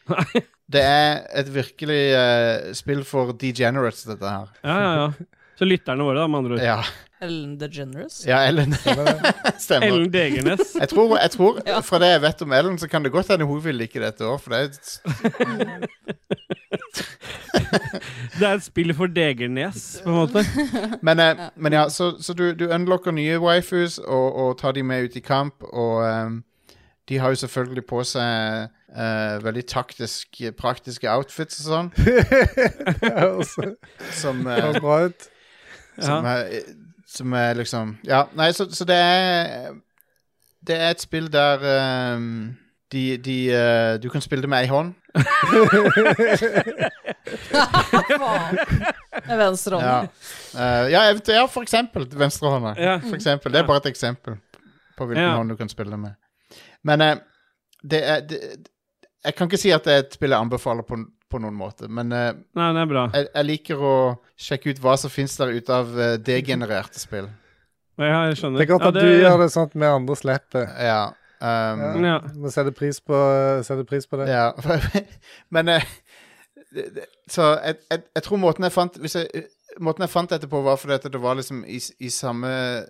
Nei. det er et virkelig eh, spill for degenerates, dette her. Ja, ja, ja. Så lytterne våre, da, med andre ord. Ja, Ellen DeGeneres. ja Ellen stemmer. Ellen Degernes. Jeg tror, jeg tror Ja. Fra det jeg vet om Ellen, så kan det godt hende hun vil like dette òg. For det er, Det er et spill for Degernes, på en måte. men, eh, men ja, så, så du, du unlocker nye waifus og, og tar de med ut i kamp. Og ehm, de har jo selvfølgelig på seg eh, veldig taktisk, praktiske outfits og sånn. Det høres- altså, det Som, eh, høres bra ut. som, Ja. er, som er liksom Ja, nei, så, så det er Det er et spill der ehm, de, de, eh, du kan spille det med ei hånd. Faen. Med venstre hånd. Ja, Eh, ja, eventu- ja for eksempel venstrehånda. Ja. For eksempel. Det er Mm. Ja. bare et eksempel på hvilken Ja. hånd du kan spille med. Men eh, det er det, Jeg kan ikke si at det er et spill jeg anbefaler på, på noen måte, men eh, Nei, det er bra. jeg, jeg liker å sjekke ut hva som fins der ute av eh, degenererte spill. Ja, jeg skjønner. Det er godt at du gjør det sånn at vi andre slipper. Ja. Um, Ja. Vi setter pris på, eh, setter pris på det. ja. men eh, det- det- Så jeg, jeg, jeg tror måten jeg fant hvis jeg, Måten jeg fant dette på, var fordi at det var liksom i, s- i samme eh,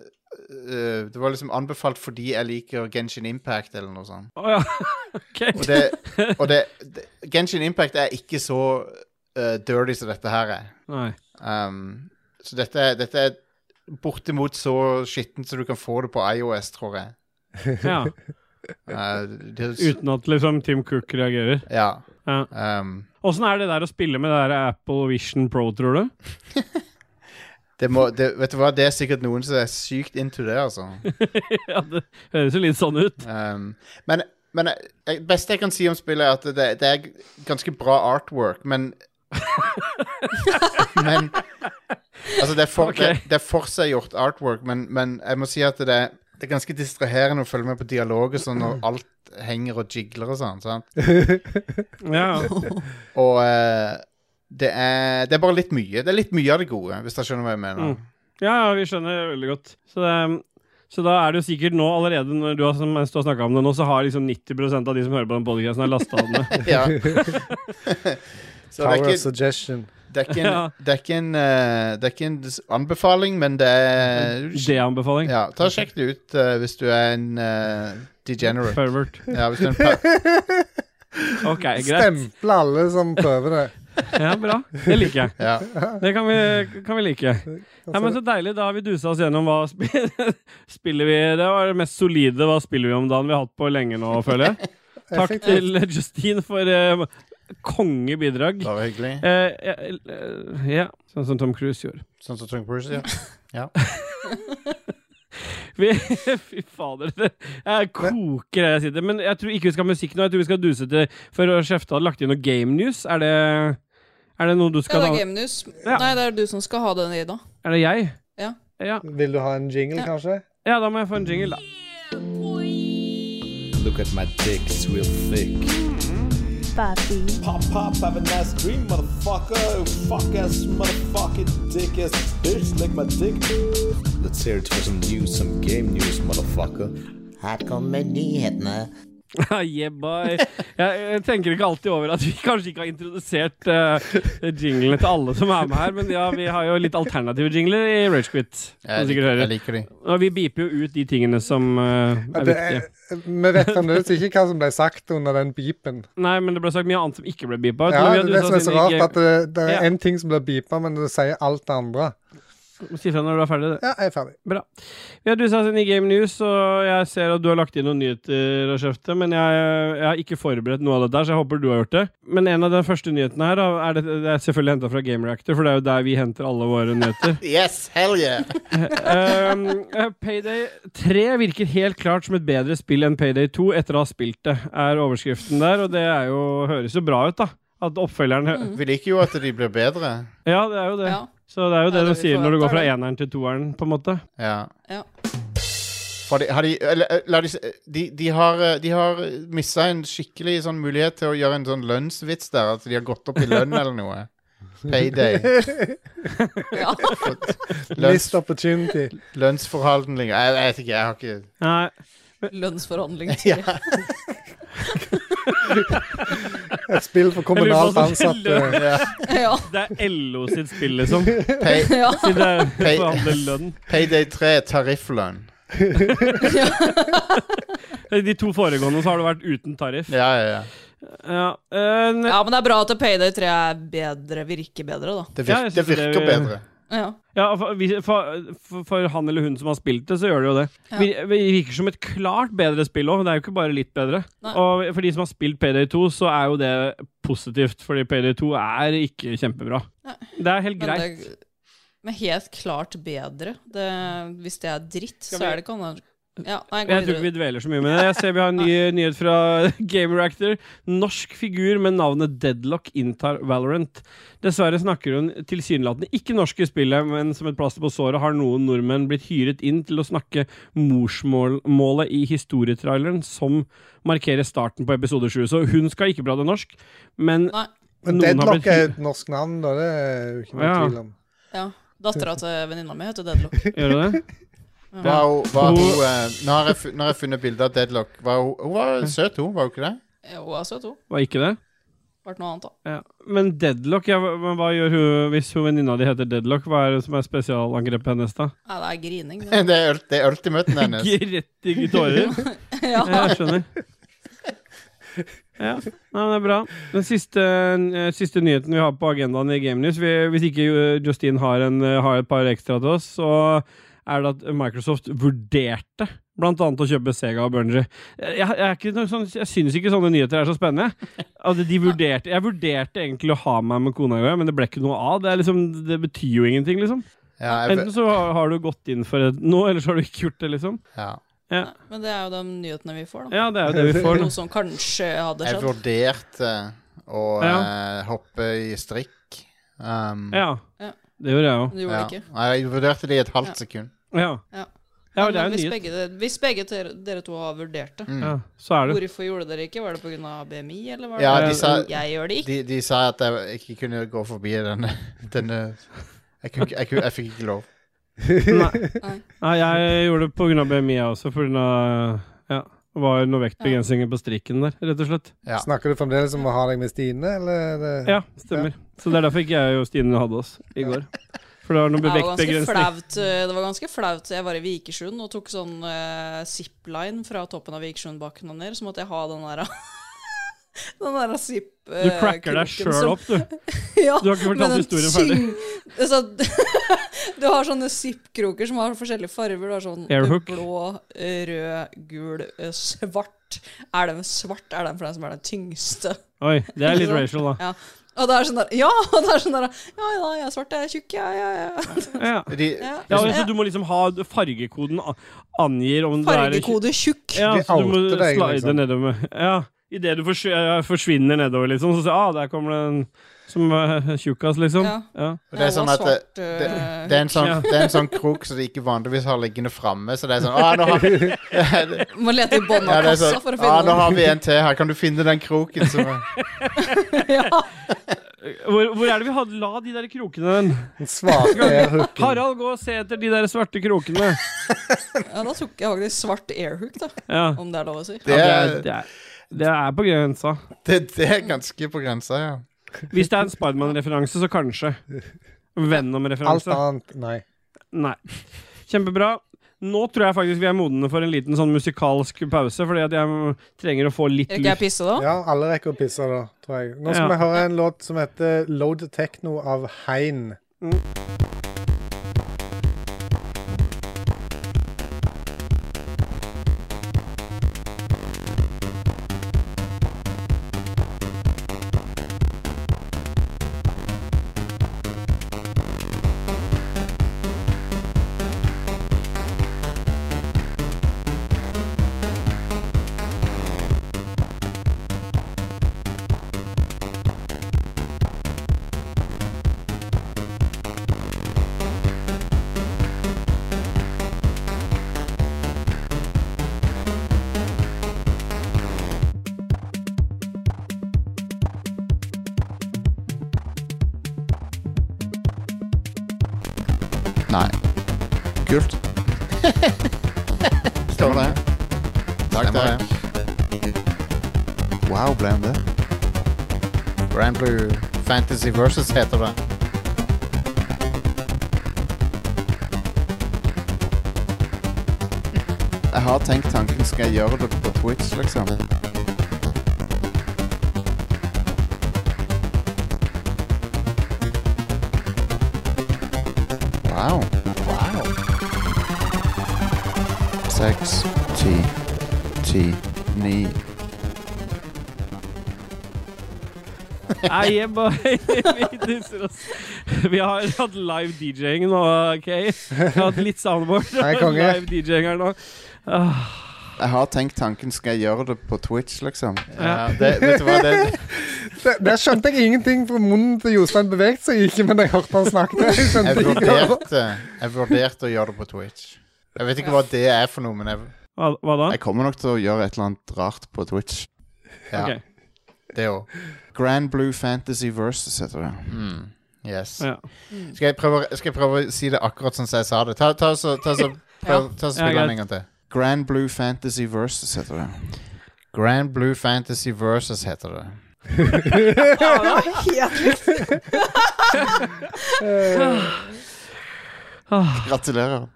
Det var liksom anbefalt fordi jeg liker Genshin Impact eller noe sånt. Å, ja. Ok. Og det, og det, det Genshin Impact er ikke så eh, dirty som dette her er. Nei. Um, så dette, er- dette er bortimot så skittent som du kan få det på IOS, tror jeg. Ja. Uh, det, Uten at liksom Tim Cook reagerer. ja. Ja. Um, Åssen er det der å spille med det der Apple Vision Pro, tror du? det må, det, vet du hva, det er sikkert noen som er sykt into det, altså. ja, det høres jo litt sånn ut. Um, men men jeg- det beste jeg kan si om spillet, er at det, det er ganske bra artwork, men Men Altså, det er, for, Ok. det, det er forseggjort artwork, men, men jeg må si at det, Det er ganske distraherende å følge med på dialog og sånn når alt henger og jigler og sånn. sant? Ja. Og eh, det, er, det er bare litt mye. Det er litt mye av det gode, hvis dere skjønner hva jeg mener. Mm. ja, ja, vi skjønner veldig godt. Så, det, um, så da er det jo sikkert nå allerede, når du har, som- mens du har snakka om det nå, så har liksom 90 av de som hører på den podkasten, lasta den ned. Ja. Så det er Power of ikke, suggestion. det er ikke, Ja. en, det er ikke en eh, Det er ikke en s- anbefaling, men det er Det er anbefaling. Ja, ta og sjekk det ut eh, hvis du er en eh, degenerate. Pervert. Ja, hvis du er en per Ok, greit. Stemple alle som prøver det. Ja, bra. Det liker jeg. ja. Det kan vi, kan vi like. Ja, men Så deilig. Da har vi dusa oss gjennom hva sp spiller vi Det var det mest solide hva spiller vi om dagen vi har hatt på lenge nå, føler jeg. Takk Effektivt. til Justine for eh, kongebidrag. Bare hyggelig. Eh, eh, eh, ja, sånn som Tom Cruise gjorde. Sånn som Trunk Bruce, ja. Vi, fy fader, det jeg koker her jeg sitter. Men jeg tror ikke vi skal ha musikk nå. Jeg tror vi skal duse til For Skjefte hadde lagt inn noe game news. Er det, er det noe du Ja, skal det er ha? Game News. Ja. Nei, det er du som skal ha den, Ida. Er det jeg? Ja. ja. Vil du ha en jingle, Ja. kanskje? Ja, da må jeg få en jingle, da. Look at my dick, it's real thick. Pop, pop, have a nice dream, motherfucker. Fuck ass, motherfucking dick ass bitch, lick my dick. Let's hear it for some news, some game news, motherfucker. Her kommer nyhetene. Ah, yeah, boy. Jeg, jeg tenker ikke alltid over at vi kanskje ikke har introdusert eh, jinglene til alle som er med her, men ja, vi har jo litt alternative jingler i Ragequit. Jeg, lik, jeg liker de. Og vi beeper jo ut de tingene som eh, er Det er, viktige. vi vet fremdeles ikke hva som ble sagt under den beepen. Nei, men det ble sagt mye annet som ikke ble beepa ut. Ja, men det vi er det har som er duset så oss inn i rart, at det, det Ja. er én ting som blir beepa, men det sier alt det andre. game- Si fra når du er ferdig. det. Ja, jeg er ferdig. Bra. Vi har dusa oss inn i Game News, og jeg ser at du har lagt inn noen nyheter, og kjøpte, men jeg, jeg har ikke forberedt noe av dette, her, så jeg håper du har gjort det. Men en av de første nyhetene her da, er, det, det er selvfølgelig henta fra Game Reactor, for det er jo der vi henter alle våre nyheter. Yes, hell yeah! um, eh, Payday 3 virker helt klart som et bedre spill enn Payday 2 etter å ha spilt det, er overskriften der, og det er jo, høres jo bra ut, da. At oppfølgeren hø Vi liker jo at de blir bedre. Ja, det er jo det. Ja. Så det er jo det, Ja, det de vi sier når du går fra forventer, det. eneren til toeren, på en måte. Ja. Ja. Har de, har de, eller, eh, la de, s- de, de har, eh, de har missa en skikkelig sånn mulighet til å gjøre en sånn lønnsvits der. At de har gått opp i lønn eller noe. Payday. ja. Lønns, Missed opportunity. lønnsforhandlinger jeg, jeg vet ikke, jeg har ikke Nei. Lønnsforhandling. sier jeg. Et spill for Jeg lurer kommunalt på hvordan det ansatte. ja. Ja. Det er LO sitt spill, liksom. Pay, ja. Siden det er Pay- forhandle lønn. payday 3, tarifflønn. De to foregående så har det vært uten tariff. Ja, ja, ja. Ja, eh, ne- ja, men det er bra at Payday 3 er bedre, virker bedre, da. Det, Ja, jeg virker, det synes det- virker bedre. Ja. ja for, vi- for, for- for han eller hun som har spilt det, så gjør det jo det. Ja. Vi, vi virker som et klart bedre spill òg. Det er jo ikke bare litt bedre. Nei. Og for de som har spilt Payday 2, så er jo det positivt, fordi Payday 2 er ikke kjempebra. Nei. Det er helt Men, greit. det, men helt klart bedre. Det, hvis det er dritt, så vi- er det ikke annet. Ja, nei, gå Jeg tror ikke videre. vi dveler så mye med det. Jeg ser vi har en ny nyhet fra Gamer Actor. Norsk figur med navnet Deadlock inntar Valorant. Dessverre snakker hun tilsynelatende ikke norsk i spillet, men som et plaster på såret har noen nordmenn blitt hyret inn til å snakke morsmålet i historietraileren, som markerer starten på episode 7. Så hun skal ikke prate norsk, men Nei. Men Noen har Deadlock blitt- er et norsk navn, da. Det er jo ikke noe Ja. tvil om. Ja. Dattera til venninna mi heter Deadlock. gjør hun det? Var hun, var Hun- hun, eh, nå, har jeg, fu- nå har jeg funnet bilde av Deadlock. Var hun, hun var søt, hun, var hun ikke det? Ja, Hun er Eh, søt, hun. Var ikke det? Vært noe annet, da. Ja. Men Deadlock, ja, hva- men hva gjør hun hvis hun venninna di heter Deadlock? Hva er det som er spesialangrepet hennes, da? Nei, det er grining. Det. Det er, ult- det er ultimaten hennes. Ikke Rett i tårer? Ja. Ja, jeg skjønner. Ja, nei, men det er bra. Den siste, eh, siste nyheten vi har på agendaen i Game News vi, Hvis ikke eh, Justine har, en, eh, har et par ekstra til oss, så er det at Microsoft vurderte blant annet å kjøpe Sega og Bungee. Jeg, jeg, er ikke noe sånn, jeg syns ikke sånne nyheter er så spennende. At de vurderte, jeg vurderte egentlig å ha meg med kona i går, men det ble ikke noe av. Det, er liksom, det betyr jo ingenting, liksom. Ja, jeg, Enten så har, har du gått inn for et, noe, eller så har du ikke gjort det, liksom. ja. Ja, Nei, Men det er jo de nyhetene vi får, da. ja det er jo det vi får nå. Noe som kanskje hadde Jeg skjedd. vurderte å Ja. eh, hoppe i strikk. Um, Ja. Ja. Det gjorde jeg òg. Men det gjorde det ja. ikke. Nei, Jeg vurderte det i et halvt Ja. sekund. Ja. Ja. Ja, Men det er jo hvis, nyhet. begge, de- hvis begge dere, dere to har vurdert det, Ja, så er det hvorfor gjorde dere ikke? Var det pga. BMI, eller var det Ja, de sa, Jeg gjør det ikke. de, de sa at jeg ikke kunne gå forbi denne, denne jeg, kunne, ikke- jeg, kunne, jeg fikk ikke lov. Nei. Nei, jeg gjorde det pga. BMI, jeg også. Pga. Ja, det var noen vektbegrensninger på strikken der, rett og slett. Ja. Snakker du fremdeles om å ha deg med Stine, eller? er det- Ja, stemmer. Så det er derfor ikke jeg og Stine hadde oss i går. For det var noen Det var ganske vektbegrensninger. flaut. eh, Det var ganske flaut. Jeg var i Vikersund og tok sånn eh, zipline fra toppen av Vikersundbakken og ned. Så måtte jeg ha den der Den der zip... eh, Du cracker deg sjøl opp, du. Ja, Du har ikke fortalt men liksom. den historien ferdig. tyng- altså, du har sånne zippkroker som har forskjellige farger. Du har sånn Airhook. blå, eh, rød, gul, eh, svart. Er den svart? Er den for den som er den tyngste? Oi, det er litt racial, da. Ja. Og det er sånn der Ja, og det er sånn der Ja, ja, jeg er svart, jeg er tjukk, ja, ja, ja. Ja. De, ja. Ja, altså, du må liksom ha fargekoden a- angir om det er Fargekode tjukk. Ja, De så du må outer deg, slide liksom. nedover. Ja, Idet du forsv ja, forsvinner nedover, liksom, så sier ah, der kommer det en som er tjukkas, liksom. Ja. Ja. og det er sånn at det, det, eh, det, er en sånn, Ja. det er en sånn krok som de ikke vanligvis har liggende framme, så det er sånn Å, nå har, Må lete i bånn av ja, det er kassa sånn, for å «Ah, nå finne har vi en til her. Kan du finne den kroken som er den. Ja. Hvor, hvor er det vi hadde, la de der krokene hen? Den svake hooken. Harald, gå og se etter de der svarte krokene. ja, da tok jeg faktisk svart airhook, da. Ja, Om det er lov å si. Det ja det, er, er, det, er, det er på grensa. det, det er ganske på grensa, ja. Hvis det er en Spiderman-referanse, så kanskje. Alt Venom-referanse. annet, nei. Nei. Kjempebra. Nå tror jeg faktisk vi er modne for en liten sånn musikalsk pause, fordi at jeg trenger å få litt Rekker jeg luft. pisse da? Ja, alle rekker å pisse da, tror jeg. Nå skal Ja. vi høre en låt som heter Load Techno av Hein. Nei. Kult. Står det. Takk, Stemmer takk. det. Wow, ble han det? Grand Blue Fantasy Versus heter det. Jeg har tenkt tanken skal jeg gjøre det på Twitch, liksom. Wow. Wow. Seks, ti, ti, ni Nei, boy. Vi dusser oss. Vi har hatt live DJ-ing nå, OK? Vi har hatt litt soundboard. Nei, konge. Live DJ-ing her nå. Ah, Jeg har tenkt tanken skal jeg gjøre det på Twitch, liksom. Ja, det, vet du hva, det, Der, der skjønte jeg ingenting, for munnen til Jostein beveget seg ikke, men jeg hørte han snakke. Jeg jeg, skjønte ikke. hva- vurderte, jeg vurderte å gjøre det på Twitch. Jeg vet ikke hva det er for noe, men jeg, hva, hva da? Jeg kommer nok til å gjøre et eller annet rart på Twitch. ja, Ok. det òg. Grand Blue Fantasy Versus heter det. Mm. Yes. Ja. Skal jeg, prøve, skal jeg prøve å si det akkurat sånn som jeg sa det? Ta, ta, så, ta, så, prøv, ta så Ja, spill greit. den en gang til. Grand Blue Fantasy Versus heter det. Grand Blue Fantasy Versus heter det. Gratulerer.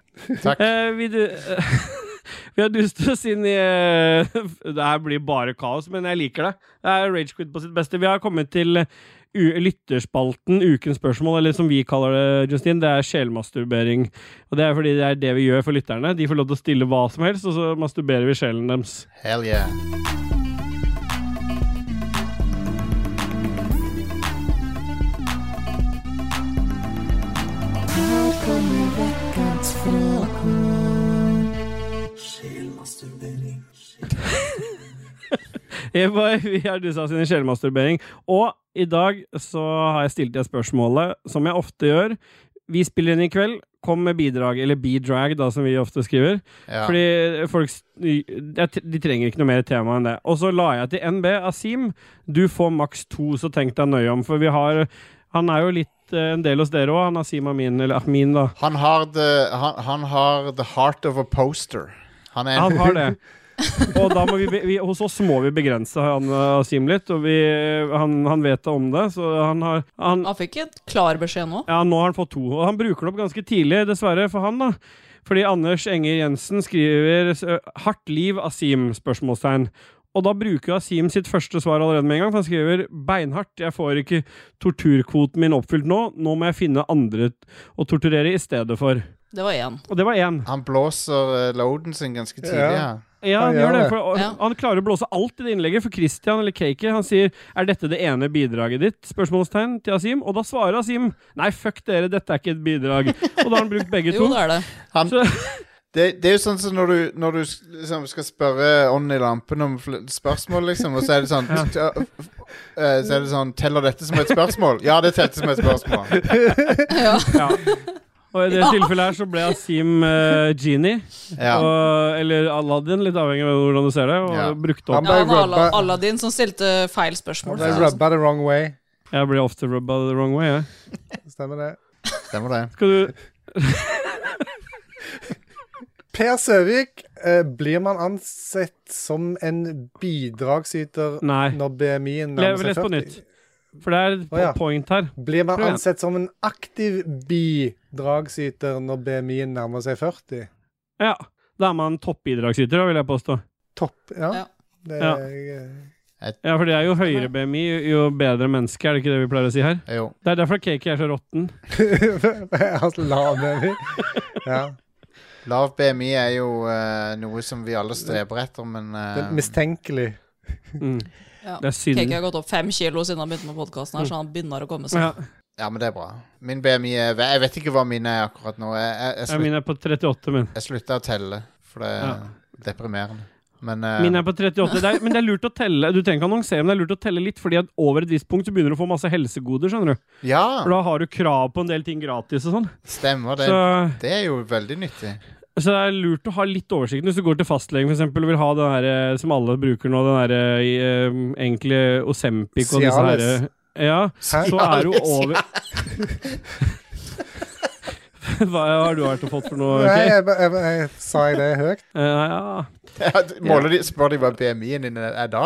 Eh, vi, du, eh, vi har dust oss inn i eh, Det her blir bare kaos, men jeg liker det. Det er Ragequit på sitt beste. Vi har kommet til eh, u lytterspalten Ukens spørsmål, eller som vi kaller det, Justin, det er sjelmasturbering. Og det er fordi det er det vi gjør for lytterne. De får lov til å stille hva som helst, og så masturberer vi sjelen deres. Hell yeah. Eva, vi har dusa oss inn i sjelmasturbering. Og i dag så har jeg stilt deg spørsmålet, som jeg ofte gjør. vi spiller den i kveld. Kom med bidrag, eller bidrag, da, som vi ofte skriver. Ja. Fordi folk s- jeg- De trenger ikke noe mer tema enn det. Og så la jeg til NB Asim. Du får maks to, så tenk deg nøye om. For vi har Han er jo litt eh, en del hos dere òg, han Asim Amin, eller Ahmin, da. Han har, the, han, han har the heart of a poster. Han er Han har det. Og da må vi, be- vi, hos oss må vi begrense han eh, Asim litt, og vi, han, han vet om det. Så han har han, Han fikk et klar beskjed nå. Ja, nå har han fått to, og han bruker det opp ganske tidlig, dessverre for han, da. Fordi Anders Enger Jensen skriver eh, 'Hardt liv, Asim?' spørsmålstegn. Og da bruker Asim sitt første svar allerede med en gang, for han skriver 'beinhardt', jeg får ikke torturkvoten min oppfylt nå, nå må jeg finne andre å torturere i stedet for. Det var én. Og det var én. Han blåser eh, loaden sin ganske tidlig. Ja. Ja. Ja, Han han, gjør gjør det. det. For, og, Ja. han klarer å blåse alt i det innlegget, for Christian eller Cakey han sier 'Er dette det ene bidraget ditt?' spørsmålstegn til Asim. Og da svarer Asim 'Nei, fuck dere, dette er ikke et bidrag'. Og da har han brukt begge to. Jo, det er det. Han, Så- det, det er jo sånn som når du, når du s- liksom skal spørre ånden i lampen om fl- spørsmål, liksom, og så er det sånn eh, Så er det sånn Teller dette som et spørsmål? Ja, det telte som et spørsmål. Ja. Og i det tilfellet her så ble Asim eh, genie, Ja. og, eller Aladdin, litt avhengig av hvordan du ser det, og Ja. brukte Han opp. ble Ja, han var Ala- rubba- Aladdin som stilte feil spørsmål. Ble rubba the wrong way. Jeg ble ofte rubba the wrong way, jeg. Stemmer det. Stemmer det. Skal du Per Søvik, eh, blir man ansett som en bidragsyter Nei. når BMI-en Le- Les på nytt. For det er et Å, ja. point her. Blir man Prøv igjen. ansett som en aktiv bidragsyter når BMI-en nærmer seg 40? Ja. Da er man toppbidragsyter, da, vil jeg påstå. Topp, ja. Ja. Det, Ja. Ja, for det er jo høyere BMI, jo- jo bedre menneske, er det ikke det vi pleier å si her? Jo. Det er derfor cake er så råtten. altså, lav BMI. Ja. Lav BMI er jo eh, noe som vi alle streber etter, men Det er eh, mistenkelig. Mm. Ja. Det er Cakey synd. har gått opp fem kilo siden han begynte med podkasten, så han begynner å komme seg. Ja, Ja, men det er bra. Min BMI er Jeg vet ikke hva mine er akkurat nå. Jeg, jeg, jeg, ja, slutt, min er på 38, min. jeg slutta å telle, for det er deprimerende. Men eh, Min er på 38. Det er, men det er lurt å telle Du trenger ikke annonsere, men det er lurt å telle litt, Fordi at over et visst punkt så begynner du å få masse helsegoder. skjønner du For Ja, Da har du krav på en del ting gratis og sånn. stemmer det. Så, Det er jo veldig nyttig. så det er lurt å ha litt oversikt. Hvis du går til fastlegen for eksempel, og vil ha den her, eh, som alle bruker nå, den her, eh, enkle Osempic og disse her Cialis. eh, Ja, Hæ? så er du over Hva har du vært og fått for noe? Nei, Kay? jeg, jeg, jeg, sa jeg det høyt? Eh, ja. Ja, d- måler de, spør de hva BMI-en din er da?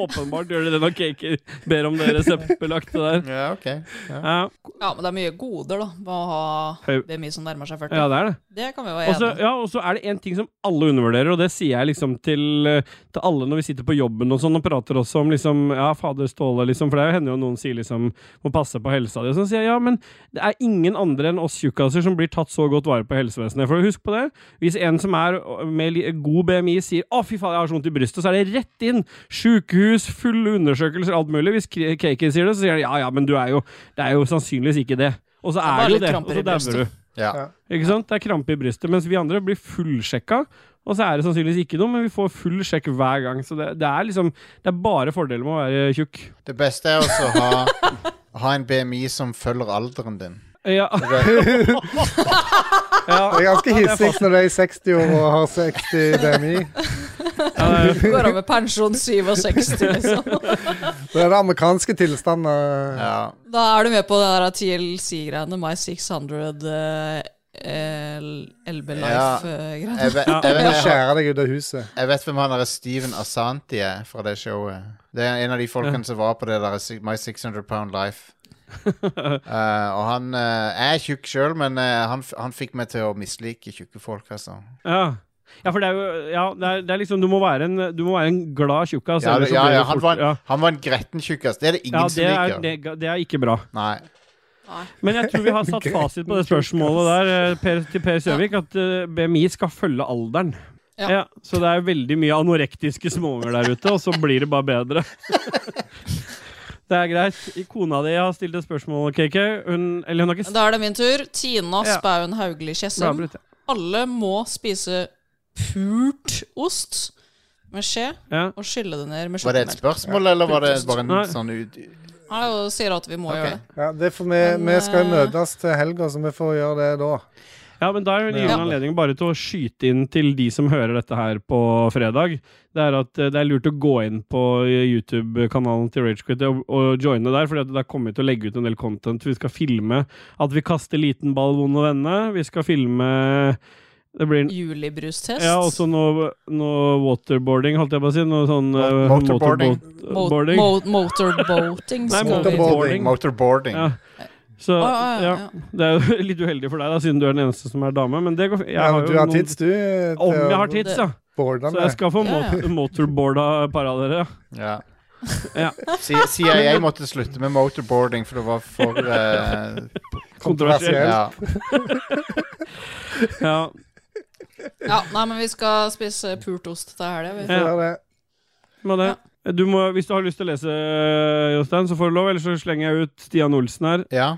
Åpenbart gjør de det når Kaker ber om det reseptbelagte der. Ja, ok. Ja, Ja, men det er mye goder, da, med å ha Høy- BMI som nærmer seg 40. ja det er det. Det kan vi være Og så enige om. ja, og så er det en ting som alle undervurderer, og det sier jeg liksom til, eh, til alle når vi sitter på jobben og sånn og prater også om liksom Ja, fader Ståle, liksom, for det hender jo noen sier liksom må passe på helsa di, og sånn sier jeg ja, men det er ingen andre enn oss tjukkaser som blir tatt så godt vare på i helsevesenet. For husk på det, hvis en som er øh, med li- god BMI sier å, fy faen, jeg har så vondt i brystet, så er det rett inn. Sjukehus, fulle undersøkelser, alt mulig. Hvis Kaker sier det, så sier han ja, ja, men du er jo Det er jo sannsynligvis ikke det. Og så bare er det litt jo det, og kramper i så brystet. dauer du. Ja. Ikke sant? Det er krampe i brystet, mens vi andre blir fullsjekka. Og så er det sannsynligvis ikke noe, men vi får full sjekk hver gang. Så det, det er liksom Det er bare fordeler med å være tjukk. Det beste er også å ha, ha en BMI som følger alderen din. Ja. Det er ganske hissig når du er i 60 år og har 60 BMI. Går av med pensjon 67, liksom. Det er det amerikanske tilstander. Ja. Da er du med på det der TLC-greiene, My 600 eh, L- LB Life-greiene. Jeg, vet, jeg, Du må vet, jeg, skjære deg ut av huset. jeg vet hvem han der Steven Asanti er fra det showet. Det er en av de folkene som var på det der si- My 600 Pound Life. Eh, og han eh, jeg er tjukk sjøl, men eh, han, f- han fikk meg til å mislike tjukke folk, altså. ja. ja for det er jo Ja, det er, det er liksom Du må være en, du må være en glad tjukkas. Ja, ellers så ja, blir ja, det han, fort- var ja. en, han var en gretten tjukkas. Det er det ingen Ja, det er, som det, liker. det er ikke bra. Nei. Men jeg tror vi har satt fasit på det spørsmålet der eh, per, til Per Søvik, at eh, BMI skal følge alderen. Ja. Ja, så det er veldig mye anorektiske småunger der ute, og så blir det bare bedre. Det er greit. I Kona di har stilt et spørsmål, KK. Hun, eller hun har ikke Da er det min tur. Tina Ja. Spaun Hauglie Tjessem. avbrutt. Alle må spise pult ost med skje Ja. og skylle det ned med Var det et sjokomelk. spørsmål, eller var det bare en Nei. sånn ut... Han er jo sier at vi må gjøre det. Ja, det får vi, Men, vi skal jo eh, møtes til helga, så vi får gjøre det da. Ja, men da er det en Ja. anledning bare til å skyte inn til de som hører dette her på fredag. Det er at eh, det er lurt å gå inn på YouTube-kanalen til Ragequit og, og joine der, for der kommer vi til å legge ut en del content. Vi skal filme at vi kaster liten ball vond å vende. Vi skal filme Det blir en Julibrustest. ja, sånn også noe, noe waterboarding, holdt jeg på å si. Noe sånn eh, Motorboarding. Mo motorboat- mo motorboating. Nei, skal vi- motorboat. Motorboarding. Motorboarding. Ja. Så Å, ja, ja, ja, ja. det er jo litt uheldig for deg, da, siden du er den eneste som er dame. Men det går fint. Ja, men du har tids, du. Om jeg har tids, ja. Borda Så jeg skal få Ja, ja. mot motorboarda et par av dere. ja. Ja. Ja. Si- CIA måtte slutte med motorboarding, for det var for eh, Kontroversielt. ja. Ja. ja, nei, men vi skal spise pult ost til helga, vi. Ja. det. Med det. Du må, hvis du har lyst til å lese, Jostein, så får du lov. Ellers så slenger jeg ut Stian Olsen her. ja.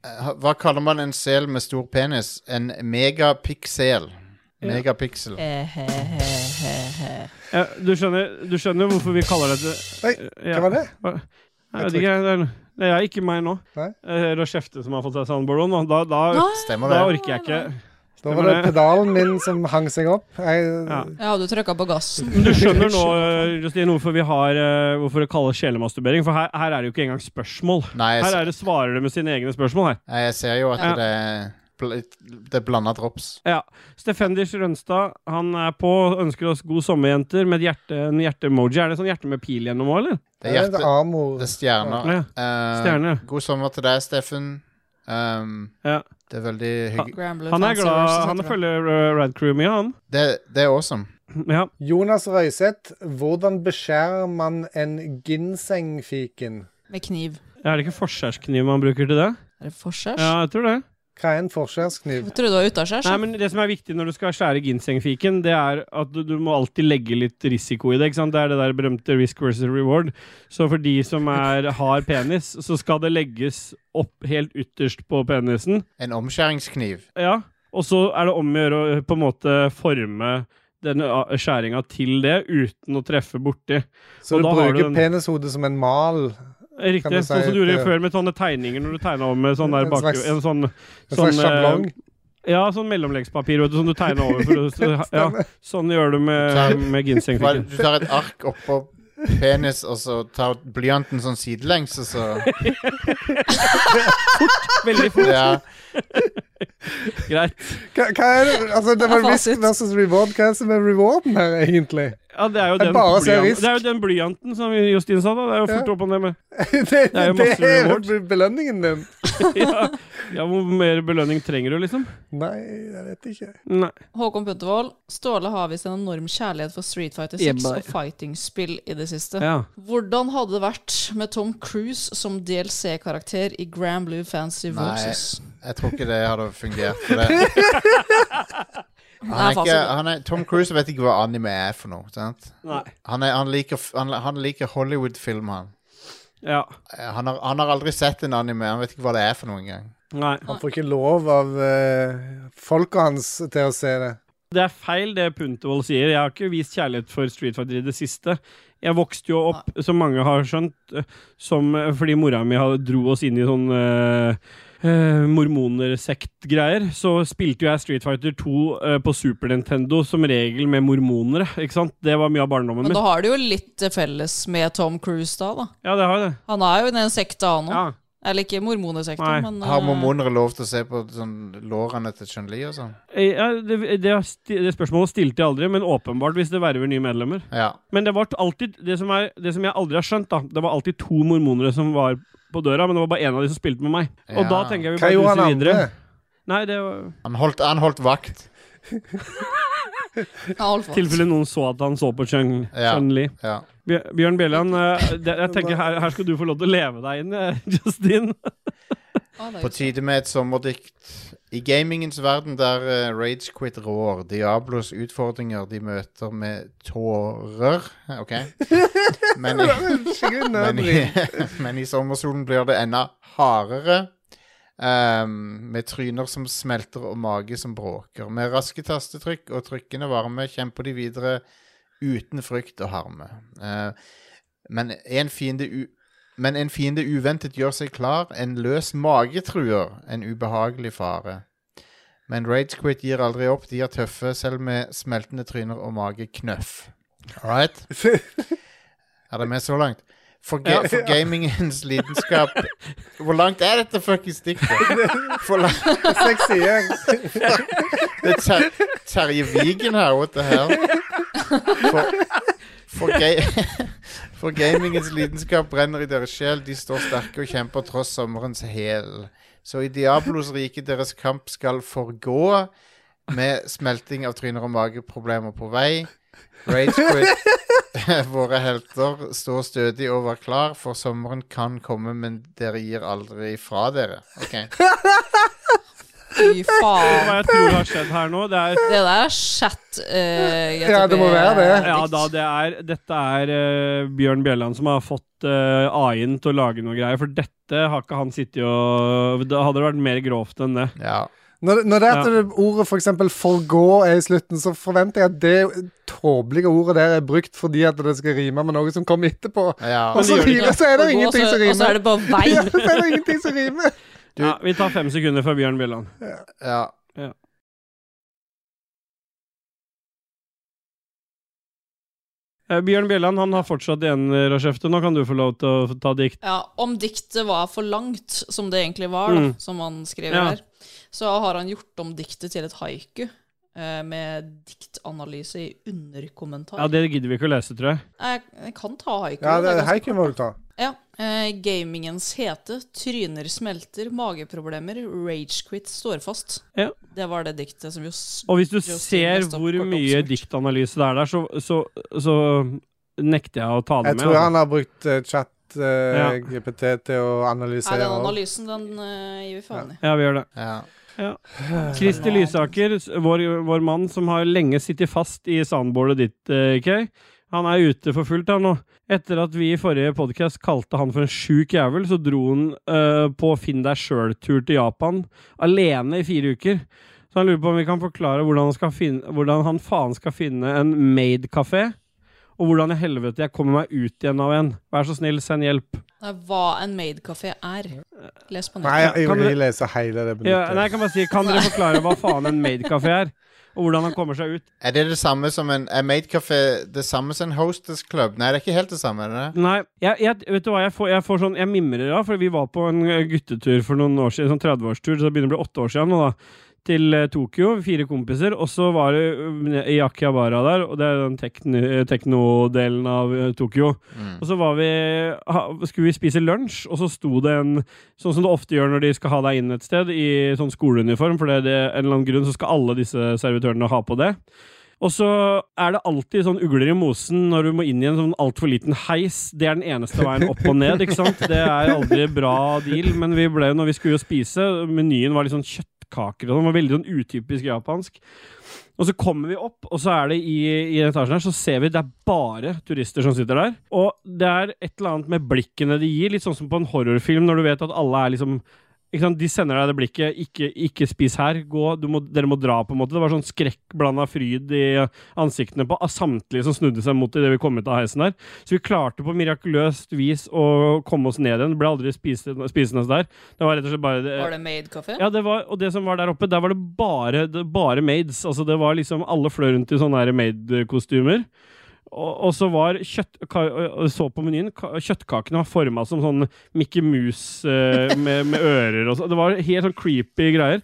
Eh, Hva kaller man en sel med stor penis? En megapiksel. Megapiksel. Eh. Ja, du, skjønner, du skjønner jo hvorfor vi kaller det Oi, ja. Hva var det? Nei, Jeg vet ikke, det er, det er ikke meg nå. Nei. Eh, Rochefte som har fått seg soundboard-on. og Da, da, Nei. Stemmer da det? orker jeg ikke. Da var det pedalen min som hang seg opp. Jeg, Ja. Ja, du trykka på gassen. Men du skjønner nå eh, Justine, hvorfor vi har eh, Hvorfor det kalles sjelemasturbering. For her, her er det jo ikke engang spørsmål. Nei, jeg, Her er det svarer du med sine egne spørsmål. her nei, jeg ser jo at Ja. det er bl- det er blanda drops. Ja. Stefendis Rønstad han er på ønsker oss god sommer, jenter, med et hjerte, en hjerte-emoji. Er det sånn hjerte med pil gjennom òg, eller? Det er hjerte, Amor. det er stjerner. Ja. Eh, Stjerne. god sommer til deg, Steffen. Um, Ja. Det er veldig hyggelig. Grambler Han er Fancy glad Versus, Han heter det. følger eh, Rad Crew mye, han. Det, det er awesome. Ja. Jonas Røiseth, hvordan beskjærer man en ginsengfiken? Med kniv. Er det ikke forskjærskniv man bruker til det? Er det forskjell? Ja, jeg tror det. Hva er en forskjærskniv? Jeg trodde det var utaskjærs. Nei, men Det som er viktig når du skal skjære ginsengfiken, det er at du, du må alltid legge litt risiko i det. ikke sant? Det er det der berømte risk versus reward. Så for de som er, har penis, så skal det legges opp helt ytterst på penisen. En omskjæringskniv. Ja, og så er det om å gjøre å på en måte forme denne a- skjæringa til det uten å treffe borti. Så Og du da har du bruker den- penishodet som en mal? Kan Riktig. du si sånn som du gjorde at, eh, før med sånne tegninger når du tegna om med sånn der En bak... slags- En sånn, En sånn, slags eh, sjablong? ja, sånn mellomleggspapir vet du, som du tegna over. For, å- så, ja, sånn gjør du med, med Hva- ginsengfiken. Du tar et ark oppå penis, og så tar blyanten sånn sidelengs, og så Veldig fort. Ja. Greit. Hva, hva er det? Altså, det var Ja, risk fasit. versus reward. Hva er det som er rewarden her, egentlig? Ja, det er jo Jeg den, bare ser blyanten, risk. det er jo den blyanten som Justin sa, da. Det er jo fort Ja. opp og ned med. det, er jo masse det er reward. jo belønningen din. Ja, ja, hvor mer belønning trenger du, liksom? Nei, jeg vet ikke. Nei. Håkon Puntervold, Ståle har visst en enorm kjærlighet for Street Fighter 6 og fighting-spill i det siste. Ja. Hvordan hadde det vært med Tom Cruise som DLC-karakter i Grand Blue Fancy Nei. Versus? Jeg tror ikke det hadde fungert. For det. Han er Nei, ikke, fasit. han er, Tom Cruise vet ikke hva anime er for noe. Sant? Nei. Han, er, han liker, f- han, han liker Hollywood-film, han. Ja. Eh, Han har, han har aldri sett en anime. Han vet ikke hva det er for noe engang. Nei. Han får ikke lov av eh, folka hans til å se det. Det er feil det Puntervold sier. Jeg har ikke vist kjærlighet for Street Fighter i det siste. Jeg vokste jo opp, som mange har skjønt, eh, som, eh, fordi mora mi har- dro oss inn i sånn eh, eh, mormonersekt-greier. Så spilte jo jeg Street Fighter 2 eh, på Super Nintendo, som regel med mormonere. Ikke sant? Det var mye av barndommen Men min. da har det jo litt til felles med Tom Cruise, da. da. Ja, det har jeg det. Han er jo i den sekta, han òg. Ja. Eller ikke mormonesekta, Nei. men Har eh, mormonere lov til å se på sånn, lårene til Chun-Li og sånn? Eh, Ja, det, det, det spørsmålet stilte jeg aldri, men åpenbart hvis det verver nye medlemmer. Ja. Men det var alltid det som, er, det som jeg aldri har skjønt, da. Det var alltid to mormonere som var på døra, men det var bare én av de som spilte med meg. Og Ja. da tenker jeg vi Hva bare gjorde han duser andre? videre. Nei, det var Han holdt, han holdt vakt. ja, Alfa. tilfelle noen så at han så på Chun Ja. Chun Li. Ja. Bjør- Bjørn Bjelland, eh, det- jeg tenker her, her skal du få lov til å leve deg inn, eh, Justin. Ja, det er jo På sånn. tide med et sommerdikt. I gamingens verden der eh, rage quit rår, Diablos utfordringer de møter med tårer Eh, OK? Men i, Skikkelig men nerdy. i, men i sommersolen blir det enda hardere. ehm, med tryner som smelter og mage som bråker. Med raske tastetrykk og trykkende varme kjemper de videre uten frykt og harme. Eh, men én Ehm, fiende u Men en fiende uventet gjør seg klar. En løs mage truer. En ubehagelig fare. Men Ragequit gir aldri opp. De er tøffe, selv med smeltende tryner og mageknøff. All right? Er det med så langt? For, ga for gamingens lidenskap Hvor langt er dette fuckings stikket? For langt Seks sider. det er ter Terje Vigen her, what the hell? For, for, ga for gamingens lidenskap brenner i deres sjel, de står sterke og kjemper tross sommerens hæl. Så i Diablos rike deres kamp skal forgå, med smelting av tryner og mageproblemer på vei. Ragequit, våre helter, står stødig og var klar, for sommeren kan komme, men dere gir aldri fra dere. Ok Fy faen. Hva jeg tror har skjedd her nå, det er Det der er chat eh, GTB. Ja, det må være det. ja da, det er, Dette er eh, Bjørn Bjelland som har fått uh, AI-en til å lage noe greier, for dette har ikke han sittet og Da hadde det vært mer grovt enn det. Ja. Når, når det er at det ordet f.eks. For 'forgå' er i slutten, så forventer jeg at det tåpelige ordet der er brukt fordi at det skal rime med noe som kommer etterpå. Ja. Og så det gjør det rimer, så er det ingenting som Og så rimer. er det bare Ja, vei. så er det ingenting som rimer. Ja, vi tar fem sekunder fra Bjørn Bjelland. ja. Eh, Bjørn Bjelland han har fortsatt igjen rødskjeftet. Nå kan du få lov til å ta dikt. Ja, om diktet var for langt, som det egentlig var, da, Mm. som han skriver Ja. her, så har han gjort om diktet til et haiku. eh, Med diktanalyse i underkommentar. Ja, Det gidder vi ikke å lese, tror jeg. jeg, jeg kan ta haiku. Ja, men det er det ganske haikyen må du ta. Ja. Eh, gamingens hete, tryner smelter, mageproblemer, ragequit står fast. Ja. Det var det diktet som jo s- Og hvis du Justin ser Westop hvor kort mye oppsummert. diktanalyse det er der, så, så, så nekter jeg å ta det Jeg med. tror altså. han har brukt eh, chat eh, Ja. GPT til å Nei, analysere. den også. analysen, den eh, gir vi faen i. Ja, vi gjør det. ja. Kristi Lysaker, s- vår, vår mann som har lenge sittet fast i sandbordet ditt, eh, Kay. Han er ute for fullt her nå. Etter at vi i forrige podkast kalte han for en sjuk jævel, så dro han eh, på finn deg sjøl-tur til Japan alene i fire uker. Så han lurer på om vi kan forklare hvordan han, skal finne, hvordan han faen skal finne en maid-kafé, og hvordan i helvete jeg kommer meg ut igjen av en. Vær så snill, send hjelp. Nei, hva en maidkafé er. Les på Nei, nettet. jeg vil Kan dere- ikke lese hele det Ja, nei, jeg minuttet. kan bare si, kan dere forklare hva faen en maid-kafé er, og hvordan han kommer seg ut? Er det det samme som en Er Maid Café det samme som en Hostess Club? Nei, det er ikke helt det samme. er det det? Nei, jeg, jeg, vet du hva, jeg får, jeg får sånn Jeg mimrer av, for vi var på en eh, guttetur for noen år siden, sånn 30-årstur, så det begynner å bli åtte år siden nå, da. Til eh, Tokyo, fire kompiser, og så var det eh, i Akihabara der, og det er den tekni- eh, tekno-delen av eh, Tokyo. Og så var vi, ha, skulle vi spise lunsj, og så sto det en Sånn som det ofte gjør når de skal ha deg inn et sted, i sånn skoleuniform, for det er det, en eller annen grunn så skal alle disse servitørene ha på det. Og så er det alltid sånn ugler i mosen når du må inn i en sånn altfor liten heis. Det er den eneste veien opp og ned, ikke sant? Det er aldri bra deal, men vi ble jo, når vi skulle jo spise, menyen var litt sånn kjøttkaker og sånn, det var veldig sånn utypisk japansk. Og så kommer vi opp, og så er det i, i etasjen her, så ser vi det er bare turister som sitter der. Og det er et eller annet med blikkene de gir, litt sånn som på en horrorfilm, når du vet at alle er liksom ikke sant? De sender deg det blikket. Ikke, ikke spis her. Gå, du må, dere må dra, på en måte. Det var sånn skrekk blanda fryd i ansiktene på samtlige som snudde seg mot det vi kom ut av heisen der. Så vi klarte på mirakuløst vis å komme oss ned igjen. Det Ble aldri spist- spisende der. Det var rett og slett bare Var det maidkafé? ja, det var, og det som var der oppe, der var det bare, det, bare maids. Altså, det var liksom alle fløy rundt i sånne her maid-kostymer. Og, og så var kjøtt... Ka, og så på menyen, ka, kjøttkakene var forma som sånn Mickey Mouse eh, med, med ører og sånn. Det var helt sånn creepy greier.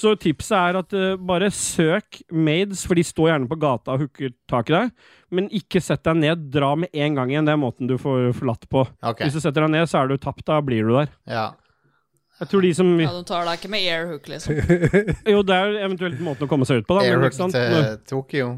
Så tipset er at eh, bare søk maids, for de står gjerne på gata og hooker tak i deg. Men ikke sett deg ned. Dra med en gang igjen. Det er måten du får forlatt på. Ok, Hvis du setter deg ned, så er du tapt. Da blir du der. ja. Jeg tror de som... Ja, du tar deg ikke med airhook, liksom. Jo, det er jo eventuelt måten å komme seg ut på, da. Men, Eric ikke sant? til Tokyo.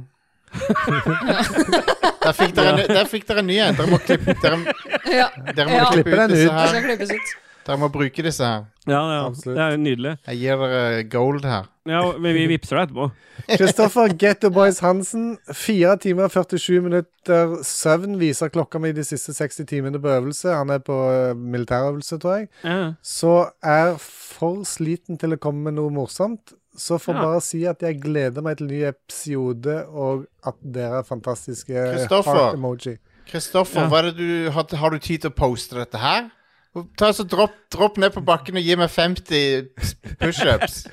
der fikk dere, en- der fikk dere en ny en. Dere må klippe, dere, Ja, dere må Ja. Klippe klippe den ut. ut disse det her. skal klippes ut. Dere må bruke disse her. Ja, ja, Absolutt. det er jo nydelig. Jeg gir dere gold her. Ja, men vi vipser deg etterpå. Kristoffer Getto Boys Hansen. Fire timer og 47 minutter søvn viser klokka mi de siste 60 timene på øvelse. Han er på eh, militærøvelse, tror jeg. Ja. Så er for sliten til å komme med noe morsomt. Så får Ja. bare si at jeg gleder meg til ny episode, og at dere er fantastiske. Kristoffer. Heart emoji. Kristoffer, Ja. hva er det du, har, har du tid til å poste dette her? Ta så dropp, dropp ned på bakken og gi meg 50 pushups.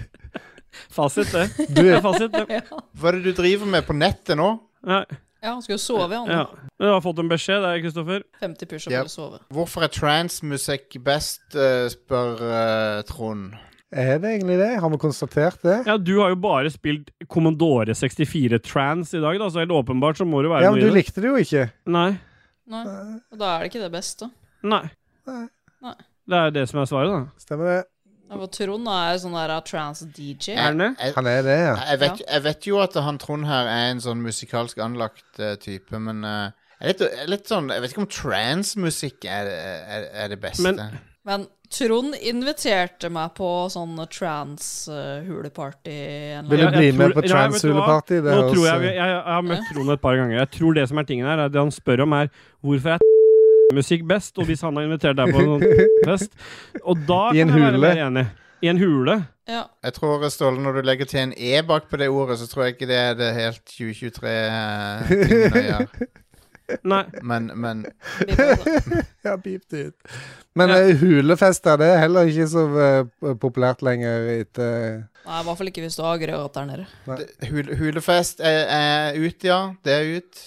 Fasit, det. Du, Det er fasit, det. Hva er det du driver med på nettet nå? Nei, Ja, han skulle jo sove, han. ja. Men Du har fått en beskjed der, Kristoffer. 50 push-up Ja. eller sove. Hvorfor er transmusikk best, eh, spør eh, Trond. Er det egentlig det? Har vi konstatert det? Ja, du har jo bare spilt Commodore 64 Trans i dag, da, så helt åpenbart så må det være Ja, men noe du i det. likte det jo ikke. Nei. Nei. Og da er det ikke det beste. Nei. Nei. Nei. Det er det som er svaret, da. Stemmer det? Ja, for Trond er sånn der uh, trans-DJ. Er den det? Jeg, Han er det, ja. jeg, vet, jeg vet jo at han Trond her er en sånn musikalsk anlagt eh, type, men eh, jeg er litt, jeg er litt sånn, jeg vet ikke om transmusikk er, er, er det beste. Men- Men Trond inviterte meg på sånn trans-huleparty en eller Vil du Ja, annen jeg bli tror- med på Ja, vet du hva? transhuleparty? Det Nå er tror jeg, også- vi- jeg, jeg, jeg har møtt Trond et par ganger. Jeg tror det som er tingen her, er det han spør om, er hvorfor er musikk best? Og hvis han har invitert deg på en fest Og da I en kan jeg være hule. mer enig. I en hule. Ja. Jeg tror, Ståle, når du legger til en E bak på det ordet, så tror jeg ikke det er det helt 2023-tingen å gjøre. Nei. Men, men Vi prøvde det. Ja, pip det ut. Men Ja. eh, hulefester, det er heller ikke så eh, populært lenger etter Nei, i hvert fall ikke hvis du har grøt der nede. det- hul, hulefest er, er ut, ja. Det er ut.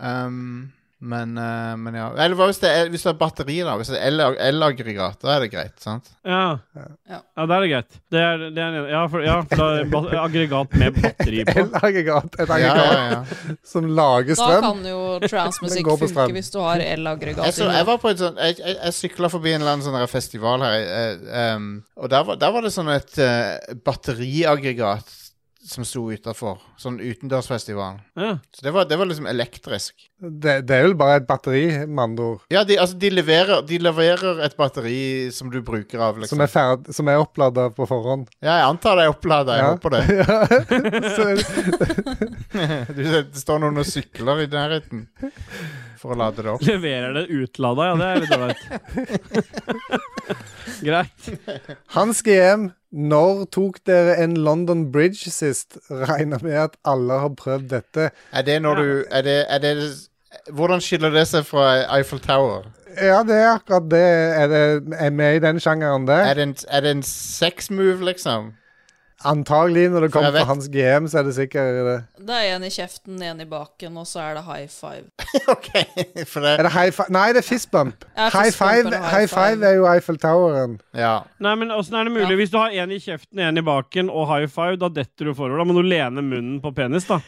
Um, men, eh, men ja. Eller hva hvis det er, hvis det er batteri, da? Hvis det er el- el-aggregat, da er det greit, sant? Ja. Ja. ja, da er det greit. Det er, det er en, ja, for, ja, for da er det ba- aggregat med batteri på. Elaggregat. Et Ja, aggregat ja, ja. som lager Da strøm. kan jo Den transmusikk går på funke strøm. hvis du har Jeg, elaggregat i så, jeg huet. var på et sånt Jeg, jeg, jeg sykla forbi en eller annen sånn der festival her, eh, em, og der var, der var det sånn et eh, batteriaggregat som sto utafor. Sånn utendørsfestival. Ja. Så det var, det var liksom elektrisk. Det, det er vel bare et batteri, med andre ord. Ja, de, altså, de, leverer, de leverer et batteri som du bruker av, liksom. Som er, ferd, som er opplada på forhånd. Ja, jeg antar det er opplada. Jeg Ja. håper det. Ja. Så- Du, det står noen og sykler i nærheten for å lade det opp. Leverer det utlada, ja. Det er litt ålreit. Greit. Hans GM, når tok dere en London Bridge sist? Regner med at alle har prøvd dette. Er det når du er det, er det, Hvordan skiller det seg fra Eiffel Tower? Ja, det er akkurat det. Er det er vi i den sjangeren, Er det? det en, er det en sex move, liksom? Antagelig når det kommer Jeg vet- fra hans GM, så er det sikkert det. Det er en i kjeften, en i baken, og så er det high five. OK. For Er det det high five? Nei, det er fist bump. Ja, fist high, bump five, eller high high five five. er jo Eiffel Toweren. Ja. Nei, men åssen er det mulig? Ja. Hvis du har én i kjeften, én i baken og high five, da detter du forover. Da må du lene munnen på penis, da.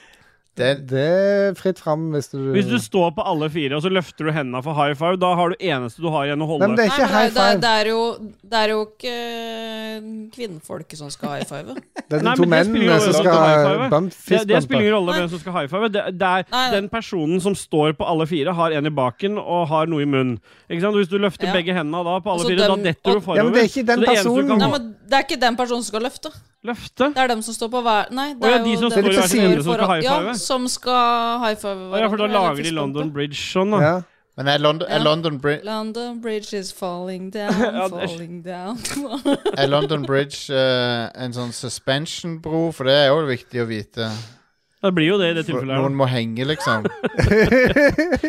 Det, Det er fritt fram hvis du Hvis du står på alle fire, og så løfter du hendene for high five, da har du eneste du har igjen å Nei, holde. men det er Nei, ikke men high det, er- five. det, er jo, det er jo ikke eh, kvinnfolket som skal high five. Det er de Nei, to men det spiller mennene jo som ingen skal rolle om ha high five. bump, det, fist det spiller bump. ingen rolle hvem som skal high five. Det, det er Nei, nei. den personen som står på alle fire, har en i baken og har noe i munnen. Ikke sant? Hvis du løfter Ja. begge hendene da på alle Og så fire, dem- da detter og- du forover. Ja, men det er ikke den Så det eneste du personen. kan Nei, ha- men det er ikke den personen som skal løfte. Løfte? Det er dem som står på hver Nei, det Å, ja, er de jo som dem står i hver står side som skal foran- high five. Ja, som skal high five Å Ja, for da hverandre, eller lager de tidspunktet. London Bridge sånn, da. Ja. men er London, er Ja. London, Bri London Bridge is falling Ja, down, det er- falling down. er London Bridge eh, en sånn suspension-bro? For det er jo viktig å vite. Det blir jo det i det For tilfellet her. noen må henge, liksom. da.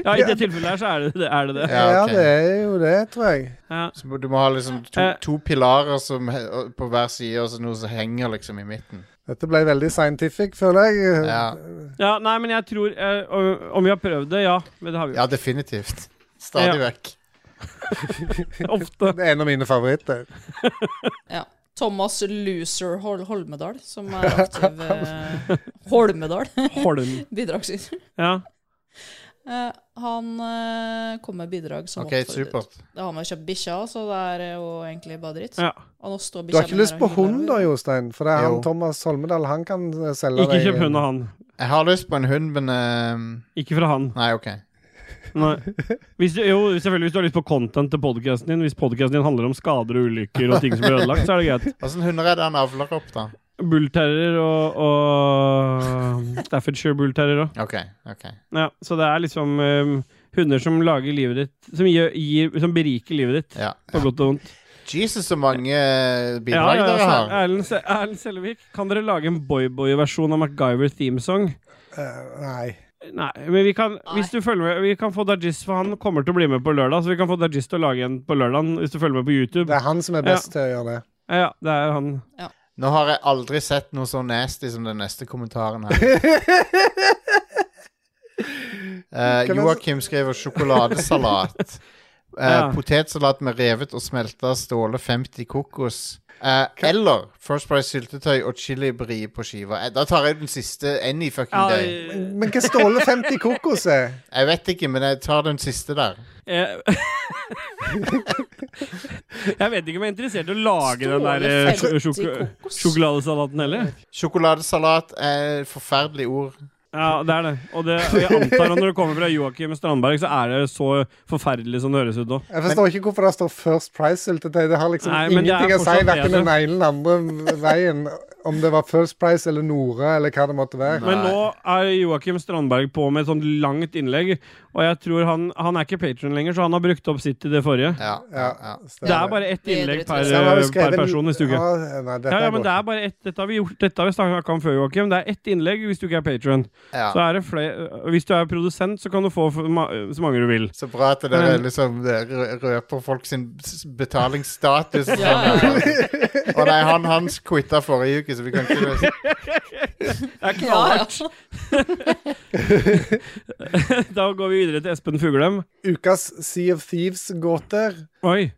Ja, i det tilfellet her så er det det. Er det, det. Ja, ja, ok. det er jo det, tror jeg. Ja. Så må- du må ha liksom to, Eh. to pilarer som, he- på hver side, og så noe som henger liksom i midten. Dette ble veldig scientific, føler jeg. Ja, ja, nei, men jeg tror eh, om- Om vi har prøvd det, ja. Men det har vi jo. ja definitivt. Stadig Ja. vekk. Ofte. Det er en av mine favoritter. ja. Thomas Loser Hol Holmedal, som er aktiv eh, Holmedal, Holm. bidragsyter. Ja. Eh, han eh, kom med bidrag som OK, oppfordret. supert. Det har med å kjøpe bikkja, så det er eh, jo egentlig bare dritt. ja. Og nå Du står har bikkja ikke mi lyst her på og hund hyler. da, Jostein? For det er han Jo. Thomas Holmedal, han kan eh, selge Ikke deg kjøp hund av han. Jeg har lyst på en hund, men ehm, Ikke fra han. Nei, OK. Nei. Hvis du, jo, selvfølgelig hvis du har lyst på content til podkasten din. Hvis podkasten din handler om skader og ulykker og ting som blir ødelagt, så er det greit. Åssen hunder er det han avler opp, da? Bullterrier og, og Staffordshire bullterrier òg. OK. ok Ja, så det er liksom eh, hunder som lager livet ditt Som, gjør, gir, som beriker livet ditt, Ja. på godt og vondt. Jesus, så mange eh, Ja, altså, bidrag ja, dere så har. Erlend, Se- Erlend Sellevik, kan dere lage en boyboy-versjon av MacGyver themesong? Eh, Nei. Nei, men vi kan, hvis du følger med, vi kan få Dajis, for han kommer til å bli med på lørdag. Så vi kan få Dajis til å lage en på lørdag, hvis du følger med på YouTube. Det er han som er best til å gjøre det. Ja, det er han. Nå har jeg aldri sett noe så nasty som den neste kommentaren her. Eh, Kan jeg- Joakim skriver sjokoladesalat. Eh, Ja. Potetsalat med revet og smelta ståle 50 kokos. Eh, eller First Price syltetøy og chilibri på skiva. Eh, da tar jeg den siste any fucking Ja, day. Men hva Ståle 50 Kokos er? Jeg vet ikke, men jeg tar den siste der. jeg, jeg vet ikke om jeg er interessert i å lage den Ståle der eh, sj- 50 sjoko- kokos. sjokoladesalaten heller. Sjokoladesalat er et forferdelig ord. Ja, det er det. Og, det, og jeg antar at når det kommer fra Joakim Strandberg, så er det så forferdelig som det høres ut nå. Jeg forstår ikke hvorfor det står First Price-syltetøy. Det har liksom Nei, men det er ingenting å si fortsatt verken bedre. den ene eller andre veien, om det var First Price eller Nora eller hva det måtte være. Men Nei. nå er Joakim Strandberg på med et sånt langt innlegg, og jeg tror han Han er ikke patron lenger, så han har brukt opp sitt i det forrige. Ja, ja, ja. Det er bare ett innlegg per, Så han har jo Eh, per skrevet- person neste uke. Ja, nei, dette Ja, ja, men går det er bare ett. Dette har vi gjort Dette har vi snakket om før, Joakim. Det er ett innlegg hvis du ikke er patron. Så ja. er det flere Hvis du er produsent, så kan du få for ma- så mange du vil. Så bra at dere Men- liksom eh, rø- røper folk sin s- betalingsstatus. og Ja. sånn. Og nei, han hans quitta forrige uke, så vi kan ikke Det er Ja, knallhardt. ja. Da går vi videre til Espen Fuglem. Ukas Sea of Thieves-gåter. Oi.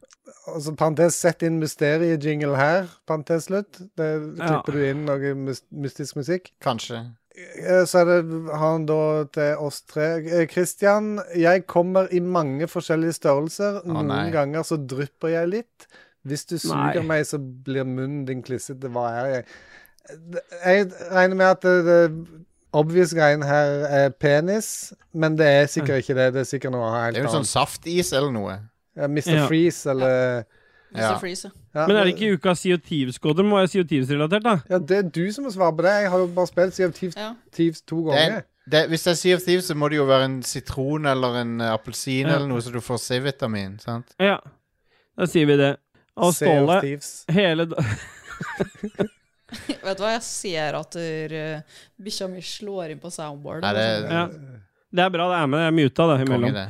Altså, parentes, sett inn mysteriejingle her. Parentes slutt. Det Ja. klipper du inn noe mys- mystisk musikk. Kanskje. Eh, Så er det, har han da til oss tre eh, Christian, jeg kommer i mange forskjellige størrelser. Noen nei. ganger så drypper jeg litt. Hvis du suger Nei. meg, så blir munnen din klissete. Hva er jeg? Det- Jeg regner med at det, det obvious greien her er penis, men det er sikkert ikke det. Det er sikkert noe helt Det er jo sånn annet. saftis eller noe. Ja, Mr. Ja. Freeze eller Ja. Mr. Freeze. ja, Men er det ikke ukas CO2-skåde? Må være CO2-relatert, da? Ja, det er du som må svare på det. Jeg har jo bare spilt Sea of Thieves, Ja. Thieves to Det er, ganger. det, hvis det er Sea of Thieves, så må det jo være en sitron eller en eh, appelsin Ja. eller noe, så du får C-vitamin. sant? Ja. Da sier vi det. Og Sea of Ståle Thieves. hele da- Vet du hva, jeg ser at der, eh, bikkja mi slår inn på soundboardet. Nei, det- ja. Det er bra det er med. Jeg er muta da, Konge, imellom. det.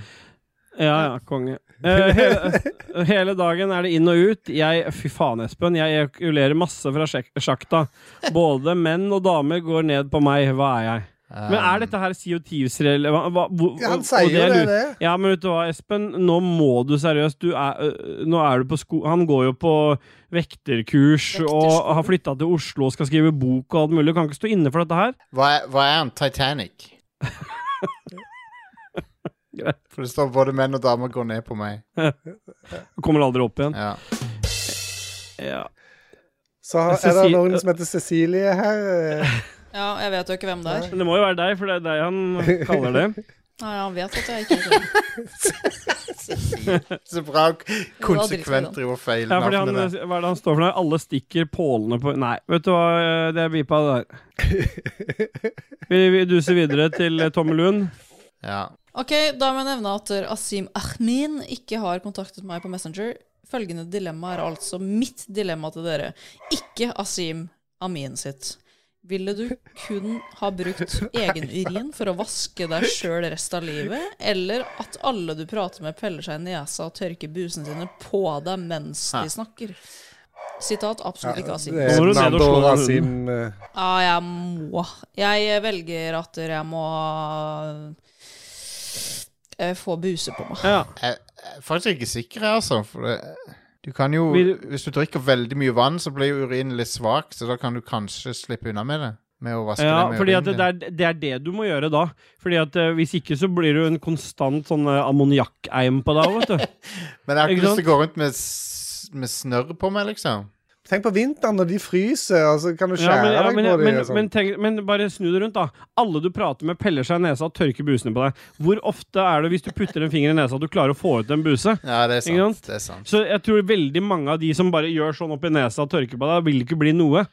Ja, ja, konge. Eh, hele, hele dagen er det inn og ut. Jeg Fy faen, Espen. Jeg ejakulerer masse fra sjek- sjakta. Både menn og damer går ned på meg. Hva er jeg? Men er dette her CO2-relevant? Han sier jo det, det. Ja, men vet du hva, Espen? Nå må du seriøst du er, øh, Nå er du på sko... Han går jo på vekterkurs Vektersko- og har flytta til Oslo og skal skrive bok og alt mulig. Kan ikke stå inne for dette her. Hva, er, hva er han? Titanic? Greit. For det står både menn og damer går ned på meg. Kommer aldri opp igjen. Ja. Ja. Så har- er det Cecil- noen som heter Cecilie her. eh, Ja, jeg vet jo ikke hvem det er. Men det må jo være deg, for det er deg han kaller det. Nei, han vet at jeg ikke er det. Så bra k- konsekvent dritfeil, driver feil Ja, fordi han, navnet der. hva er det han står for? noe? Alle stikker pålene på Nei, vet du hva, øh, det er bipa, det der. Vi, vi duser videre til Tommel Lund. eh, Ja. Ok, da må jeg nevne at der Asim Ahmin ikke har kontaktet meg på Messenger. Følgende dilemma er altså mitt dilemma til dere. Ikke Asim Amin sitt. Ville du kun ha brukt egen urin for å vaske deg sjøl resten av livet, eller at alle du prater med, peller seg i nesa og tørker busene sine på deg mens de snakker? Sitat absolutt ikke Asim. det er Nå må du ned og slå Nando den Rasim, eh, Ja, jeg må. Jeg velger at jeg må eh, få buse på meg. Ja. Jeg, jeg er faktisk ikke sikker, jeg, altså. For det, du kan jo Vil- Hvis du drikker veldig mye vann, så blir jo urinen litt svak, så da kan du kanskje slippe unna med det. Med å vaske Ja, deg med fordi at urinen det, din. er, det er det du må gjøre da. Fordi at eh, Hvis ikke så blir du en konstant sånn eh, ammoniakkeim på deg. Vet du. Men jeg har Ikke ikke lyst til å gå rundt med, s- med snørr på meg, liksom. Tenk på vinteren når de fryser, og så kan du Ja, skjære men, ja, deg på men, men, dem. og men, sånn. tenk, men bare snu det rundt, da. Alle du prater med, peller seg i nesa og tørker busene på deg. Hvor ofte er det hvis du putter en finger i nesa, at du klarer å få ut en buse? Ja, det er Ikke sant? sant. Det er sant. Så jeg tror veldig mange av de som bare gjør sånn oppi nesa og tørker på deg, vil ikke bli noe.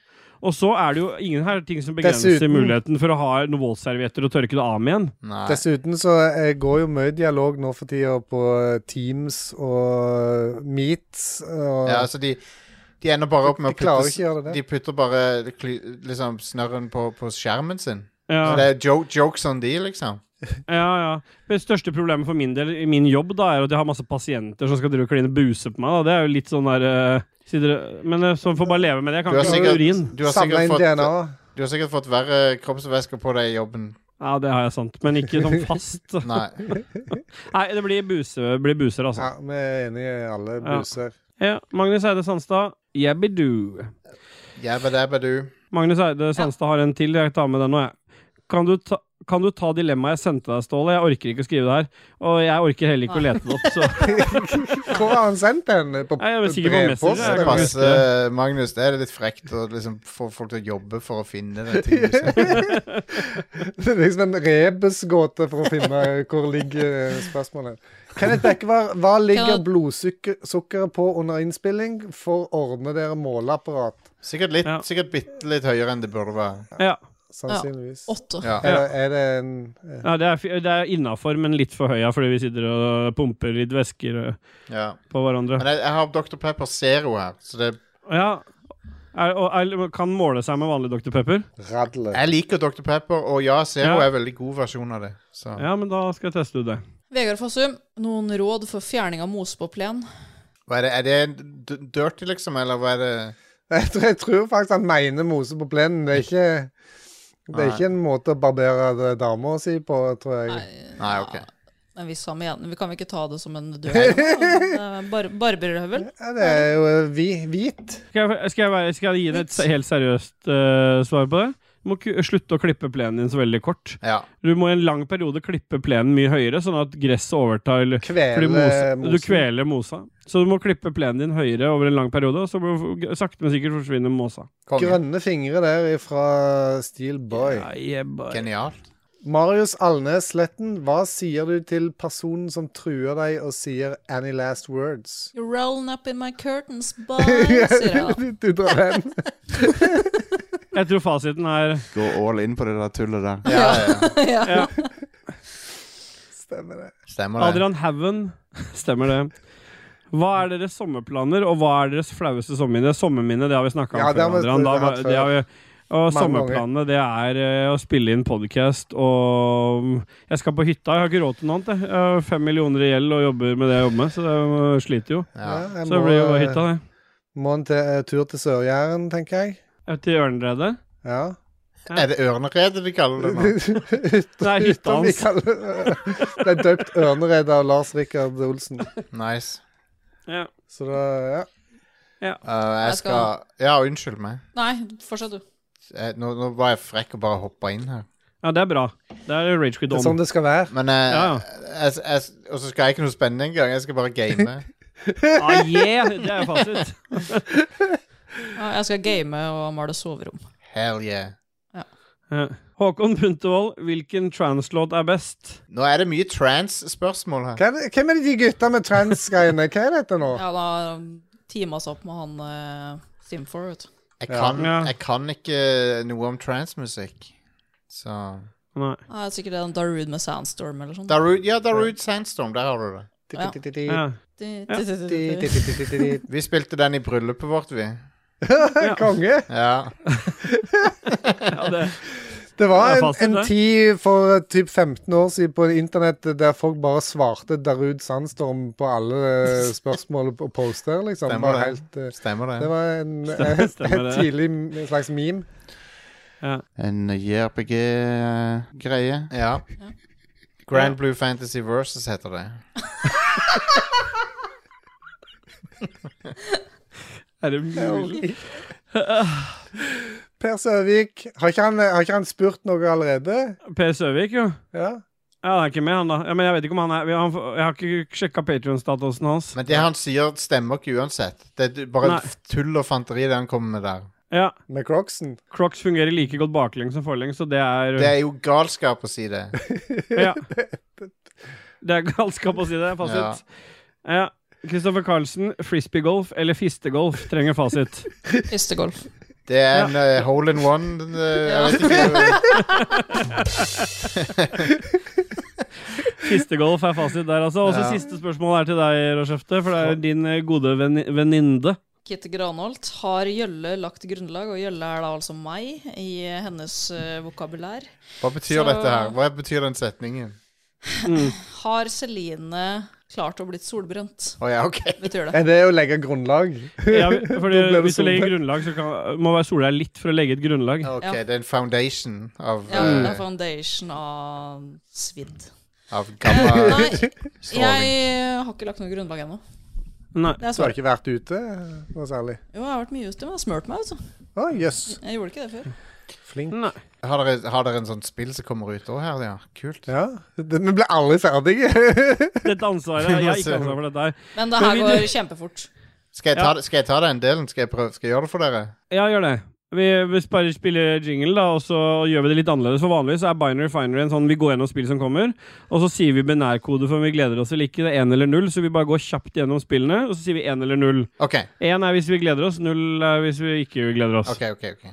Og så er det jo ingen her ting som begrenser Dessuten- muligheten for å ha noen våtservietter og tørke det av med igjen. Nei. Dessuten så eh, går jo mye dialog nå for tida på eh, Teams og eh, Meets og Ja, altså de, de ender bare opp med De klarer ikke å gjøre det. De putter bare kly- liksom snørren på, på skjermen sin. Ja. Så det er jo, jokes on de, liksom. Ja, ja. Men Det største problemet for min del i min jobb da, er at jeg har masse pasienter som skal drive og kline buse på meg. Da. Det er jo litt sånn der eh, sider, Men eh, sånn får bare leve med det. Jeg Du kan har ikke ha sikkert, urin. du har Samla sikkert, inn fått, DNA. du har sikkert fått verre kroppsvæsker på deg i jobben. Ja, det har jeg sant. Men ikke sånn fast. Nei. Nei, det blir, buse, blir buser, altså. Ja, vi er enige, alle Ja. buser. Ja. Magnus Eide Sandstad, jabbidu. Jabba dabba du. Magnus Eide Sandstad har en til. Jeg tar med den nå, jeg. Kan du ta kan du ta dilemmaet jeg sendte deg, Ståle? Jeg orker ikke å skrive det her. Og jeg orker heller ikke å lete det opp, så Hvor har han sendt den? På Nei, jeg er sikker på Messenger, brevpost, jeg eller? Det kan ikke- passer, eh, Magnus. Det er litt frekt å liksom få folk til å jobbe for å finne den tingen. liksom. du sender. Det er liksom en rebusgåte for å finne hvor ligger spørsmålet. Kenneth Bekkevar, hva ligger Kan- blodsukkeret på under innspilling? For ordne dere måleapparat, Sikkert litt, Ja. sikkert bitte litt høyere enn det burde være. ja. sannsynligvis. Åtte. Ja. Eller er det en eh, Ja, det er, fi- det er innafor, men litt for høya, fordi vi sitter og pumper litt væsker ø, ja. på hverandre. Men jeg, jeg har Dr. Pepper Zero her, så det, Ja, er, og er, kan måle seg med vanlig Dr. Pepper. radle? jeg liker Dr. Pepper, og ja, Zero Ja. er en veldig god versjon av det. Så. Ja, men da skal jeg teste ut det. Vegard Fossum, noen råd for fjerning av mose på plen? Hva er det, er det en d- dirty, liksom, eller hva er det Jeg tror, jeg tror faktisk han mener mose på plenen. Det er ikke det er Nei. ikke en måte å barbere det dama si på, tror jeg. Nei, ok. Men vi sa med igjen, vi kan vel ikke ta det som en dør? Eh, Bar Barberhøvel? Ja, det er jo eh, vi, hvit. Skal jeg, skal jeg, være- skal jeg gi deg et se- helt seriøst ø, svar på det? Du må ku- slutte å klippe plenen din så veldig kort. Ja. Du må i en lang periode klippe plenen mye høyere, sånn at gresset overtar eller- fordi Kvele mose, mosen. Du kveler mosa. Så du må klippe plenen din høyere over en lang periode, og så må du- sakte, men sikkert forsvinner mosa. Konge. Grønne fingre der fra Steel Boy. Ja, jebba. Genialt. Marius Alnes Sletten, hva sier du til personen som truer deg og sier 'any last words'? You're rolling up in my curtains, boy, sier jeg da. du drar den. Jeg tror fasiten er Gå all in på det der tullet der. Ja, ja, ja. ja. Stemmer det. Stemmer det. Adrian Haugen. Stemmer det. Hva er deres sommerplaner, og hva er deres flaueste sommerminne? Sommerminne, det har vi snakka om Ja, det har før. vi Adrian. Da, hatt før. det har vi, og Mange sommerplanene, det er eh, å spille inn podkast og mm, Jeg skal på hytta, jeg har ikke råd til noe annet. jeg. Jeg har fem millioner i gjeld og jobber med det jeg jobber med, så jeg sliter jo. Ja. jeg Så må, eh, det blir jo bare hytta, det. Må en te- tur til Sør-Jæren, tenker jeg. Jeg er Til Ørneredet. Ja. Er det ørneredet de kaller det nå? Hytta Nei, hytta om vi hans. kaller det Det er døpt Ørneredet av Lars Rikard Olsen. Nice. Ja. Så da ja. Uh, jeg Jeg skal- skal Ja, unnskyld meg. Nei, fortsett du. Jeg, nå, nå var jeg frekk og bare hoppa inn her. ja, det er bra. Det er Rage Quit Det er sånn On. det skal være. Men eh, Ja, ja. jeg, jeg, Og så skal jeg ikke noe spennende engang. Jeg skal bare game. Ah, yeah! Det er jo fasit. Ja, Jeg skal game og male soverom. Hell yeah. Ja. Håkon Puntervold, hvilken translåt er best? Nå er det mye trans-spørsmål her. Hva er det, hvem er det de gutta med trans-greiene? Hva er dette nå? Ja, da teama oss opp med han eh, Simfor, vet du. Jeg kan, Ja. jeg kan ikke noe om transmusikk. Så Nei. Ja, det er sikkert den Darude med Sandstorm eller sånn. Darude, Ja, Darude Sandstorm, der har du det. Ja. Ti-ti-ti-ti. Ja. Di- Ja. di- di- di- di- Ti-ti-ti-ti-ti. Vi spilte den i bryllupet vårt, vi. Ja. Konge! Ja. Ja, det, Det Det var er en, fasit, en det. tid for eh, typ 15 år siden på internett eh, der folk bare svarte Darud Sandstorm på alle eh, spørsmål og poster, liksom. Det Stemmer var, det. helt, eh, Stemmer det det. var en, Stemmer- stemmer en det. tidlig m- slags meme. En JRPG-greie. Ja. Grand Blue Fantasy Versus heter det. er det mulig? Per Søvik, har ikke han, eh, har ikke han spurt noe allerede? Per Søvik, jo. Ja. Ja, han er ikke med, han da. Ja, men jeg vet ikke om han er han, Jeg har ikke sjekka Patrion-statusen hans. Men det han sier, stemmer ikke uansett. Det er bare Nei. tull og fanteri det han kommer med der. Ja, Med Crocsen? Crocs fungerer like godt baklengs som forlengs, så det er Det er jo galskap å si det. Ja. Det er galskap å si det. Fasit. Ja. Kristoffer Carlsen, frisbeegolf eller fistegolf trenger fasit. di. Fistegolf. Det er en eh, hole in one. eh, Ja. jeg vet ikke. Fistegolf er fasit der, altså. Og så Ja. siste spørsmål er til deg, Rashefte, for det er din eh, gode veni- veninde. Birgit Granholt har Gjølle lagt grunnlag, og Gjølle er da altså meg i hennes eh, vokabulær. Hva betyr Så- dette her? Hva betyr den setningen? Mm. Har Celine klart å blitt solbrent? Å ja, ok. Betyr det. Er Eh, det å legge grunnlag? Ja, for det, Da ble det hvis du legger solbrent. grunnlag, så kan, må være solbrent litt for å legge et grunnlag. Ok, Ja. Det er en foundation av, Ja, det eh, er foundation av svidd. av Nei, gammastråling. jeg har ikke lagt noe grunnlag ennå. Nei. Det er Du har svaret. ikke vært ute eh, noe særlig? Jo, jeg har vært mye ute, men jeg har smurt meg, altså. Å, jøss. Jeg gjorde ikke det før. Flink. Nei. Har dere, har dere en sånn spill som kommer ut òg her? Ja, kult. Ja. Det- Vi ble aldri ferdige. Dette ansvaret Jeg har ikke ansvar for dette her. Men det Men her vi- går kjempefort. Skal jeg ta, Ja. det- skal jeg ta den delen? Skal jeg, prøve, skal jeg gjøre det for dere? Ja, gjør det. Vi, hvis bare spiller jingle, da, og så gjør vi det litt annerledes. For vanligvis så er Binary Finery en sånn vi går gjennom spill som kommer, og så sier vi binærkode for om vi gleder oss eller ikke. Det er én eller null, så vi bare går kjapt gjennom spillene, og så sier vi én eller null. OK. Én er hvis vi gleder oss, null er hvis vi ikke gleder oss. ok, ok, ok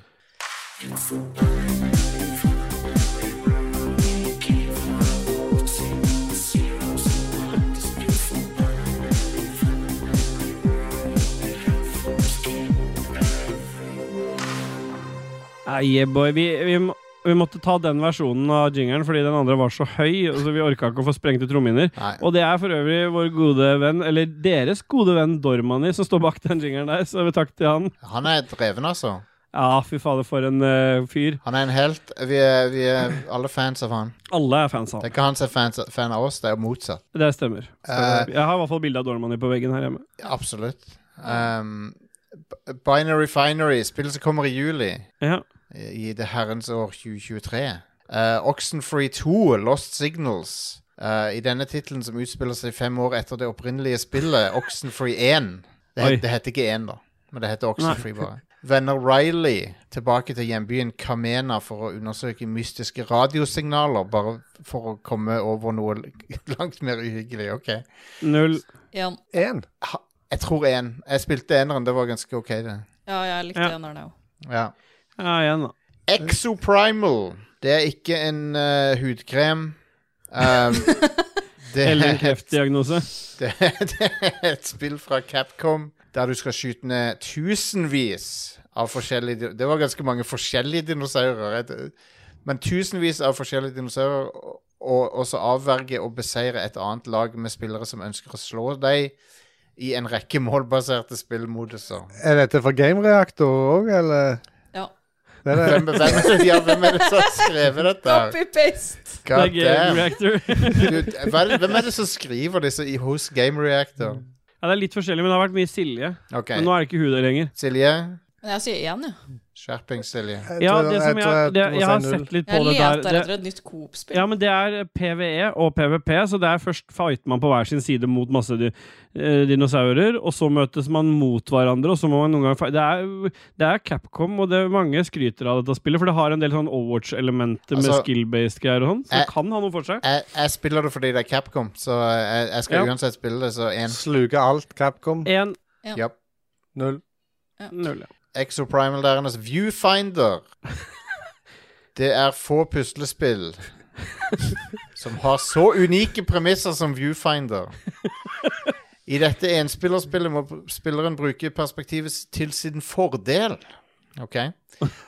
Nei, yeah, boy. Vi, vi, må- vi måtte ta den versjonen av jingeren fordi den andre var så høy, og så vi orka ikke å få sprengte trommehinner. Nei. Og det er for øvrig vår gode venn, eller deres gode venn Dormani, som står bak den jingeren der, så takk til han. Han er dreven, altså. Ja, fy fader, for en eh, fyr. Han er en helt. Vi er, vi er alle fans av han. Alle er fans av Det han. er ikke han som er fans, fan av oss, det er jo motsatt. Det stemmer. Eh. Jeg har i hvert fall bilde av Dormani på veggen her hjemme. Absolutt. Um, B- Binary Finery, spillet som kommer i juli Ja. i det herrens år 2023. Uh, Oxenfree 2, Lost Signals. Uh, I denne tittelen som utspiller seg fem år etter det opprinnelige spillet, Oxenfree 1. Oi. Det, het, det heter ikke 1, da, men det heter Oxenfree bare. Venner Riley tilbake til hjembyen Kamena for å undersøke mystiske radiosignaler, bare for å komme over noe l- langt mer uhyggelig. OK. Null. Igjen. Én. Ha, jeg tror én. Jeg spilte eneren, det var ganske OK, det. Ja, jeg likte Ja. den der, jeg òg. Ja. Ja, igjen, da. Exoprimal. Det er ikke en eh, hudkrem. Um, det, er Eller en et, kreftdiagnose. det, er- det er et spill fra Capcom der du skal skyte ned tusenvis av forskjellige di- Det var ganske mange forskjellige dinosaurer. Et- Men tusenvis av forskjellige dinosaurer, og- og, og så avverge og beseire et annet lag med spillere som ønsker å slå deg i en rekke målbaserte spillmoduser. Er dette for gamereaktor òg, eller? Ja. Det er det. Hvem, hvem, er det- ja, hvem er det som har skrevet dette? her? Copy-paste! Det er God Game damn. Reactor. Dude, hva er det- Hvem er det som skriver disse i- hos Game Reactor? Ja, det er litt forskjellig, men det har vært mye Silje. Ok, Men nå er det ikke hun der lenger. Silje. Men jeg sier én, jeg. Skjerping, Silje. Ja, tror- det som tror jeg, det, må jeg si har null. sett litt på Jeg det der. leter Det, etter et nytt Coop-spill. Ja, men det er PVE og PVP, så det er først fighter man på hver sin side mot masse di eh, dinosaurer, og så møtes man mot hverandre, og så må man noen ganger fight. Det er, det er Capcom, og det er mange skryter av dette spillet, for det har en del sånn Overwatch-elementer med Altså, eh, skill-based greier og sånn, så jeg- det kan ha noe for seg. Jeg, jeg spiller det fordi det er Capcom, så jeg, jeg skal Ja. uansett spille det, så én. Sluker alt Capcom. eh, 1-0. Japp. Null. Ja. Exoprimal der hennes Viewfinder. Det er få puslespill som har så unike premisser som Viewfinder. I dette enspillerspillet må spilleren bruke perspektivet s- til sin fordel. Ok?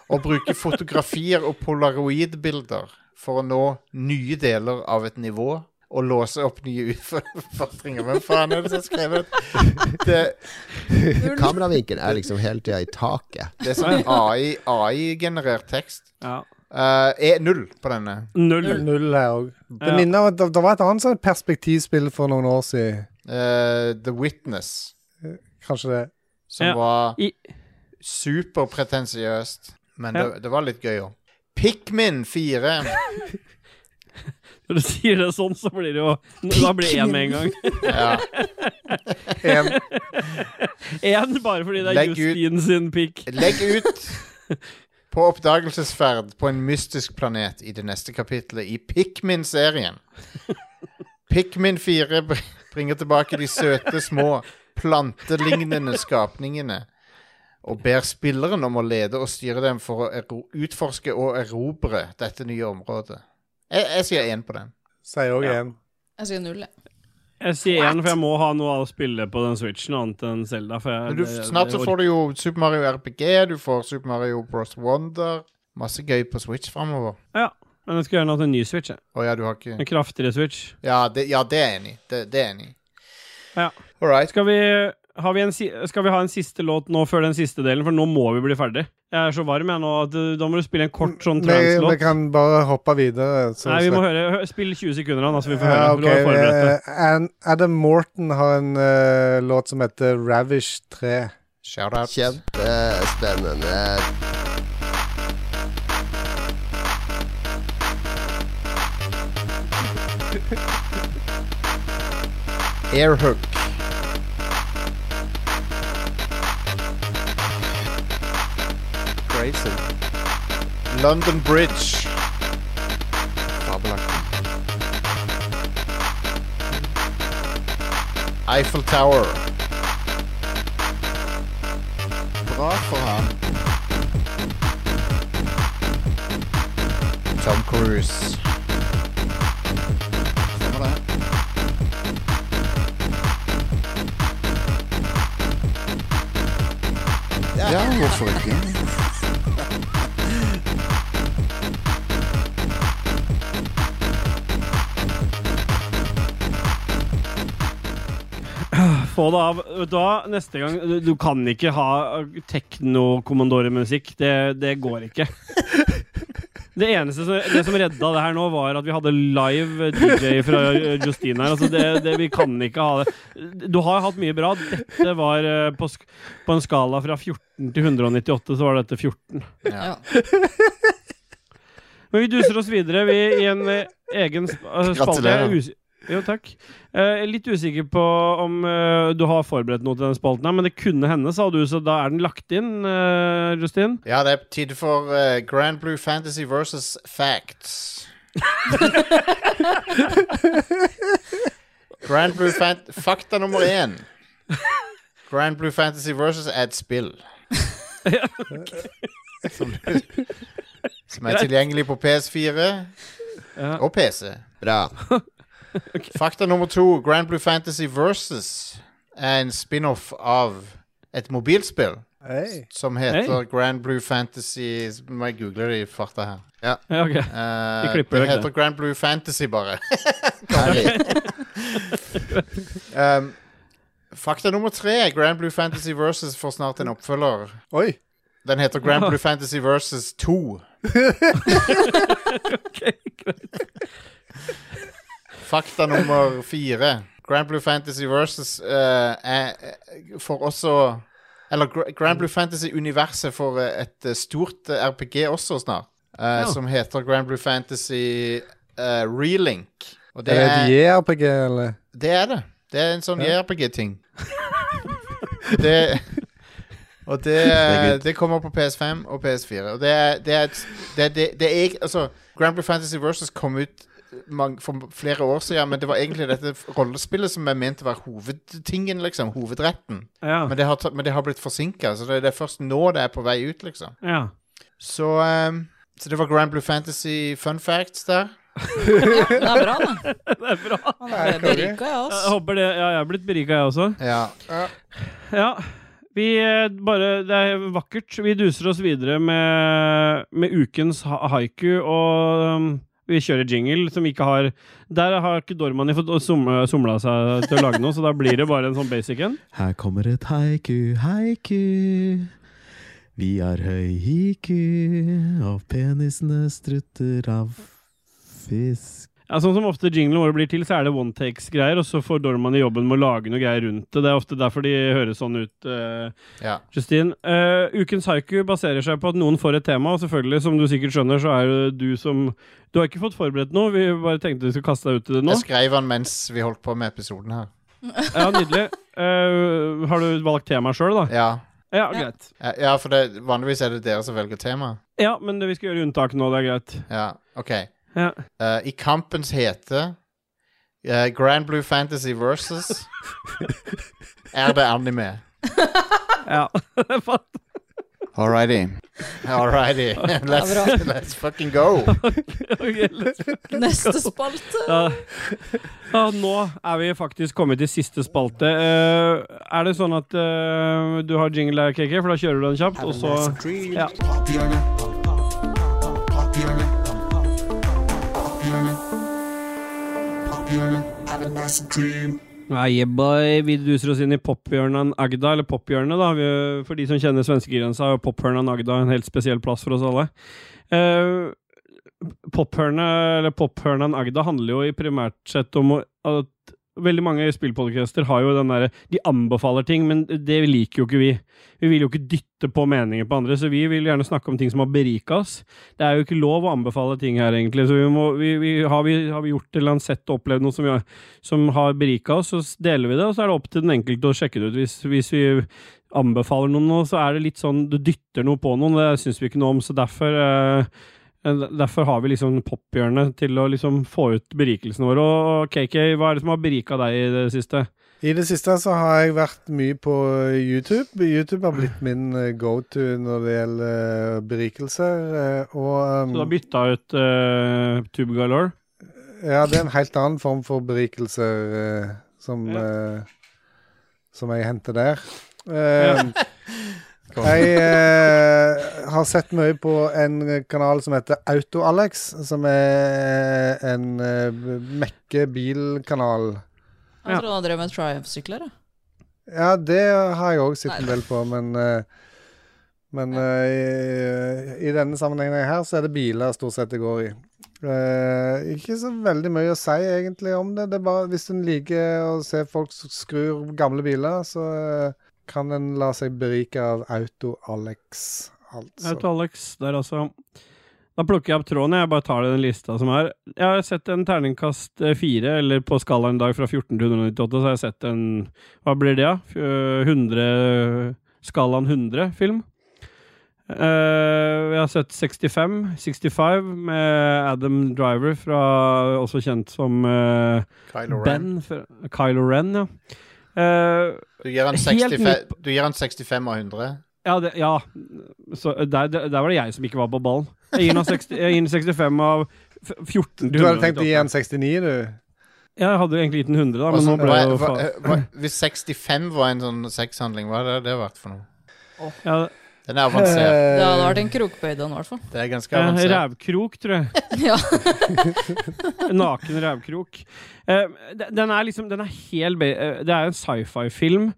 Og bruke fotografier og polaroidbilder for å nå nye deler av et nivå og låse opp nye utfordringer. Hvem faen er det som har skrevet det? Kameravinkel er liksom hele tida i taket. Det er sånn AI AI-generert tekst. Ja. Eh, er null på denne. Null. Null her òg. Det Ja. minner om at det, det var et annet sånn perspektivspill for noen år siden. Eh, The Witness, Kanskje det. som Ja. var I- superpretensiøst. Men Ja. det, det var litt gøy òg. Pikmin 4. Når du sier det sånn, så blir det jo Da blir det én med en gang. Ja. En, Én bare fordi det er Legg ut- Justin sin pick. Legg ut på oppdagelsesferd på en mystisk planet i det neste kapitlet i Pikmin-serien. Pikmin 4 br- bringer tilbake de søte, små, plantelignende skapningene og ber spilleren om å lede og styre dem for å ero utforske og erobre dette nye området. Jeg, jeg sier én på den. sier òg én. Jeg sier null, jeg. Jeg sier én, for jeg må ha noe å spille på den Switchen, annet enn Zelda. For jeg, Men du, snart så får du jo Super Mario RPG, du får Super Mario Bros. Wonder. Masse gøy på Switch framover. Ja, men jeg skulle gjerne hatt en ny Switch. jeg. Å ja, du har ikke En kraftigere Switch. Ja, det, ja, det er jeg enig. i. Det, det er jeg enig. i. Ja. All right. Skal vi, har vi en, si- skal vi ha en siste låt nå før den siste delen, for nå må vi bli ferdig. Jeg er så varm, jeg nå. at, uh, Da må du spille en kort sånn Vi, vi trance-låt. kan bare hoppe videre. så Nei, vi må slipper- høre. hø- Spill 20 sekunder av den, så vi får høre. Ja, for Du har ok, forberedt deg. eh, An- Adam Morton har en eh, låt som heter Ravish 3. Shout-out. Kjempespennende. Airhook. Crazy. London Bridge. Fabelaktig. Eiffel Tower. Bra for han. Tom Cruise. Stemmer det. Ja, hvorfor ikke? Få det av. Da, neste gang Du, du kan ikke ha teknokommandoremusikk. Det, det går ikke. Det eneste som, det som redda det her nå, var at vi hadde live DJ fra Justine her. Altså det, det, vi kan ikke ha det. Du har hatt mye bra. Dette var eh, på, sk på en skala fra 14 til 198, så var dette 14. Ja. Men vi duser oss videre vi, i en eh, egen sp eh, spalte. Jeg er Gratulerer. us- Jo, takk. Eh, Jeg er litt usikker på om eh, du har forberedt noe til den spalten, her, men det kunne hende, sa du, så da er den lagt inn, eh, Justin. Ja, det er tid for eh, Grand Blue Fantasy versus Facts. Grand Blue Fan... Fakta nummer én. Grand Blue Fantasy versus et spill. Som du- Som er tilgjengelig på PS4 Ja. og PC. Bra. Fakta nummer to. Grand Blue Fantasy versus er en spin-off av et mobilspill Hey. som heter Grand Blue Fantasy Må jeg google det i farta her. Ja, ok. Eh, Vi klipper det vekk heter Grand Blue Fantasy, bare. Herlig. um, fakta nummer tre. Grand Blue Fantasy Versus får snart en oppfølger. Oi. Den heter Grand Blue Fantasy Versus 2. Fakta nummer fire. Grand Blue Fantasy Versus eh, er- eh, får også Eller Gra- Grand Blue Fantasy-universet får eh, et eh, stort eh, RPG også snart. eh, Som heter Grand Blue Fantasy eh, Relink. Og Er det et JRPG, eller? det er det. Det er en sånn JRPG-ting. det Og det, det kommer på PS5 og PS4. Og det er Det er, et- det, det, det er ikke- Altså, Grand Blue Fantasy Versus kom ut eh, mang- for flere år siden, men det var egentlig dette rollespillet som er ment å være hovedtingen, liksom. Hovedretten. Ja. Men det har, tatt- men det har blitt forsinka, så det, det er først nå det er på vei ut, liksom. ja. Så, ehm, så det var Grand Blue Fantasy fun facts der. ja, det er bra, da. Det er bra. Han ble konge. berika, jeg, Jeg altså. håper det Ja, jeg er blitt berika, jeg også. Ja. Ja. Vi eh, bare Det er vakkert. Vi duser oss videre med, med ukens ha haiku, og um, vi kjører jingle som ikke har Der har ikke Dormani fått somle- somla seg til å lage noe, så da blir det bare en sånn basic en. Her kommer et haiku, haiku. Vi har høy hiku, og penisene strutter av fisk. Ja, sånn som ofte jinglene våre blir til, så er det one takes-greier, og så får Dormani jobben med å lage noe greier rundt det. Det er ofte derfor de høres sånn ut. eh, ja. Justine, eh, ukens haiku baserer seg på at noen får et tema, og selvfølgelig, som du sikkert skjønner, så er det du som Du har ikke fått forberedt noe, vi bare tenkte vi skulle kaste deg ut i det nå. Jeg skrev den mens vi holdt på med episoden her. Ja, Nydelig. Eh, har du valgt tema sjøl, da? Ja. Ja, Ja. greit. Ja, Ja, for det, vanligvis er det dere som velger tema. Ja, men vi skal gjøre unntak nå, det er greit. Ja, ok. Ja. Eh, I kampens hete eh, Grand Blue Fantasy versus Er det anime? ja. Fatt. All righty. All righty. Let's, Ja, bra. let's fucking go. Neste spalte. Ja. Ja, nå er vi faktisk kommet til siste spalte. Eh, er det sånn at eh, du har jingle der, KK, for da kjører du den kjapt, og så ja. Nei, yeah, boy. Vi duser oss inn i pophjørnet Agda, eller pophjørnet, da. Vi- For de som kjenner svenskegrensa, er jo pophjørnet Agda en helt spesiell plass for oss alle. Eh, Pophørnet eller pophørnen Agda handler jo i primært sett om å- at Veldig mange spillpodcaster har jo den derre De anbefaler ting, men det liker jo ikke vi. Vi vil jo ikke dytte på meninger på andre, så vi vil gjerne snakke om ting som har berika oss. Det er jo ikke lov å anbefale ting her, egentlig, så vi må, vi, vi, har, vi, har vi gjort eller annet sett og opplevd noe som, vi har, som har berika oss, så s- deler vi det, og så er det opp til den enkelte å sjekke det ut. Hvis, hvis vi anbefaler noen noe, så er det litt sånn du dytter noe på noen, det syns vi ikke noe om, så derfor eh, Derfor har vi liksom pophjørnet til å liksom få ut berikelsene våre. Og KK, hva er det som har berika deg i det siste? I det siste så har jeg vært mye på YouTube. YouTube har blitt min eh, go-to når det gjelder eh, berikelser. eh, Og Du har um, bytta ut eh, Tube Galore. ja, det er en helt annen form for berikelser eh, som, eh, som jeg henter der. Eh, Jeg eh, har sett mye på en kanal som heter Auto-Alex, som er en eh, mekke-bilkanal. Jeg tror han drev med Triumph-sykler. jeg. Ja, det har jeg òg sett en del på, men eh, Men eh, i, i denne sammenhengen her, så er det biler stort sett det går i. Eh, ikke så veldig mye å si egentlig om det. Det er bare Hvis en liker å se folk som skrur gamle biler, så eh, kan en la seg berike av Auto-Alex, altså. Auto Alex der, altså. Da plukker jeg opp tråden. Jeg bare tar den lista som er. Jeg har sett en terningkast eh, fire, eller på skalaen i dag fra 14 til 198, så har jeg sett en Hva blir det, da? F- øh, 100 Skalaen 100-film. jeg har sett 65, 65 med Adam Driver, fra, også kjent som eh, Kylo Ren. Ben. Fra, Kylo Ren, ja. Eh, Du gir han Helt 65, du gir han 65 av 100. ja, det, ja. Så eh, der, der, der var det jeg som ikke var på ballen. Jeg gir den av 60 jeg gir den 65 av f- 14 til Du hadde tenkt å gi 198. en 69, du? Ja, Jeg hadde egentlig gitt den 100, da, men Altså, nå ble hva- det jo hva- eh, faen. hva- Hvis 65 var en sånn sexhandling, hva hadde det vært for noe? Ja, Den er avansert. Eh, Det hadde vært en krokbøy, den, i hvert fall. Det er ganske eh, avansert. Rævkrok, tror jeg. Ja. Naken rævkrok. Eh, de- Den er liksom Den er helt be- eh, Det er en sci-fi-film.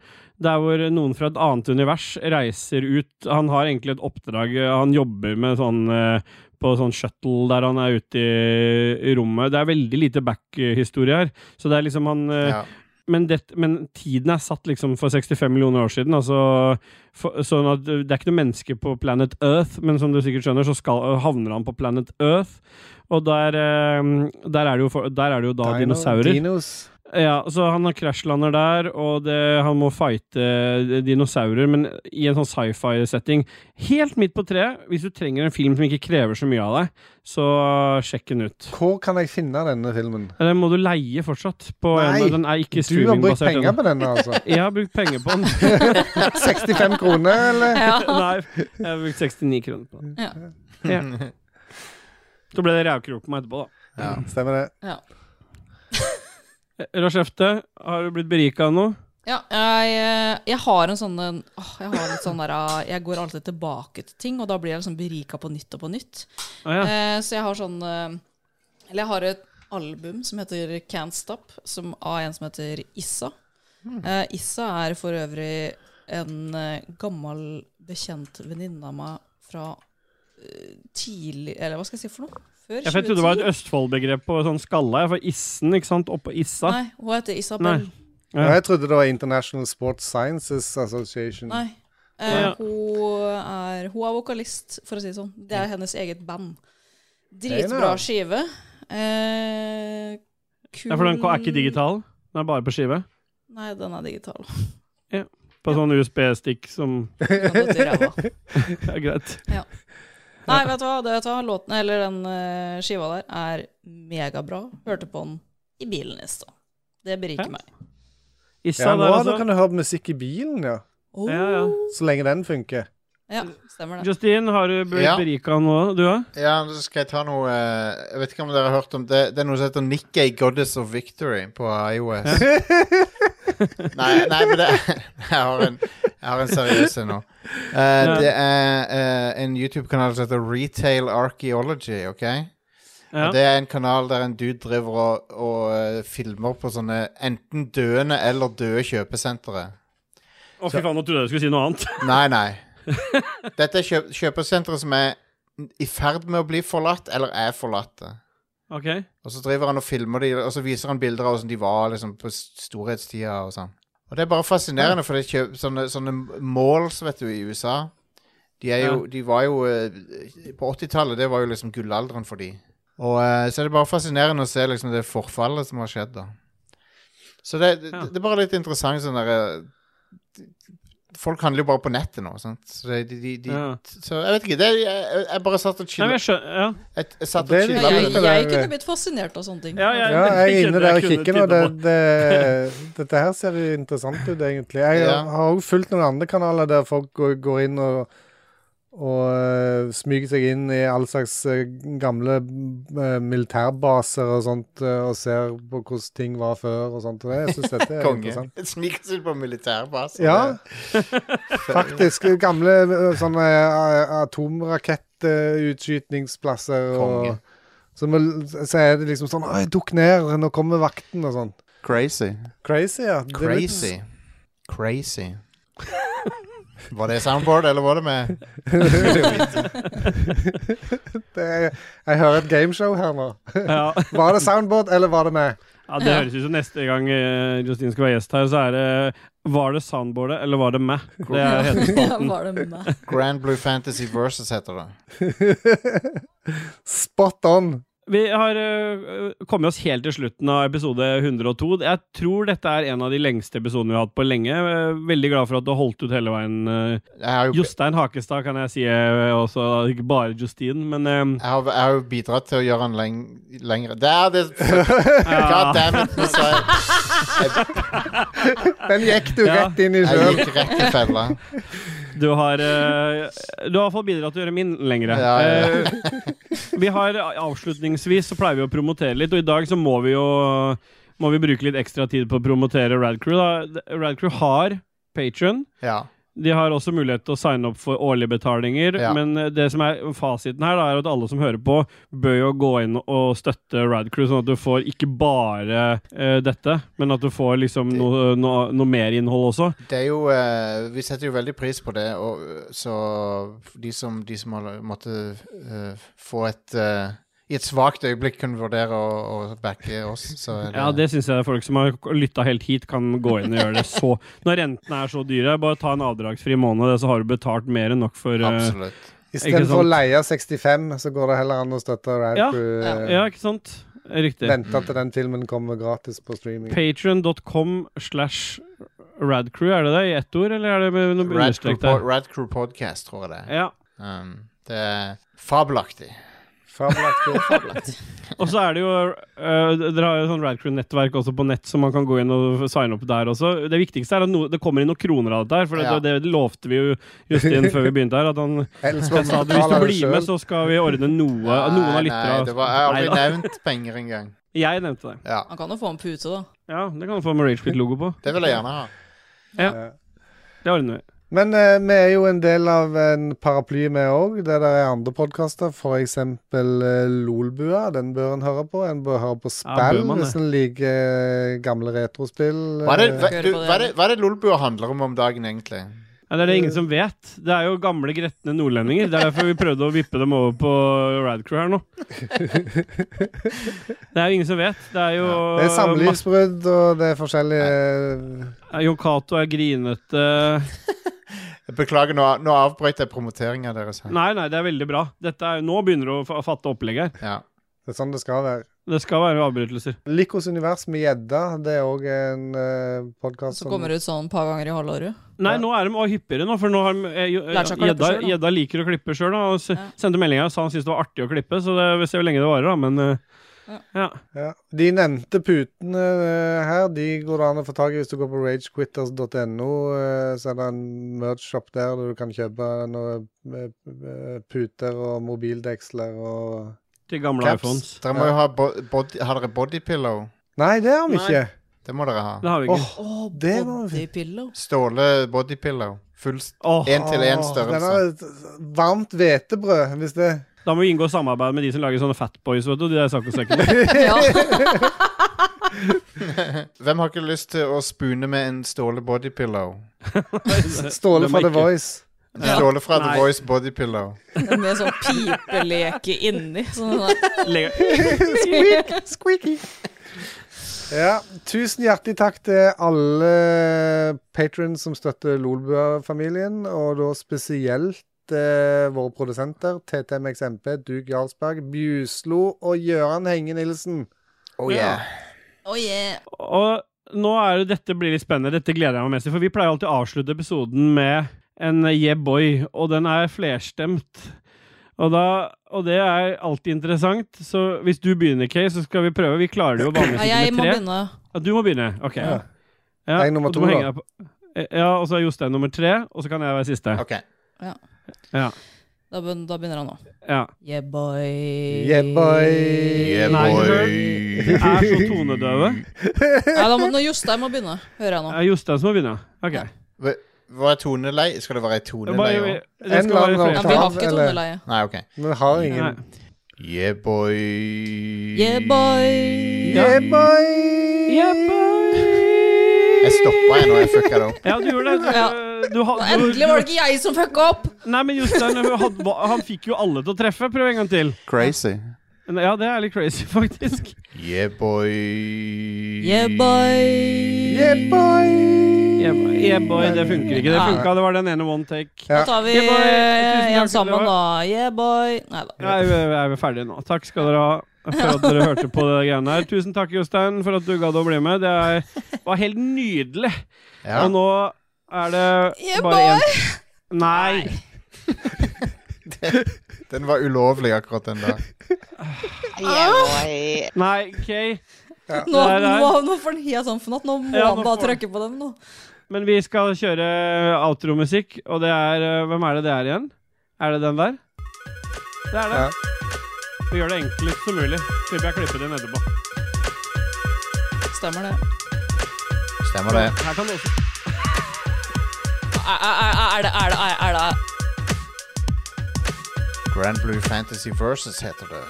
Der hvor noen fra et annet univers reiser ut Han har egentlig et oppdrag eh, Han jobber med sånn eh, på sånn shuttle der han er ute i, i rommet. Det er veldig lite back-historie her. Så det er liksom han eh, Ja. men, det, men tiden er satt liksom for 65 millioner år siden. Altså, for, sånn at Det er ikke noe menneske på planet Earth, men som du sikkert skjønner, så skal, havner han på planet Earth. Og der, eh, der, er, det jo for, der er det jo da Dino- dinosaurer. Dinos. Ja, Så han har krasjlander der, og det, han må fighte eh, dinosaurer, men i en sånn sci-fi-setting. Helt midt på treet. Hvis du trenger en film som ikke krever så mye av deg, så sjekk den ut. Hvor kan jeg finne denne filmen? Den må du leie fortsatt. På Nei, en, den er ikke Du har brukt streamingbasert penger ennå. på denne, altså? Jeg har brukt penger på den. 65 kroner, eller? ja. Nei, jeg har brukt 69 kroner på den. Ja. Ja. Så ble det rævkrok på meg etterpå, da. Stemmer det. Eh, Rashefte, har du blitt berika av noe? Ja, jeg, eh, jeg har en sånn en- åh, Jeg har litt sånn der ah, Jeg går alltid tilbake til ting, og da blir jeg liksom berika på nytt og på nytt. Å ja. Eh, så jeg har sånn eh, Eller jeg har et album som heter Can't Stop, som, av en som heter Issa. Hmm. Eh, Issa er for øvrig en eh, gammel bekjent venninne av meg fra eh, tidlig Eller hva skal jeg si for noe? Før Ja, for Jeg trodde det var 2010. et Østfold-begrep på sånn skalla. Jeg får issen, ikke sant? Oppå issa. Nei, hun heter Isabel. Nei. Ja. Jeg trodde det var International Sports Sciences Association. Nei. Eh, Ja. hun, er, hun er vokalist, for å si det sånn. Det Mm. er hennes eget band. Dritbra Hei da. skive. Eh, kul Ja, for den er ikke digital. Den er bare på skive. Nei, den er digital. På sånn USB-stikk som Den har gått i ræva. er greit. Nei, vet du hva? Det, vet du hva? Låten, eller den eh, skiva der er megabra. Hørte på den i bilen i stad. Det beriker Ja. meg. Issa Ja, nå der, da altså. kan du høre musikk i bilen, ja. Oh. Ja, ja. Så lenge den funker. Ja, stemmer det. Justine, har du blitt Ja. berika nå, du òg? Ja, så skal jeg ta noe eh, Jeg vet ikke om dere har hørt om det. Det er noe som heter Nikkei Goddess of Victory på IOS. nei, nei, men det Jeg har en, jeg har en seriøs en nå. Eh, det er eh, en YouTube-kanal som heter Retail Archaeology, OK? Ja. Og det er en kanal der en dude driver og, og eh, filmer på sånne enten døende eller døde kjøpesentre. Å, fy faen, nå trodde jeg du skulle si noe annet. Nei, nei. Dette er kjøp kjøpesentre som er i ferd med å bli forlatt, eller er forlatte. Ok. Og så driver han og filmer de, og så viser han bilder av hvordan de var liksom, på storhetstida og sånn. Og det er bare fascinerende, for det er kjøp, sånne, sånne malls, vet du, i USA De, er jo, Ja. de var jo eh, På 80-tallet, det var jo liksom gullalderen for de. Og eh, så er det bare fascinerende å se liksom det forfallet som har skjedd, da. Så det, det, Ja. det er bare litt interessant sånn derre Folk handler jo bare på nettet nå, sant. Så, det, de, de, de, Ja. så jeg vet ikke. Det, jeg, jeg- jeg bare satt og Nei, men chilla. jeg skjønner Ja, Jeg, jeg satt Det er litt og Jeg, kult, chillet med det. jeg, det der- kunne blitt fascinert av sånne ting. Ja, ja. Ja, jeg er Jeg inne der og kunne kikker nå. Det, titte det, dette her ser jo interessant ut, egentlig. Jeg Ja. har òg fulgt noen andre kanaler der folk går, går inn og, og eh, smyger seg inn i all slags eh, gamle eh, militærbaser og sånt, eh, og ser på hvordan ting var før og sånt. Og jeg syns dette er Konge. interessant. Sniker seg på militærbasen. Ja, faktisk. Gamle eh, sånne eh, atomrakettutskytningsplasser og Konge. så, må- så er det liksom sånn Oi, dukk ned, nå kommer vakten, og sånn. Crazy. Crazy, ja. Det er litt- Crazy. Crazy. Var det soundboard, eller var det med Det er, jeg hører et gameshow her nå. ja. Var det soundboard, eller var det meg? ja, det høres ut som neste gang eh, Justine skal være gjest her, så er det Var det soundboardet, eller var det meg? Det er hele spalten. Var det meg? Grand Blue Fantasy Versus, heter det? Spot on. Vi har eh, kommet oss helt til slutten av episode 102. Jeg tror dette er en av de lengste episodene vi har hatt på lenge. Eh, Veldig glad for at du har holdt ut hele veien. eh. Jeg har jo, Jostein Hakestad kan jeg si eh, også, ikke bare Justine, men eh, jeg har, jeg har jo bidratt til å gjøre den leng lengre Det er det God damn it! Nå sa jeg Den gikk du Ja. rett inn i Jeg sjøl. gikk rett i fella. Du har eh, Du har fått bidratt til å gjøre min lengre. Ja, ja, ja. Eh, vi har avslutningsvis så pleier vi å promotere litt, og i dag så må vi jo Må vi bruke litt ekstra tid på å promotere Radcrew. da. Radcrew har Patron. Ja. De har også mulighet til å signe opp for årlige betalinger, Ja. men eh, det som er fasiten her, da, er at alle som hører på, bør jo gå inn og støtte Radcrew, sånn at du får ikke bare eh, dette, men at du får liksom noe noe- noe mer innhold også. Det er jo eh, Vi setter jo veldig pris på det, og eh, så de som, de som har måtte eh, få et eh, I et svakt øyeblikk kunne vurdere å, å backe oss, så er Ja, det syns jeg folk som har lytta helt hit, kan gå inn og gjøre det så Når rentene er så dyre, bare ta en avdragsfri måned, så har du betalt mer enn nok for eh, Absolutt. Ikke Istedenfor å sant? leie 65, så går det heller an å støtte Ja. Radcrew. eh, Ja, ikke sant? Riktig. Vente til den filmen kommer gratis på streaming. Patron.com slash radcrew, er det det? I ett ord, eller er det med noe Rad Crew understrek der? Pod- Rad Crew Podcast, tror jeg det er. Ja. Um, det er fabelaktig. Fabelaktig. Og så er det jo eh, Dere har jo sånn Radcrew-nettverk også på nett, så man kan gå inn og signe opp der også. Det viktigste er at no, det kommer inn noen kroner av dette her, for det, Ja. det, det lovte vi jo Justin før vi begynte her, at han Ellers må du Jeg sa det, hvis du betale det blir med, sjøl. så skal vi ordne noe. Noen av Ah, Nei, lytterne Nei, det var, jeg har aldri Nei da. nevnt penger engang. Jeg nevnte det. Ja, Han kan jo få en pute, da. Ja, det kan du få med Ragequit-logo på. det vil jeg gjerne ha. Det ordner vi. Men eh, vi er jo en del av en paraply, vi òg. Det der er andre podkaster, f.eks. Uh, Lolbua. Den bør en høre på. En bør høre på spill bør man det? hvis en liker eh, gamle retrospill. Hva er det, eh, hva, du, hva er det, hva er det Lolbua handler om om dagen, egentlig? Ja, det er det ingen som vet. Det er jo gamle, gretne nordlendinger. Det er derfor vi prøvde å vippe dem over på Radcrew her nå. Det er jo ingen som vet. Det er jo Det er samlivsbrudd, og det er forskjellige eh, masse- Jon Cato er grinete. Jeg Beklager, nå, nå avbrøt jeg promoteringa deres. her. Nei, nei, det er veldig bra. Dette er, nå begynner du å fa- fatte opplegget her. Ja. Det er sånn det skal være. Det skal være avbrytelser. Likos univers med gjedda, det er òg en uh, podkast Så kommer det ut sånn et par ganger i halvåret. Nei, nå er de også hyppigere nå, for nå har de, eh, jo- eh, Lært seg å klippe Gjedda selv, da. Gjedda liker å klippe sjøl. Han s- Ja. sendte meldinger og sa han syntes det var artig å klippe, så det, vi ser hvor lenge det varer, da. Men eh, Ja. Ja. De nevnte putene eh, her, de går det an å få tak i hvis du går på ragequitters.no. eh, så er det en merch-shop der der du kan kjøpe noen puter og mobildeksler og Til gamle Caps. iPhones. Dere må jo ha bo body, Har dere bodypillow? Nei, det har vi Nei. ikke. Det må dere ha. Det har vi ikke. Åh, Å, det var fint. bodypillow. Ståle bodypillow. Full s- Åh, en til en Åh, størrelse. det var et varmt hvetebrød, hvis det Da må vi inngå samarbeid med de som lager sånne Fatboys, vet du. De der saccosekkene. Ja. Hvem har ikke lyst til å spune med en Ståle bodypillow? Ståle De fra er The ikke- Voice. Ja. Ståle fra The Nei. Voice bodypillow. Med sånn pipeleke inni. Sånn der. Legger- Ja, tusen hjertelig takk til alle patrons som støtter Lolbua-familien, og da spesielt eh, våre produsenter TTMXMP, Duke Jarlsberg, Bjuslo og Gøran Henge-Nilsen. Oh yeah. Oh, yeah. Og nå er det dette blir litt spennende. Dette gleder jeg meg mest til. For vi pleier alltid å avslutte episoden med en yeah boy, og den er flerstemt. Og, da, og det er alltid interessant. Så hvis du begynner, Kay, så skal vi prøve. Vi klarer det jo Ja, vanligvis jeg ikke må med tre. begynne. Ja, du må begynne. Ok. Ja. Ja, Jeg er nummer og du to, da. må henge deg på- Eh, Ja, og så er Jostein nummer tre, og så kan jeg være siste. Ok. Da begyn- da begynner han nå. Ja. Yeah, boy. Yeah, boy. Yeah, Nei, boy. Er så tonedøve. Nei, da må nå Jostein må begynne, hører jeg nå. Det er Jostein som må begynne. Ok. Hva- Hva er tonelei? Skal det være ei tonelei Bare, òg? det En skal lang være rokade. flere. Ja, vi har ikke Eller- toneleie. Nei, OK. Vi har Nei. ingen. Yeah, boy. Yeah, boy. Yeah, boy! Jeg stoppa jeg nå, jeg fucka det opp. Ja, du gjorde det. Ja. Du, ha- Og du, endelig var det ikke jeg som fucka opp! Nei, men Jostein han, han fikk jo alle til å treffe. Prøv en gang til. Crazy. Ja, det er litt crazy, faktisk. Yeah, boy. Yeah, boy. Yeah, boy! Yeah, boy. Yeah, boy, det funker ikke. Det funka, det var den ene one take. Ja. Da tar vi Yeah, boy. Tusen en takk, sammen, Oliver. da. Yeah, boy. Nei da. Nei, vi er vi ferdige nå. Takk skal dere ha for at dere hørte på det greiene her. Tusen takk, Jostein, for at du gadd å bli med. Det er, var helt nydelig. Ja. Og nå er det Yeah, bare boy. én Nei. Den var ulovlig, akkurat den der. Nei, Kay. Nå, Der, der. nå, nå får han helt sånn fnatt. Nå må Ja, nå han får bare han. trykke på dem, nå. Men vi skal kjøre outromusikk, og det er eh, Hvem er det det er igjen? Er det den der? Det er det. Ja. Vi gjør det enklest som mulig. Slipper jeg å klippe det inn etterpå. Stemmer det. Stemmer det. Her kan du også Er, er, er, er det Er det Er, er det Grand Blue Fantasy Versus heter det.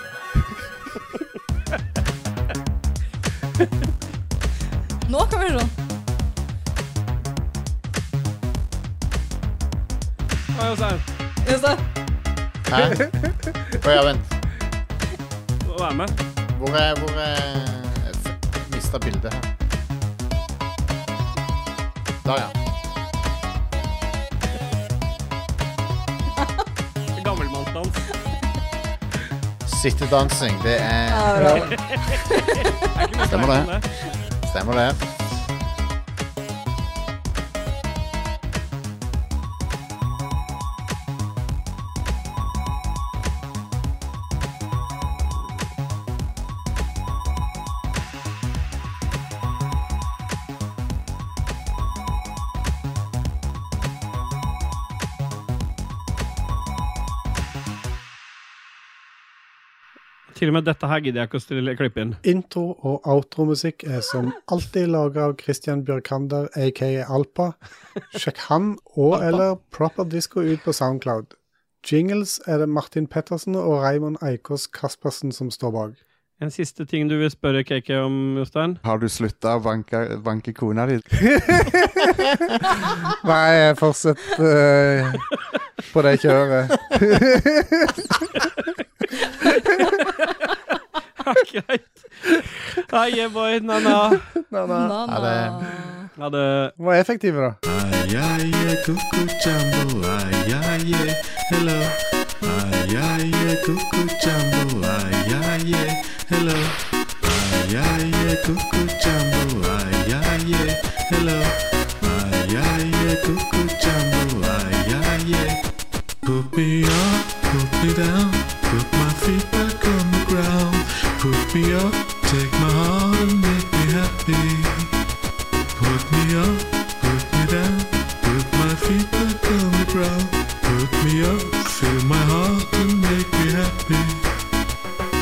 Nå kan vi gjøre sånn. Oi, Jostein. Just det. Hæ? Å ja, vent. må Være med. Hvor er Hvor er Jeg mista bildet her. Der, ja. Gammelmannsdans. Sittedansing, det er Ja, bra. Stemmer Sånn det. Stemmer det. Til og med dette her gidder jeg ikke å stille, klippe inn. Intro- og outromusikk er som alltid laga av Christian Bjørkander, aka Alpa. Sjekk han og eller Proper Disco ut på Soundcloud. Jingles er det Martin Pettersen og Raymond Eikås Kaspersen som står bak. En siste ting du vil spørre KK om, Jostein? Har du slutta å banke, banke kona di? Nei, fortsett eh, på det kjøret. Greit. Hei, yeah, boy. Na-na. Nei, nei. Na, Ja, na. Ha det. De var effektive, da. Ayaye, cuckoo jumbo, ayaye, hello. Ayaye, cuckoo jumbo, ayaye, hello. Ayaye, cuckoo jumbo, ayaye, hello. Ayaye, cuckoo jumbo, ayaye. Put me up, put me down, put my feet back on the ground. Put me up, take my heart and make me happy. Put me up, put me down, put my feet back on the ground. Put me up, fill my heart and make me happy.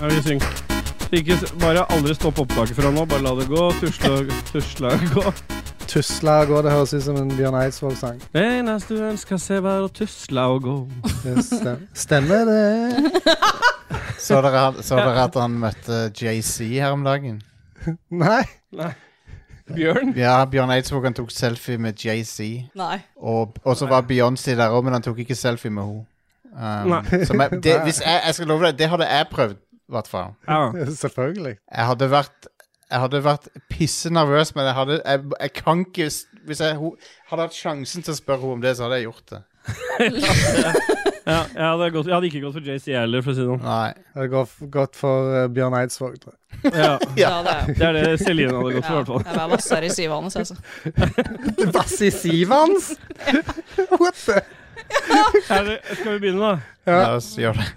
Ja, vi syng. Så Ikke, s- bare aldri stopp opptaket fra nå. Bare la det gå. Tusle og tusle og gå. Tusla går, det høres ut som en Bjørn Eidsvåg-sang. Det eneste du ønsker å se, være å tusle og gå. Det stem- Stemmer det? Så dere, så dere at han møtte JC her om dagen? Nei. Nei. Bjørn? Ja, Bjørn Eidsvåg han tok selfie med JC. Nei. Og, og så var Beyoncé der òg, men han tok ikke selfie med henne. Nei. Um, som jeg, det, hvis jeg, jeg skal love deg, det hadde jeg prøvd, i hvert fall. Ja. Selvfølgelig. Jeg hadde vært jeg hadde vært pissenervøs, men jeg hadde jeg, jeg kan ikke s- Hvis jeg ho, hadde hatt sjansen til å spørre henne om det, så hadde jeg gjort det. Ja, jeg, hadde gått, jeg hadde ikke gått for JC heller, for å si det sånn. Nei. Det går f- godt for eh, Bjørn Eidsvåg, tror jeg. Ja, Ja, det er det er det Celine hadde gått for, i ja, hvert fall. Jeg var vassere i Sivanes, altså. Vass i sivet hans! What the? Er det, skal vi begynne, da? La oss gjøre det.